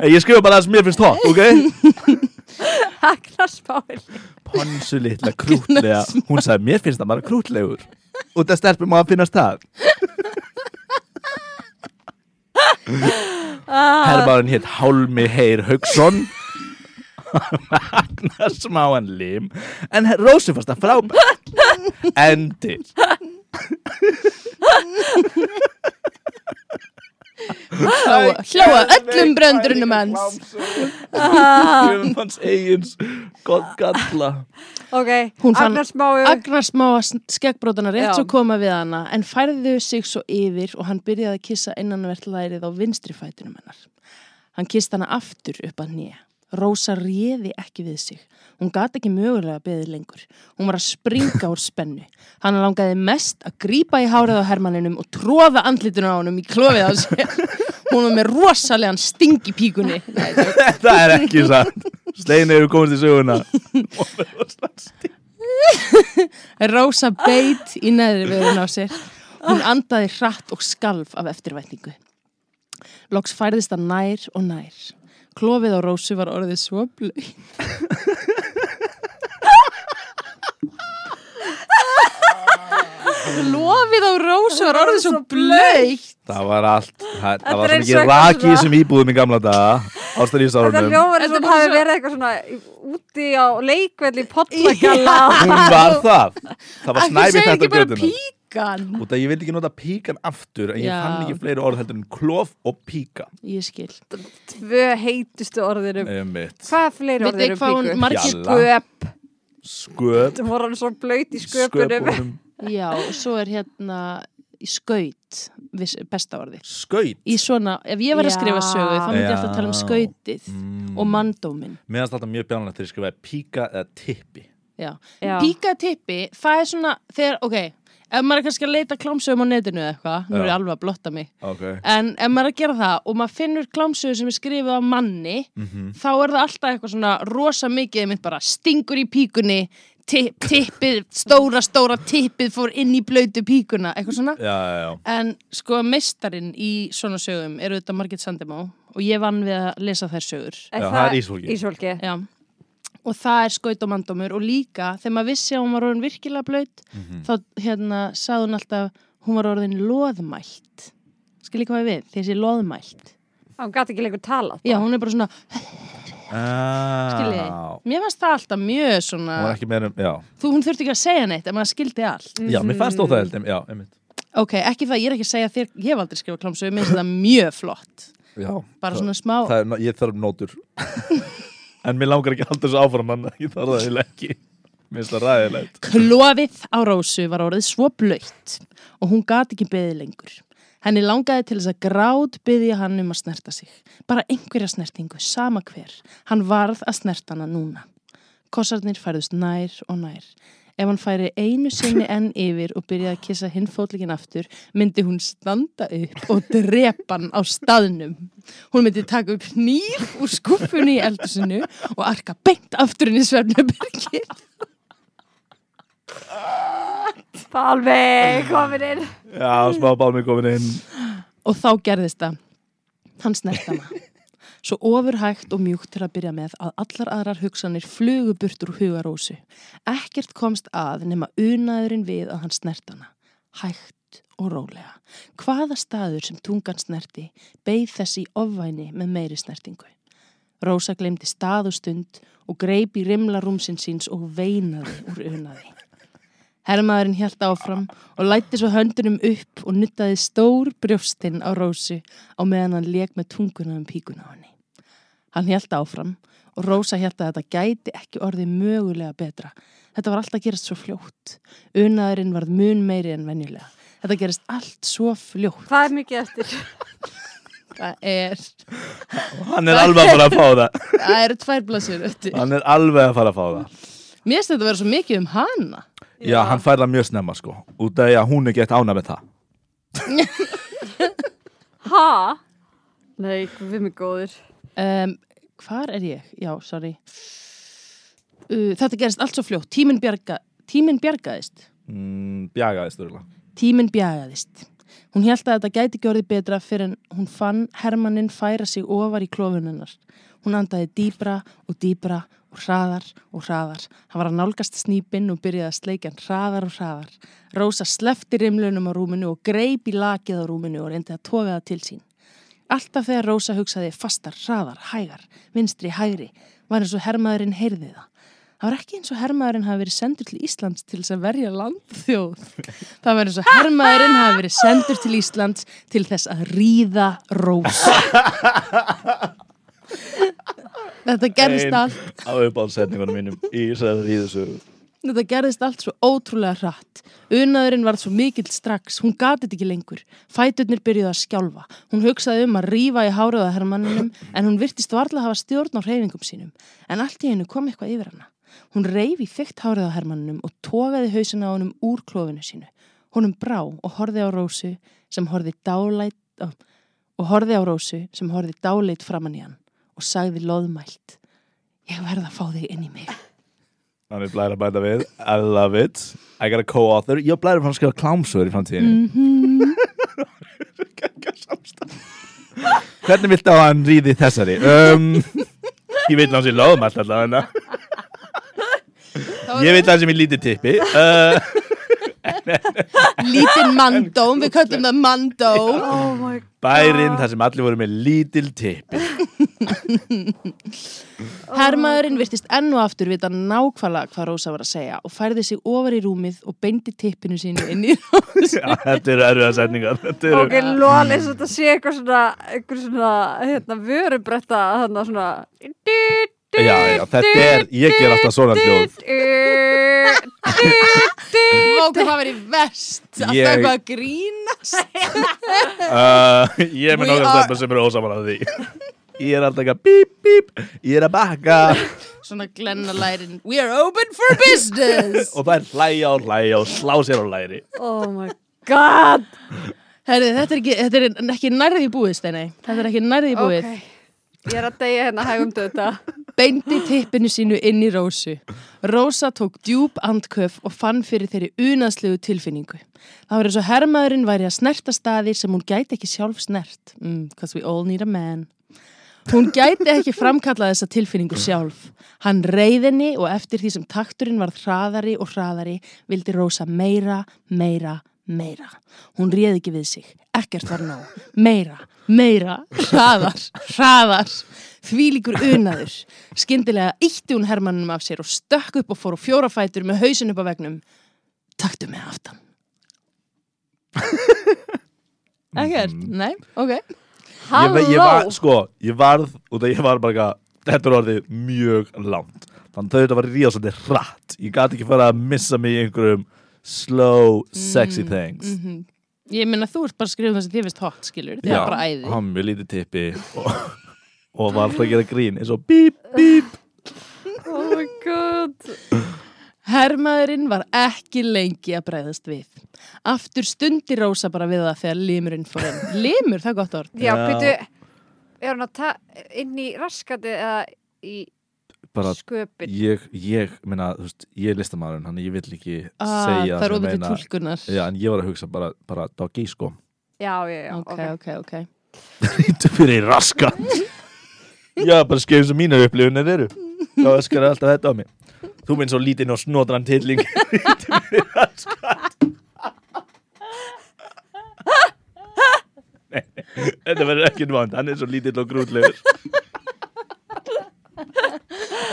A: Ég skrifa bara það sem mér finnst hot, ok?
B: Agnars má lífin
A: Ponsu litla krútlega Hún sagði, mér finnst það bara krútlegur Og það stelpum að finnast það
C: Ah.
A: Hermaðurinn hétt Hálmi Heyr Hauksson Agnar smáan lim En Rósi fannst það frábært Endir
C: Hlóa, hlóa öllum um bröndurunum hans Ah.
A: Guðmanns eigins Gott galla
B: ok,
C: Hún fann-
B: Agnars má
C: Agnars máa skeggbrótana rétt
B: Já.
C: svo koma við hana en færðu sig svo yfir og hann byrjaði að kissa innanvert lærið á vinstri fætinum hennar Hann kist hana aftur upp að nýja Rósa réði ekki við sig. Hún gat ekki mögulega beðið lengur. Hún var að springa úr spennu. Hann langaði mest að grípa í hárið á hermanninum og tróða andlitinu á honum í klófið á sér. Hún var með rosalegan sting í píkunni. Nei, þetta
A: Þetta er ekki satt Slein hefur komist í söguna
C: Rósa beit í neðri viðurinn á sér. Hún andaði hratt og skalf af eftirvætningu. Loks færðist það nær og nær. Klofið á Rósu var orðið svo blöð. Klofið á Rósu var orðið svo blöð.
A: Það var allt, það, það var
B: er
A: svo mikið
B: eins og eitthvað
A: raki sem íbúðum í gamla daga
B: Þetta
A: Ástarísárunum
B: ljóður
C: Þetta
B: sem
C: er bara
B: hafi
C: svo-
B: verið eitthvað svona í- úti á leikvelli pollagalla
A: Hún var það Það var snæfið þetta
C: segir ekki
A: á
C: bara
A: göduna
C: píkan.
A: Út að ég vildi ekki nota píkan aftur En ég
C: Já.
A: fann ekki fleiri orð heldur en klof og píka
C: Ég skil.
B: tvö heitustu orðinum
A: Einmitt.
B: hvað er fleiri
C: Veit
B: orðinum
C: ekki hvað hún
B: píku?
C: margir...
A: Fjalla.
B: Sköp,
A: Sköp
B: það voru hann svo blöyt í sköpunum
A: Sköpunum
C: Já, og svo er hérna í skaut, viss- besta orðið.
A: Skaut
C: í svona, ef ég var að
B: Já.
C: skrifa sögu þá myndi ég alltaf
A: Já.
C: að tala um skautið
A: Mm.
C: og manndóminn
A: Mér finnst þetta mjög bjánlega til að skrifa píka eða tippi
C: já.
B: Já.
C: píkatippi, það er svona þegar, ok, ef maður er kannski að leita klámsögum á netinu eða eitthvað, nú er
A: Já.
C: ég alveg að blotta mig
A: okay.
C: en ef maður er að gera það og maður finnur klámsögu sem er skrifið á manni
A: Mhm.
C: þá er það alltaf eitthvað svona rosa mikið mynd bara stingur í píkunni tipp, tippið, stóra stóra tippið fór inn í blöytu píkuna eitthvað svona
A: Já, já, já
C: En sko meistarinn í svona sögum er auðvitað Margit Sandemó og ég vann við að lesa þær sögur.
B: Er
A: Já, það er ísfólki.
B: Ísfólki.
C: Já. Og það er skaut og mandómur og líka þegar maður vissi að hún var orðin virkilega blöyt
A: Mhm.
C: þá hérna sagði hún alltaf hún var orðin loðmælt. Skil líka hvað ég við, þessi loðmælt.
B: Hún gæti ekki lengur talað.
C: Já, hún er bara svona,
A: Skilji
C: skiljiði. Mér fannst það alltaf mjög
A: Hún var
C: svona,
A: ekki meira um, já
C: þú, hún þurfti ekki að segja neitt en maður skildi allt.
A: Já, mér fannst þó það heldur, já, einmitt
C: Ok, ekki það, ég er ekki að segja þér, ég hef aldrei skrifað klámsögur, mér finnst það mjög flott.
A: Já,
C: Bara
A: það-
C: svona smá
A: það er, ná- ég þarf nótur en mér langar ekki að halda þessu áfram hann ég þarf það heila ekki mér finnst það ræðilegt
C: Klofið á Rósu var orðið svo blöytt og hún gat ekki beðið lengur. Henni langaði til þess að gráð beðið hann um að snerta sig. Bara einhverja snertingu, sama hver. Hann varð að snerta hana núna. Kossarnir færðust nær og nær. Ef hann færi einu sinni enn yfir og byrjaði að kissa hinn fótlegin aftur, myndi hún standa upp og drepa hann á staðnum. Hún myndi taka upp nýr úr skuffunni í eldusinu og arka beint aftur inn í svefnabyrgið.
B: Pálmi, komin inn.
A: já, smá bálmi komin inn
C: Og þá gerðist það. Hann snert hana. Svo ofurhægt og mjúkt til að byrja með að allar aðrar hugsanir flugu burt úr hugarósu. Ekkert komst að nema unaðurinn við að hann snert hana. Hægt og rólega. Hvaða staður sem tungan snerti beigð þess í ofvæni með meiri snertingu. Rósa glemdi stað og stund og greip í rimla rúmsinn síns og veinaði úr unaði. Hermaðurinn hjælt áfram og lætti svo höndunum upp og nuttaði stór brjóstinn á Rósu á meðan hann leik með tunguna um píkuna á henni. Hann hjælt áfram og Rósa hjælt að þetta gæti ekki orðið mögulega betra. Þetta var allt að gerast svo fljótt. Unaðurinn varð mun meiri en venjulega. Þetta gerist allt svo fljótt.
B: Það er mikið eftir.
C: Það er,
A: hann er alveg að fara að fá það
C: það eru tvær blasur öttu.
A: hann er alveg að fara að fá það
C: Mér finnst þetta að vera svo mikið um hana
A: Já, hann fær það mjög snemma sko Út af því að hún er gett ána með það
B: Ha?
D: Nei, við mig góðir.
C: um, Hvar er ég? Já, sorry uh, Þetta gerist allt svo fljótt Tíminn bjarga, tímin bjargaðist
A: mm, Bjagaðist örgulega
C: Tíminn bjagaðist. Hún held að þetta gæti gjörði betra fyrir en hún fann Hermannin færa sig ofar í klofununnar. Hún andaði dýbra og dýbra og hraðar og hraðar. Hann var að nálgast snýpinn og byrjaði að sleikja hann hraðar og hraðar. Rósa slefti rimlunum á rúminu og greip í lakið á rúminu og reyndi að toga það til sín. Alltaf þegar Rósa hugsaði fastar, hraðar, hægar, vinstri, hægri, var eins og hermaðurinn heyrði það. Það var ekki eins og hermaðurinn hafi verið sendur til Íslands til þess að verja landþjóð. Það var eins og hermaðurinn hafi verið sendur til Íslands til þess að ríða Rósa. Þetta gerðist allt
A: Á uppáðsetningunum mínum Í þessari ríðusögu
C: Þetta gerðist allt svo ótrúlega hratt. Unaðurinn varð svo mikill strax, hún gatið ekki lengur. Fæturnir byrjuði að skjálfa. Hún hugsaði um að rífa í háraða hermanninum en hún virtist varla hafa stjórn á reyfingum sínum. En allt í einu kom eitthvað yfir hana. Hún reyf í þygt háraða hermanninum og togaði hausina á honum úr klófinu sínu. Honum brá og horði á rósu sem horði dálæt... ó, Og horði á rósu sem horði dáleitt framann í hann og sagði loðmælt. Ég verð að fá þig inn í mig.
A: Þannig blæra bæta við I love it I got a co-author Ég blæra fann að skrifa klámsögur í framtíðinni mm -hmm. Hvernig viltu að hann ríði í þessari? Um, ég veit náttúrulega láðum alltaf allavega Ég veit það sem ég lítið tippi uh,
C: lítinn manndóm, við köllum það manndóm
D: Oh my god.
A: Bærin þar sem allir voru með lítil tippi
C: Hermaðurinn virtist enn og aftur vita nákvæmlega hvað Rósa var að segja og færði sig ofar í rúmið og beindi tippinu sínu inn í Rósu
A: Já, Þetta eru erfiða setningar Þetta eru
D: Ok, lol, eins og þetta sé eitthvað svona, eitthvað svona, hérna, vörubretta, þannig svona,
A: Já, já, þetta er, ég ger alltaf svona hljóð
C: Móka það verið verst Alltaf
A: Ég-
C: eitthvað að grínast
A: uh, Ég er
C: We
A: með nokkað
C: are-
A: stefna sem eru ósaman að því Ég er alltaf eitthvað bíp, bíp Ég er að bakka
C: Svona glenna lærin We are open for business
A: Og það er hlæja og hlæja og slá sér á læri
D: oh my god.
C: Herði, þetta er ekki, þetta er ekki nærði búið, Steinei Þetta er ekki nærði búið
D: Ok, ég er að deyja hérna hægum döta.
C: beindi tippinu sínu inn í Rósu. Rósa tók djúb andköf og fann fyrir þeirri unaðslegu tilfinningu. Það var eins og hermaðurinn væri að snerta staði sem hún gæti ekki sjálf snert. Mm, Cause we all need a man. Hún gæti ekki framkalla þessa tilfinningu sjálf. Hann reyðinni og eftir því sem takturinn varð hraðari og hraðari vildi Rósa meira, meira, meira. Hún réði ekki við sig. Ekkert var nóg. Meira, meira, hraðar, hraðar. Þvílíkur unaður. Skyndilega ítti hún hermannum af sér og stökk upp og fór á fjórafætur með hausin upp á vegnum. Taktu mig aftan. Ekkert? Nei, ok.
A: ég, ve- ég var,
D: Halló,
A: Sko, ég varð út af ég var bara eitthvað, Þetta er orðið mjög langt Þannig þau þetta var ríða svolítið hratt Ég gat ekki fara að missa mig í einhverjum Slow,
C: Mm,
A: sexy things
C: Ég minna, þú ert bara að skrifa um það sem þið finnst hot, skilur. Þið er bara æði.
A: hann með lítið tippi og, og var alltaf að gera grín eins og bíp, bíp
D: oh my god.
C: Hermaðurinn var ekki lengi að bræðast við. Aftur stundi Rósa bara við það þegar limurinn fór inn. Limur, það er gott orð.
A: Já.
B: Já, býtu, er hún að ta inn í raskatið eða í
A: bara
B: sköpin?
A: ég, ég, minna, þú veist, ég er listamaðurinn þannig ég vill ekki
C: Ah,
A: segja
C: það er
A: sem ég
C: ofið til
A: meina.
C: tólkunar.
A: Já, en ég var að hugsa bara, bara doggy sko
B: Já, já, já,
C: ok,
B: ok.
C: ok, ok.
A: Ítu fyrir raska Já, bara skeið sem mínar upplifunir eru Þá öskar alltaf þetta á mig Þú minn svo lítinn og snotran tilling Ítu fyrir raska Nei, nei, Þetta verður ekki vant, hann er svo lítill og grútlegur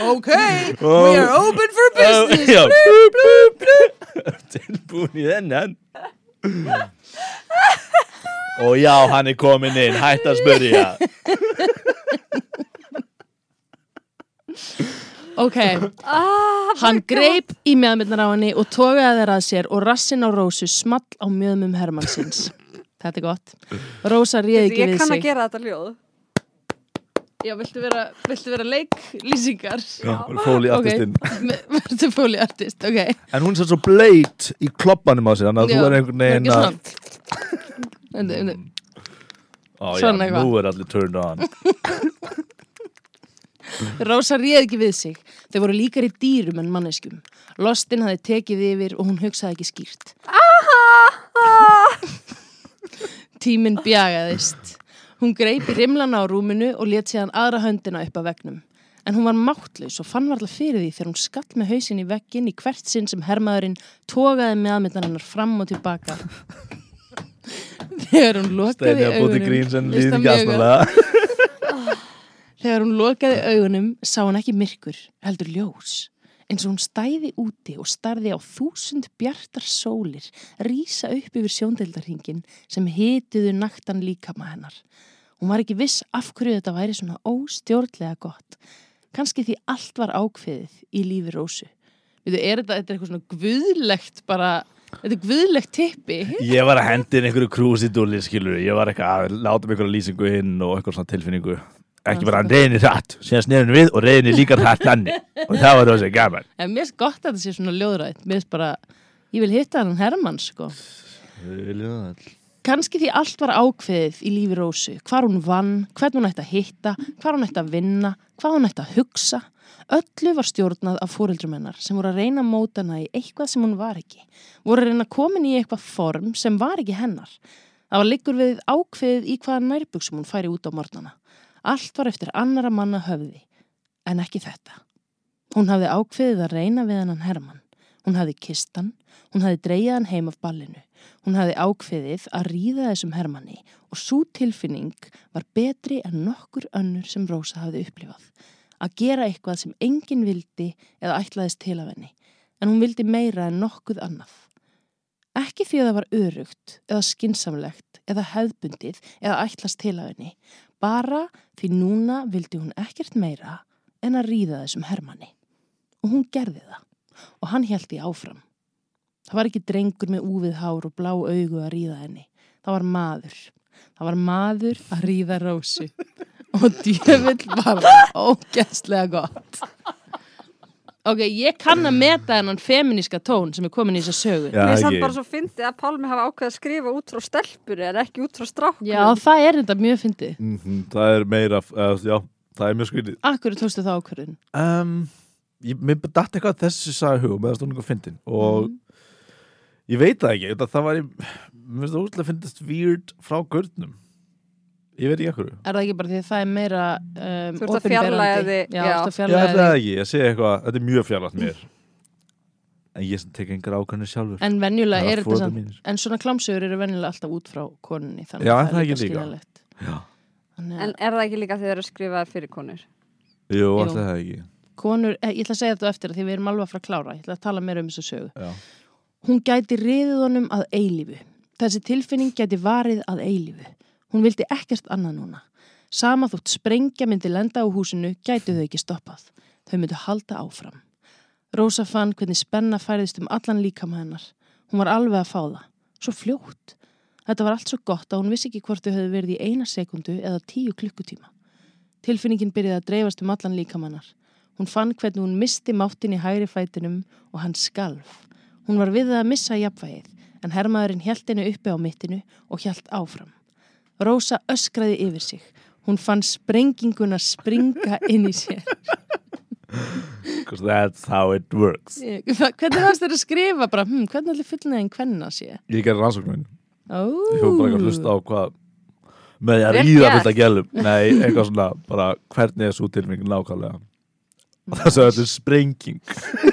C: Ok,
A: we are
C: open
A: Oh.
C: for
A: Já, blú, blú, blú Tilbúin í þennan Og já, hann er komin inn, hætt að spyrja
C: Ok,
B: Ah,
C: hann greip í meðmyndar á henni og togaði þeirra að sér og rassin á Rósu small á mjöðmum Hermannsins. Þetta er gott. Rósa
D: Ég
C: réði ekki við
D: kann að
C: sig.
D: gera þetta hljóð.
C: Já, viltu vera, viltu vera leiklýsingar?
A: Fóli
C: Ok.
A: artistinn
C: Verður fóliartist, ok
A: En hún er svo bleit í kloppanum á sér Þannig að
C: Já,
A: þú er einhvern veginn
C: það
A: að
C: er ekki svona. Undu, undu.
A: Ó, já,
C: Svona eitthvað.
A: Nú er allir turned on
C: Rósa réð ekki við sig. Þau voru líkar í dýrum en manneskjum. Lostin hafði tekið yfir og hún hugsaði ekki skýrt. Ah. Tíminn bjagaðist. Hún greip í rimlana á rúminu og let síðan aðra höndina upp að veggnum. En hún var máttlaus og fann varla fyrir því þegar hún skall með hausinn í veggin í hvert sinn sem hermaðurinn tógaði með aðmyndan hennar fram og tilbaka. Þegar hún
A: Steini
C: lokaði
A: að búti
C: augunum...
A: grín sem
C: Veist
A: líður
C: það
A: ekki
C: mjög vel.
A: aðsnaðlega
C: Þegar hún lokaði augunum sá hann ekki myrkur, heldur ljós. Eins og hún stæði úti og starði á þúsund bjartar sólir rísa upp yfir sjóndeildarhingin sem hituðu naktan líkama hennar. Hún var ekki viss af hverju þetta væri svona óstjórnlega gott. Kanski því allt var ákveðið í lífi Rósu. Við þau, er þetta, þetta er eitthvað svona guðlegt bara, þetta er guðlegt tippi.
A: Ég var að hendi inn einhverju krúsidúli skilur Ég var eitthvað að láta mig einhverju lýsingu inn og eitthvað svona tilfinningu Ekki bara hann reyni rætt Síðan snerinu við og reyni líka rætt hann Og það var þessi gaman
C: En mér finnst gott að þetta sé svona ljóðrætt. Mér finnst bara, ég vil hitta hann Hermann sko. Kanski því allt var ákveðið í lífi Rósu, hvar hún vann, hvern hún ætti að hitta, hvar hún ætti að vinna, hvað hún ætti að hugsa. Öllu var stjórnað af fóreldrum hennar sem voru að reyna að móta hana í eitthvað sem hún var ekki. Voru að reyna að koma henni í eitthvað form sem var ekki hennar. Það var liggur við ákveðið í hvaða nærbuksum hún færi út á morgnana. Allt var eftir annara manna höfði, en ekki þetta. Hún hafði ákveðið að reyna við hennan Hermann. Hún hafði kist hann, hún hafði dreyjað hann heim af ballinu. Hún hafði ákveðið að ríða þessum Hermanni og svo tilfinning var betri en nokkur önnur sem Rósa hafði upplifað. Að gera eitthvað sem enginn vildi eða ætlaðist til af henni, en hún vildi meira en nokkuð annað. Ekki því að það var örugt eða skinsamlegt eða hefðbundið eða ætlast til af henni, bara því núna vildi hún ekkert meira en að ríða þessum Hermanni. Og hún gerði það og hann held í áfram. Það var ekki drengur með úfið hár og blá augu að ríða henni. Það var maður. Það var maður að ríða rósu. Og djöfull var það ógæstlega gott. Ok, ég kann að meta hennan feminíska tón sem er komin í þessa sögu.
A: Já,
B: Mér er samt
A: ekki.
B: bara svo fyndið að Pálmi hafa ákveð að skrifa út frá stelpunni en ekki út frá strákunni.
C: Já, það er þetta mjög fyndið.
A: Mhm, Það er meira uh, Já, það er mjög skrítið
C: Akkur tókstu það ákvörðun?
A: um, ég, mér bara datt eitthvað að þessu sagði hugum eða stóðum eitthvað fyndin og
B: Mhm.
A: ég veit það ekki, það, það var í- mér finnst það útlega fyndist weird frá gurnum ég veit ekki ekkur
C: Er það ekki bara því að það er meira um,
B: Þú ert að fjarlægja
C: opinberandi?
B: þig,
C: Já,
B: já.
C: þú ert að
A: ég
C: fjarlæga
A: ætla
C: þig.
A: það ekki, ég segi eitthvað, þetta er mjög fjarlægt mér en ég sem tek engar ákvæmni sjálfur
C: En venjulega
A: Það
C: er
A: er
C: þetta
A: foreldrar
C: samt
A: mínir.
C: En svona klámsögur eru venjulega alltaf út frá konunni Þannig
A: Já,
C: að
A: er það ekki líka?
C: skiljanlegt
A: Já.
C: Þannig
B: En
C: að
B: er það ekki líka þegar það er skrifað fyrir konur?
A: jú, ætla það ekki
C: konur, eh, ég ætla að segja þetta á eftir að því við erum alveg að fara að klára Ég ætla að tala meira um þessu sögu
A: Já.
C: Hún gæti riðið honum að eilífu Þessi tilfinning gæti varið að eilífu Hún vildi ekkert annað núna Sama þótt sprengja myndi lenda á húsinu gætu þau ekki stoppað Þau myndu halda áfram Rósa fann hvernig spenna færðist um allan líkama hennar. Hún var alveg að fá það. Svo fljótt. Þetta var allt svo gott að hún vissi ekki hvort þau höfðu verið í eina sekundu eða tíu klukkutíma. Tilfinningin byrjaði að dreifast um allan líkama hennar. Hún fann hvernig hún misti máttin í hægri fætinum og hann skalf. Hún var við það að missa jafnvægið en hermaðurinn hjælt henni uppi á mittinu og hjælt áfram. Rósa öskraði yfir sig. Hún fann sprenginguna springa inn í sér.
A: 'Cause that's how it works
C: Ég- hva- Hvernig fannst þér að skrifa bara, hm, hvernig allir fullnaðin hvenna sé?
A: ég gerði rannsóknin,
C: Ó,
A: ég fór bara eitthvað að hlusta á hvað með því að
B: Vel
A: ríða
B: gert.
A: fullt að gelum nei, eitthvað svona, bara hvernig er svo tilming nákvæmlega og þess að þetta er sprenging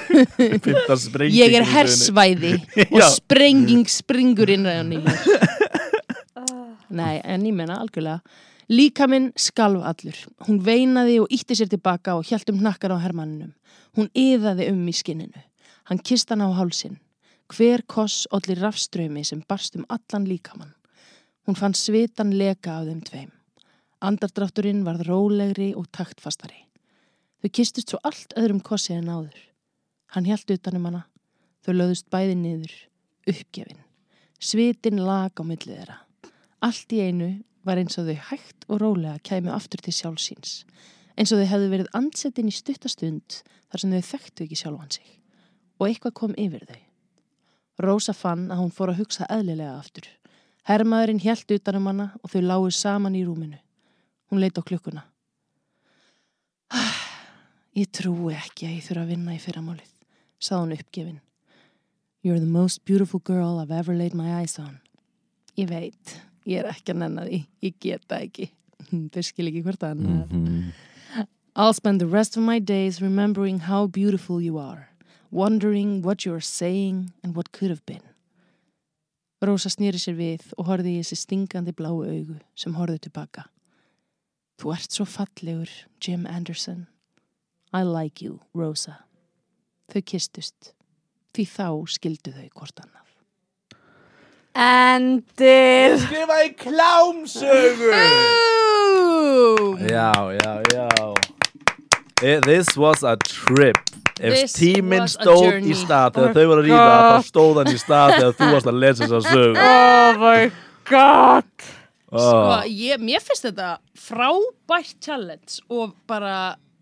A: fyrta sprenging
C: ég er
A: í sögunni.
C: hersvæði og
A: Já.
C: sprenging springur innræðan í mér. Nei, en ég menna algjörlega. Líkaminn skalf allur. Hún veinaði og ítti sér tilbaka og hjælt um hnakkan á hermanninum. Hún yðaði um í skinninu. Hann kist hann á hálsin. Hver koss ollir rafströmi sem barst um allan líkamann. Hún fann svitan leka af þeim tveim. Andardrátturinn varð rólegri og taktfastari. Þau kistust svo allt öðrum kossi en áður. Hann hjælt utanum hana. Þau löðust bæði niður, uppgefin. Svitin lag á milli þeirra. Allt í einu var eins og þau hægt og rólega kæmi aftur til sjálfsíns. Eins og þau hefðu verið andsetin í stuttastund þar sem þau þekktu ekki sjálfan sig. Og eitthvað kom yfir þau. Rósa fann að hún fór að hugsa eðlilega aftur. Hermaðurinn hjælt utanum hana og þau lágu saman í rúminu. Hún leit á klukkuna. Ah, Ég trúi ekki að ég þurfa að vinna í fyrramálið, sað hún uppgefin. You're the most beautiful girl I've ever laid my eyes on. Ég veit, ég er ekki að nenna því, ég geta ekki. Þau skil ekki hvert annað.
A: Hmm.
C: I'll spend the rest of my days remembering how beautiful you are, wondering what you are saying and what could have been. Rósa snýri sér við og horfði í þessi stingandi bláu augu sem horfðu tilbaka. Þú ert svo fallegur, Jim Anderson. I like you, Rosa. Þau kistust, því þá skildu þau hvort annað.
D: Endir
A: Skrifaði klámsögu Já, já, já Eh, This was a trip Ef
C: This
A: tíminn
C: was a
A: stóð
C: journey. Oh
A: í stað þegar þau voru að ríða, þá stóð hann í stað þegar þú varst að lesa þessa sögu
D: Oh my god
C: Sko,
A: oh.
C: ég, mér finnst þetta frábært challenge og bara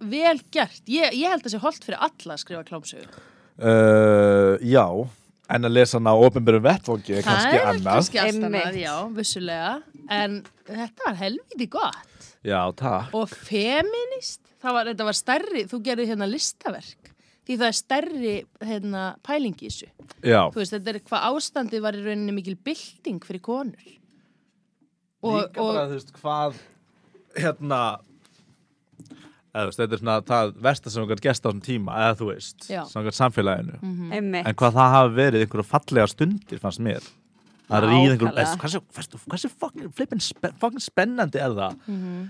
C: vel gert. Ég, ég held að sé holdt fyrir alla að skrifa klámsögu.
A: uh, Já En að lesa hann á opinberum vettvangi er kannski
C: Það er
A: annað
C: Kannski allt annað,
D: Einmitt.
C: já, vissulega. En þetta var helviti gott.
A: Já, takk
C: Og feminist, það var, þetta var stærri, þú gerir hérna listaverk. Því það er stærri hérna, pæling í þessu.
A: Já,
C: Þú veist, þetta er hvað ástandið var í rauninni mikil bylting fyrir konur. Og,
A: líka bara,
C: og
A: þú veist, hvað hérna eða, þú veist, þetta er svona það versta sem okkar gesta á þessum tíma eða þú veist,
C: Já.
A: samkvæmt samfélaginu
D: Einmitt
A: en hvað það hafi verið einhverja fallega stundir fannst mér að ríða einhverjum,
C: Nákvæmlega.
A: eða, hversu, hversu, hversu fucking, flippin, spen, fucking spennandi er það
C: Mhm.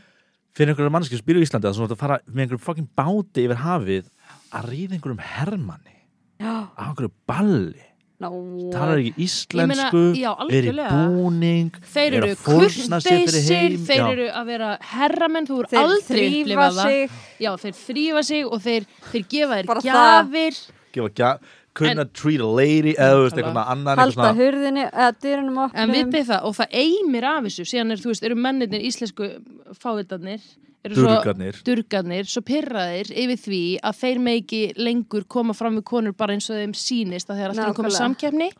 A: fyrir einhverjum mannski sem býr í Íslandi að svona að fara með einhverjum fucking báti yfir hafið að ríða einhverjum hermanni
D: Já.
A: á einhverju balli
D: No.
A: talar ekki íslensku,
C: Ég meina, já,
A: er í
C: algjörlega.
A: búning
C: þeir
A: er að
C: eru
A: fórna sér fyrir
C: kurteisir,
A: heim,
C: þeir
A: já.
C: eru að vera herramenn, þú eru
D: Þeir
C: aldrei
D: þrífa
C: upplifað það.
D: sig.
C: Já, þeir þrýfa sig og þeir, þeir gefa þér
D: Bara það.
C: gjafir.
A: gefa gjaf kunna treat a lady eða þú veist eitthvað svona annan eitthvað
D: Halda
A: svona
D: hurðinni eða dyrunum
C: En
D: opnum
C: vitið það, og það eimir af þessu, síðan er, þú veist, eru mennirnir íslensku fávitarnir, eru
A: Durgarnir.
C: svo durgarnir, svo pyrraðir yfir því að þeir megi lengur koma fram við konur bara eins og þeim sýnist að þeir alltaf að koma í samkeppni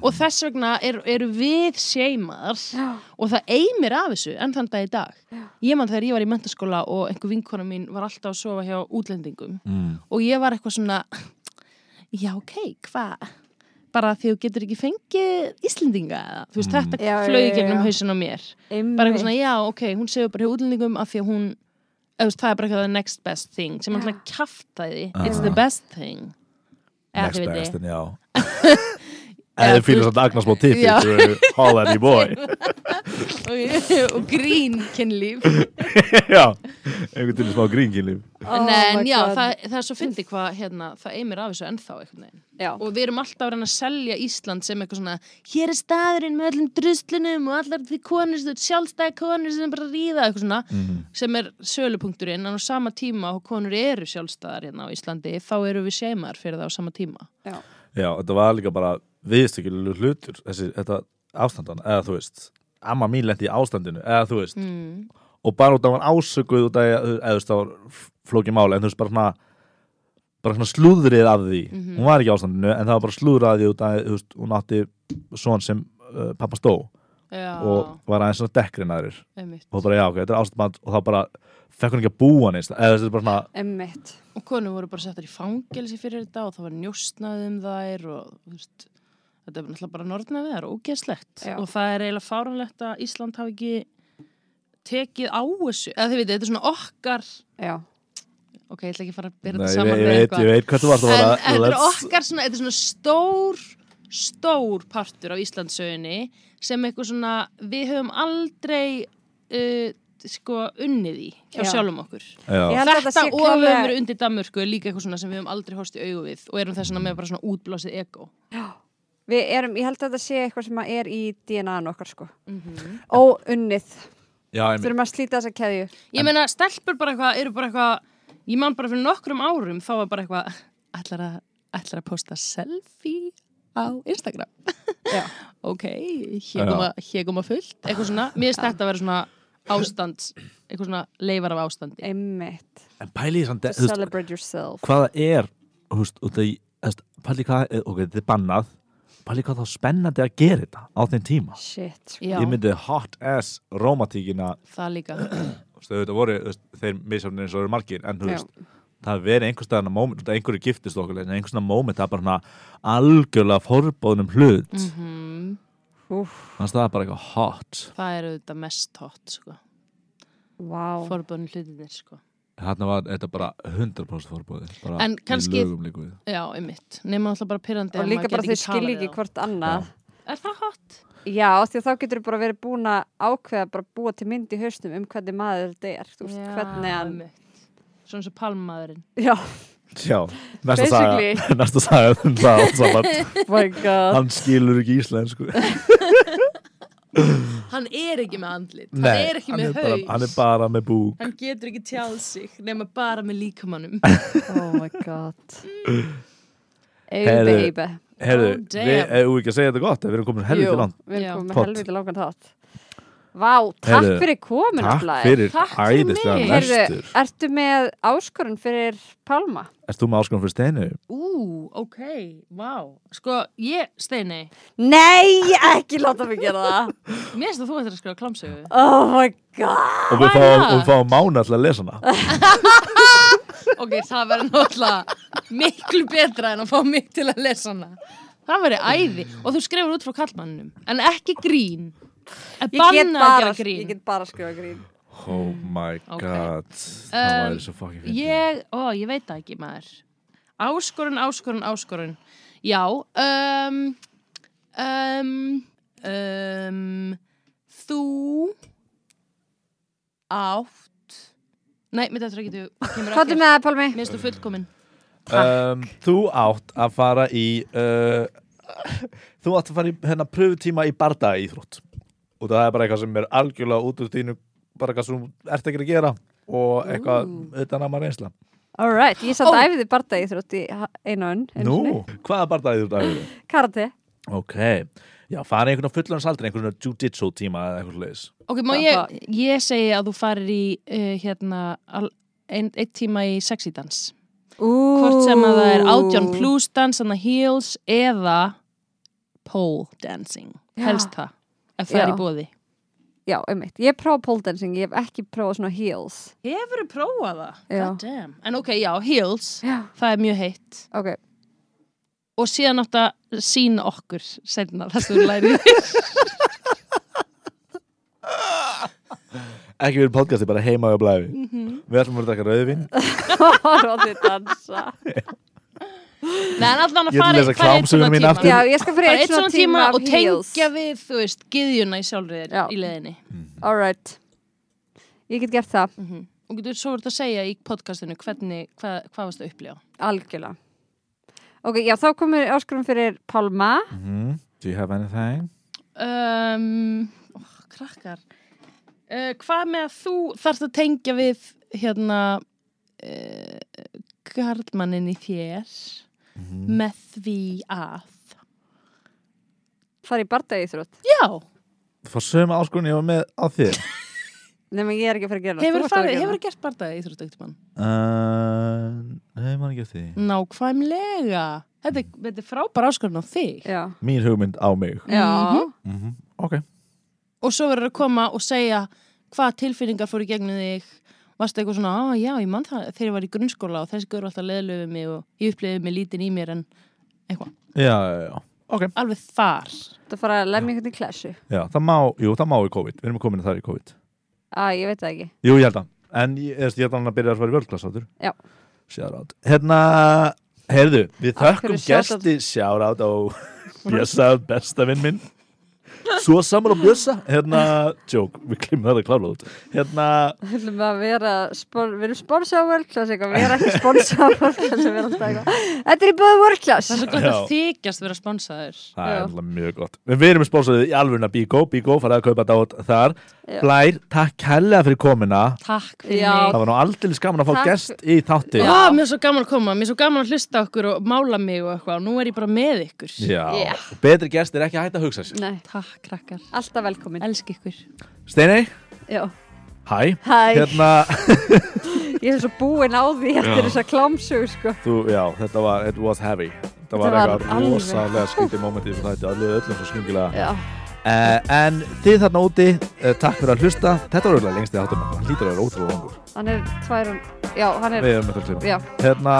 C: og þess vegna er, eru við seimaðar og það eimir af þessu enn þann dag í dag. Ég mann þegar ég var í mentaskóla og einhver vinkona mín var alltaf að sofa hjá útlendingum
A: mm.
C: og ég var eitthvað svona já ok, hvað bara því þú getur ekki fengið Íslendinga eða, þú veist, þetta
D: Já, já,
C: flög
D: já,
C: gegnum
D: já.
C: hausin á mér bara eitthvað svona,
D: Einmitt
C: já ok, hún segur bara hjá útlendingum af því að hún, eða, þú veist, það er bara eitthvað the next best thing, sem hann alltaf kjaftaði it's the best thing eða,
A: Ah. next
C: þið vitið.
A: best en já eða þið fýlir svona agnar smá tippi
C: Já.
A: þú eru all that you boy
C: og, og grín kynlíf
A: já, einhvern veginn smá gríngilum
D: Oh
C: en
D: my
C: já,
D: God.
C: það, það er svo fyndi hvað hérna, það eimir af þessu ennþá einhvern veginn
D: Já.
C: og við erum alltaf að reyna að selja Ísland sem eitthvað svona, hér er staðurinn með öllum druslunum og allar því konur sem- sjálfstæði konur sem bara ríða eitthvað svona, sem er sölupunkturinn en á sama tíma og konur eru sjálfstæðar hérna á Íslandi, þá eru við seimar fyrir það á sama tíma
A: já, þetta var líka bara viðstökjulega hlutur þessi, þetta ástandan, eða þú veist amma mín lendi í ástandinu, eða þú veist
C: mm.
A: og bara út af hann ásökuð út af, eða þú veist, það var flókið mála en þú veist, bara svona bara svona slúðrið af því,
C: Mhm.
A: hún var ekki í ástandinu en það var bara slúðrið af því út af, þú veist, hún átti svona sem uh, pappa stó
C: Já,
A: og var aðeins svona dekkrin aðrir
C: einmitt
A: og bara já, ok, þetta er ástandband og það bara fekk hún ekki að búa hann eða þetta er bara svona
D: Einmitt
C: og konur voru bara settar í fangelsi fyrir þetta og það var njóstnað um þær og þú veist, þetta er náttúrulega bara norðnað við, það er ógeðslegt
D: Já.
C: og það er eiginlega fáranlegt að Ísland hafi ekki tekið á þessu eða þið veitir, þetta er svona okkar
D: Já
C: ok, ég ætla ekki að fara að byrja
A: Nei,
C: þetta
A: ég,
C: saman
A: ég,
C: við
A: veit, ég veit hvað þú varst að
C: en,
A: fara
C: en þetta er
A: let's-
C: okkar svona, þetta er svona stór stór partur af Íslandsögunni sem eitthvað svona við höfum aldrei uh, sko unnið í hjá
D: Já.
C: sjálfum okkur
D: Ég
A: já,
D: held að
C: Þetta
D: þetta sé
C: og við höfum
D: klálega-
C: verið undir Danmörku er líka eitthvað svona sem við höfum aldrei horst í augu við og erum þess vegna með bara svona útblásið ego.
D: Við erum, ég held að þetta sé eitthvað sem að er í DNA-n okkar sko
C: Mhm.
D: Óunnið,
A: já, einmitt.
D: þurfum að slíta þessa keðju
C: Ég meina, stelpur bara eitthvað, eru bara eitthvað, ég man bara fyrir nokkrum árum þá var bara eitthvað, ætlar að, ætlar að posta selfie á Instagram.
D: Já,
C: ok, hér koma, hér koma fullt, eitthvað svona. Mér finnst þetta að vera svona ástand eitthvað svona leifar af ástandi
B: einmitt
A: En pæli samt,
B: to
A: þú veist,
B: celebrate yourself
A: hvaða er þú veist, út af í- þú veist, pæli hvað, eh, ok, þetta er bannað pæli hvað þá spennandi að gera þetta á þeim tíma
B: shit
C: Já,
A: Ég myndi hot ass rómatíkina
C: það líka
A: þú veist, auðvitað voru þú veist, þeir misjafnir eins og eru margir en þú
B: Já.
A: veist, það hafi verið einhvers staðan að moment, þetta einhverju giftist okkur en einhvers staðan moment, það er bara svona algjörlega forbóðnum hlut mm.
C: Mhm,
A: þannig að það er bara eitthvað hot
C: Það er auðvitað mest hot sko.
B: wow
C: Forbunni hlutinir sko.
A: þarna var þetta bara 100% forbóði bara
C: En kannski-
A: í lögum líku við
C: Já, einmitt, nema alltaf bara pyrrandi
B: og líka bara þau skilji ekki hvort annað
C: Er það hot?
B: Já, því að þá getur bara verið búin að ákveða bara búa til mynd í hausnum um hvernig maður þetta er, þú veist, hvernig hann
C: einmitt. Svona svo palmaðurinn
B: Já,
A: já, næsta
B: Basically.
A: saga næsta saga um það allt saman
B: oh my god
A: hann skilur ekki íslensku
C: Hann er ekki með andlit, hann
A: Nei,
C: er ekki
A: hann
C: með
A: bara,
C: haus
A: hann er bara með bú
C: Hann getur ekki tjáð sig nema bara með líkamannum
B: Oh my god Ey
A: Heyrðu,
B: baby
A: Herðu,
C: Oh, damn.
A: við erum ekki að segja þetta gott við erum komin helviti
B: Jú,
A: langt
B: Við
C: Já.
B: erum komið með
A: Pott.
B: helviti langan þátt Vá, takk
A: Heyrðu,
B: fyrir komin
A: Takk fyrir
C: Takk fyrir
A: æðislega
C: mig.
A: lestur
B: Heyrðu, ertu með áskorun fyrir Pálma?
A: Erst þú með áskonum fyrir steinu?
C: Ú, ok, vá Sko, ég, Steini,
B: Nei, ekki láta mig gera það
C: mér finnst að þú ættir að skrifa klámsögu
B: Oh my
A: og
B: god
A: við
C: Hvað er
A: fáum,
C: það?
A: og við fáum mána alltaf að lesa hana
C: Ok, það verður náttúrulega miklu betra en að fá mig til að lesa hana. Það verður æði og þú skrifur út frá kallmannum, en ekki grín. Ég
B: Ég get
C: að
B: bara,
C: gera grín.
B: ég get bara að skrifa grín
A: oh my
C: Ok.
A: god það
C: Um,
A: væri svo fucking fyndið
C: Ég, ó, ég veit það ekki maður. Áskorun, áskorun, áskorun. Já, um, um, um, þú átt, nei, mitt eftir ekki þú, kemur
B: Hvað er með það, Pálmi?
C: Mér stu fullkomin.
A: um, þú átt að fara í uh, þú átt að fara í hérna pröfutíma í barda íþrótt og það er bara eitthvað sem er algjörlega út úr þínu bara eitthvað sem þú ert ekki að gera og eitthvað utan að maður reynsla
B: All right, ég satt
C: Ó.
B: oh. æfiði barda í þrótt í ha- einu önn
A: Nú, hvaða barda íþrótt að vera?
B: Karate
A: Ok, já, fara í einhvern fullans aldrei einhvern jiu-jitsu tíma eða eitthvað leis
C: Ok, má
B: Það-
C: ég, ég segi að þú farir í uh, hérna al, ein, einn tíma í sexidans Hvort sem að það er átján plus dans, þannig að heels eða pole dancing
B: Já.
C: Helst það, ef það
B: Já.
C: er í bóði
B: Já, einmitt, ég prófa pole dancing, ég hef ekki prófað svona heels
C: Hefurðu prófað það?
B: Já.
C: God damn En ok, já, heels,
B: Já,
C: það er mjög heitt
B: ok
C: Og síðan átt að sína okkur senna það sem þú lærið
A: Ekki verið podcasti, bara heima og blæfi
C: Mhm.
A: Við ætlum að vera þetta rauðvin
B: Róði dansa
C: Nei, en allan
A: Ég
C: að
A: ætla að
C: fara
A: lesa
C: í- fara í einn svona
A: klámsöguna mína
C: tíma.
A: aftur.
B: Já, ég skal fyrir
C: Bara
B: eitt svona tíma,
C: og
B: af heels
C: tengja við, þú veist, gyðjuna í sjálfur
B: Já.
C: þér í leiðinni
B: All right Ég get gert það,
C: og getur svo verið að segja í podcastinu hvernig, hvað, hvað varst að upplifa
B: algjörlega Ok, já, þá komur áskorum fyrir Pálma
A: Mhm. Do you have anything?
C: um, ó, krakkar uh, hvað með að þú þarft að tengja við hérna uh, garðmannin í þér með því að
B: Fara í barda í þrótt
C: já,
A: Fá sömu áskorun ég var með á þér
B: Nei, menn ég er ekki að fara að gera það
C: hefur
B: þú ert að
C: farið,
B: gera
C: hefur
B: það.
C: gert bardaði í þrjóttöktumann
A: uh, Nei, maður ekki eftir því
C: nákvæmlega þetta, er- þetta er frábær áskorun á þig
B: Já,
A: Mín hugmynd á mig
B: já
C: Mhm.
A: Ok
C: og svo verður að koma og segja hvað tilfinningar fóru í gegnum þig varstu eitthvað svona, á já, ég man það þegar ég var í grunnskóla og þessi gaur var alltaf leðlöfu mig og ég upplifið mig lítinn í mér en eitthvað,
A: Já, já, já Ok
C: alveg þar
B: Þú ert að fara að lemja einhvern í klessu
A: Já, það má, jú, það má í COVID Við erum komin að það í COVID
B: Æ, ég veit það ekki
A: Jú, ég held að En ég, ég held að hann að byrja að fara í vörglas áttur
B: Já.
A: Sjárátt Hérna, heyrðu, við
B: Af
A: þökkum
B: hverju shoutout?
A: gesti sjárátt á Bjössa, besta vinn minn Svo saman á Bjössa Hérna, joke, við klimum það að klára það út Hérna,
B: Við ætlum að vera, spor, við erum sponsor á World Class eitthvað, við erum ekki sponsor á World Class, við erum alltaf eitthvað. Þetta er í bóði World Class.
C: það er svo gott
A: Já.
C: að þykjast vera sponsaður
A: það er
B: Já.
A: alltaf mjög gott En Við erum spósaðið í alvöruna Bíkó, Bíkó, farið að kaupa dát þar
B: Já.
A: Blær, takk hella fyrir komina
C: takk fyrir
B: Já.
A: Það
C: mig
A: var nú aldrei skaman að fá
B: Takk.
A: gest í þátti
C: Já, mér er svo gaman að koma, mér er svo gaman að hlusta á okkur og mála mig og eitthvað og nú er ég bara með ykkur
A: Já, betri gest er ekki að hætta að hugsa sér
B: Nei,
C: Takk, krakkar,
B: alltaf velkomin.
C: elsk ykkur
A: Steinei,
B: Já.
A: Hæ,
B: Hæ,
A: hérna
B: ég er svo búin á því eftir
A: Já.
B: þess að klámsög sko.
A: Þú, já, þetta var, it was heavy Þetta var
B: var
A: eitthvað
B: alveg-
A: rosalega skyndi moment í þessum þætti, allir öllum svo skyngilega
B: Já.
A: uh, En þið þarna úti, uh, takk fyrir að hlusta Þetta var auðvitað lengst í þáttum Hann lítur að vera ótrúlega langur
B: Hann er tvær og Já, hann er
A: Við erum með það klima
B: Já.
A: Hérna,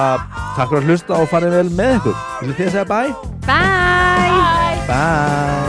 A: takk fyrir að hlusta og farið vel með ykkur Vil þið segja bye?
B: Bye!
A: Bye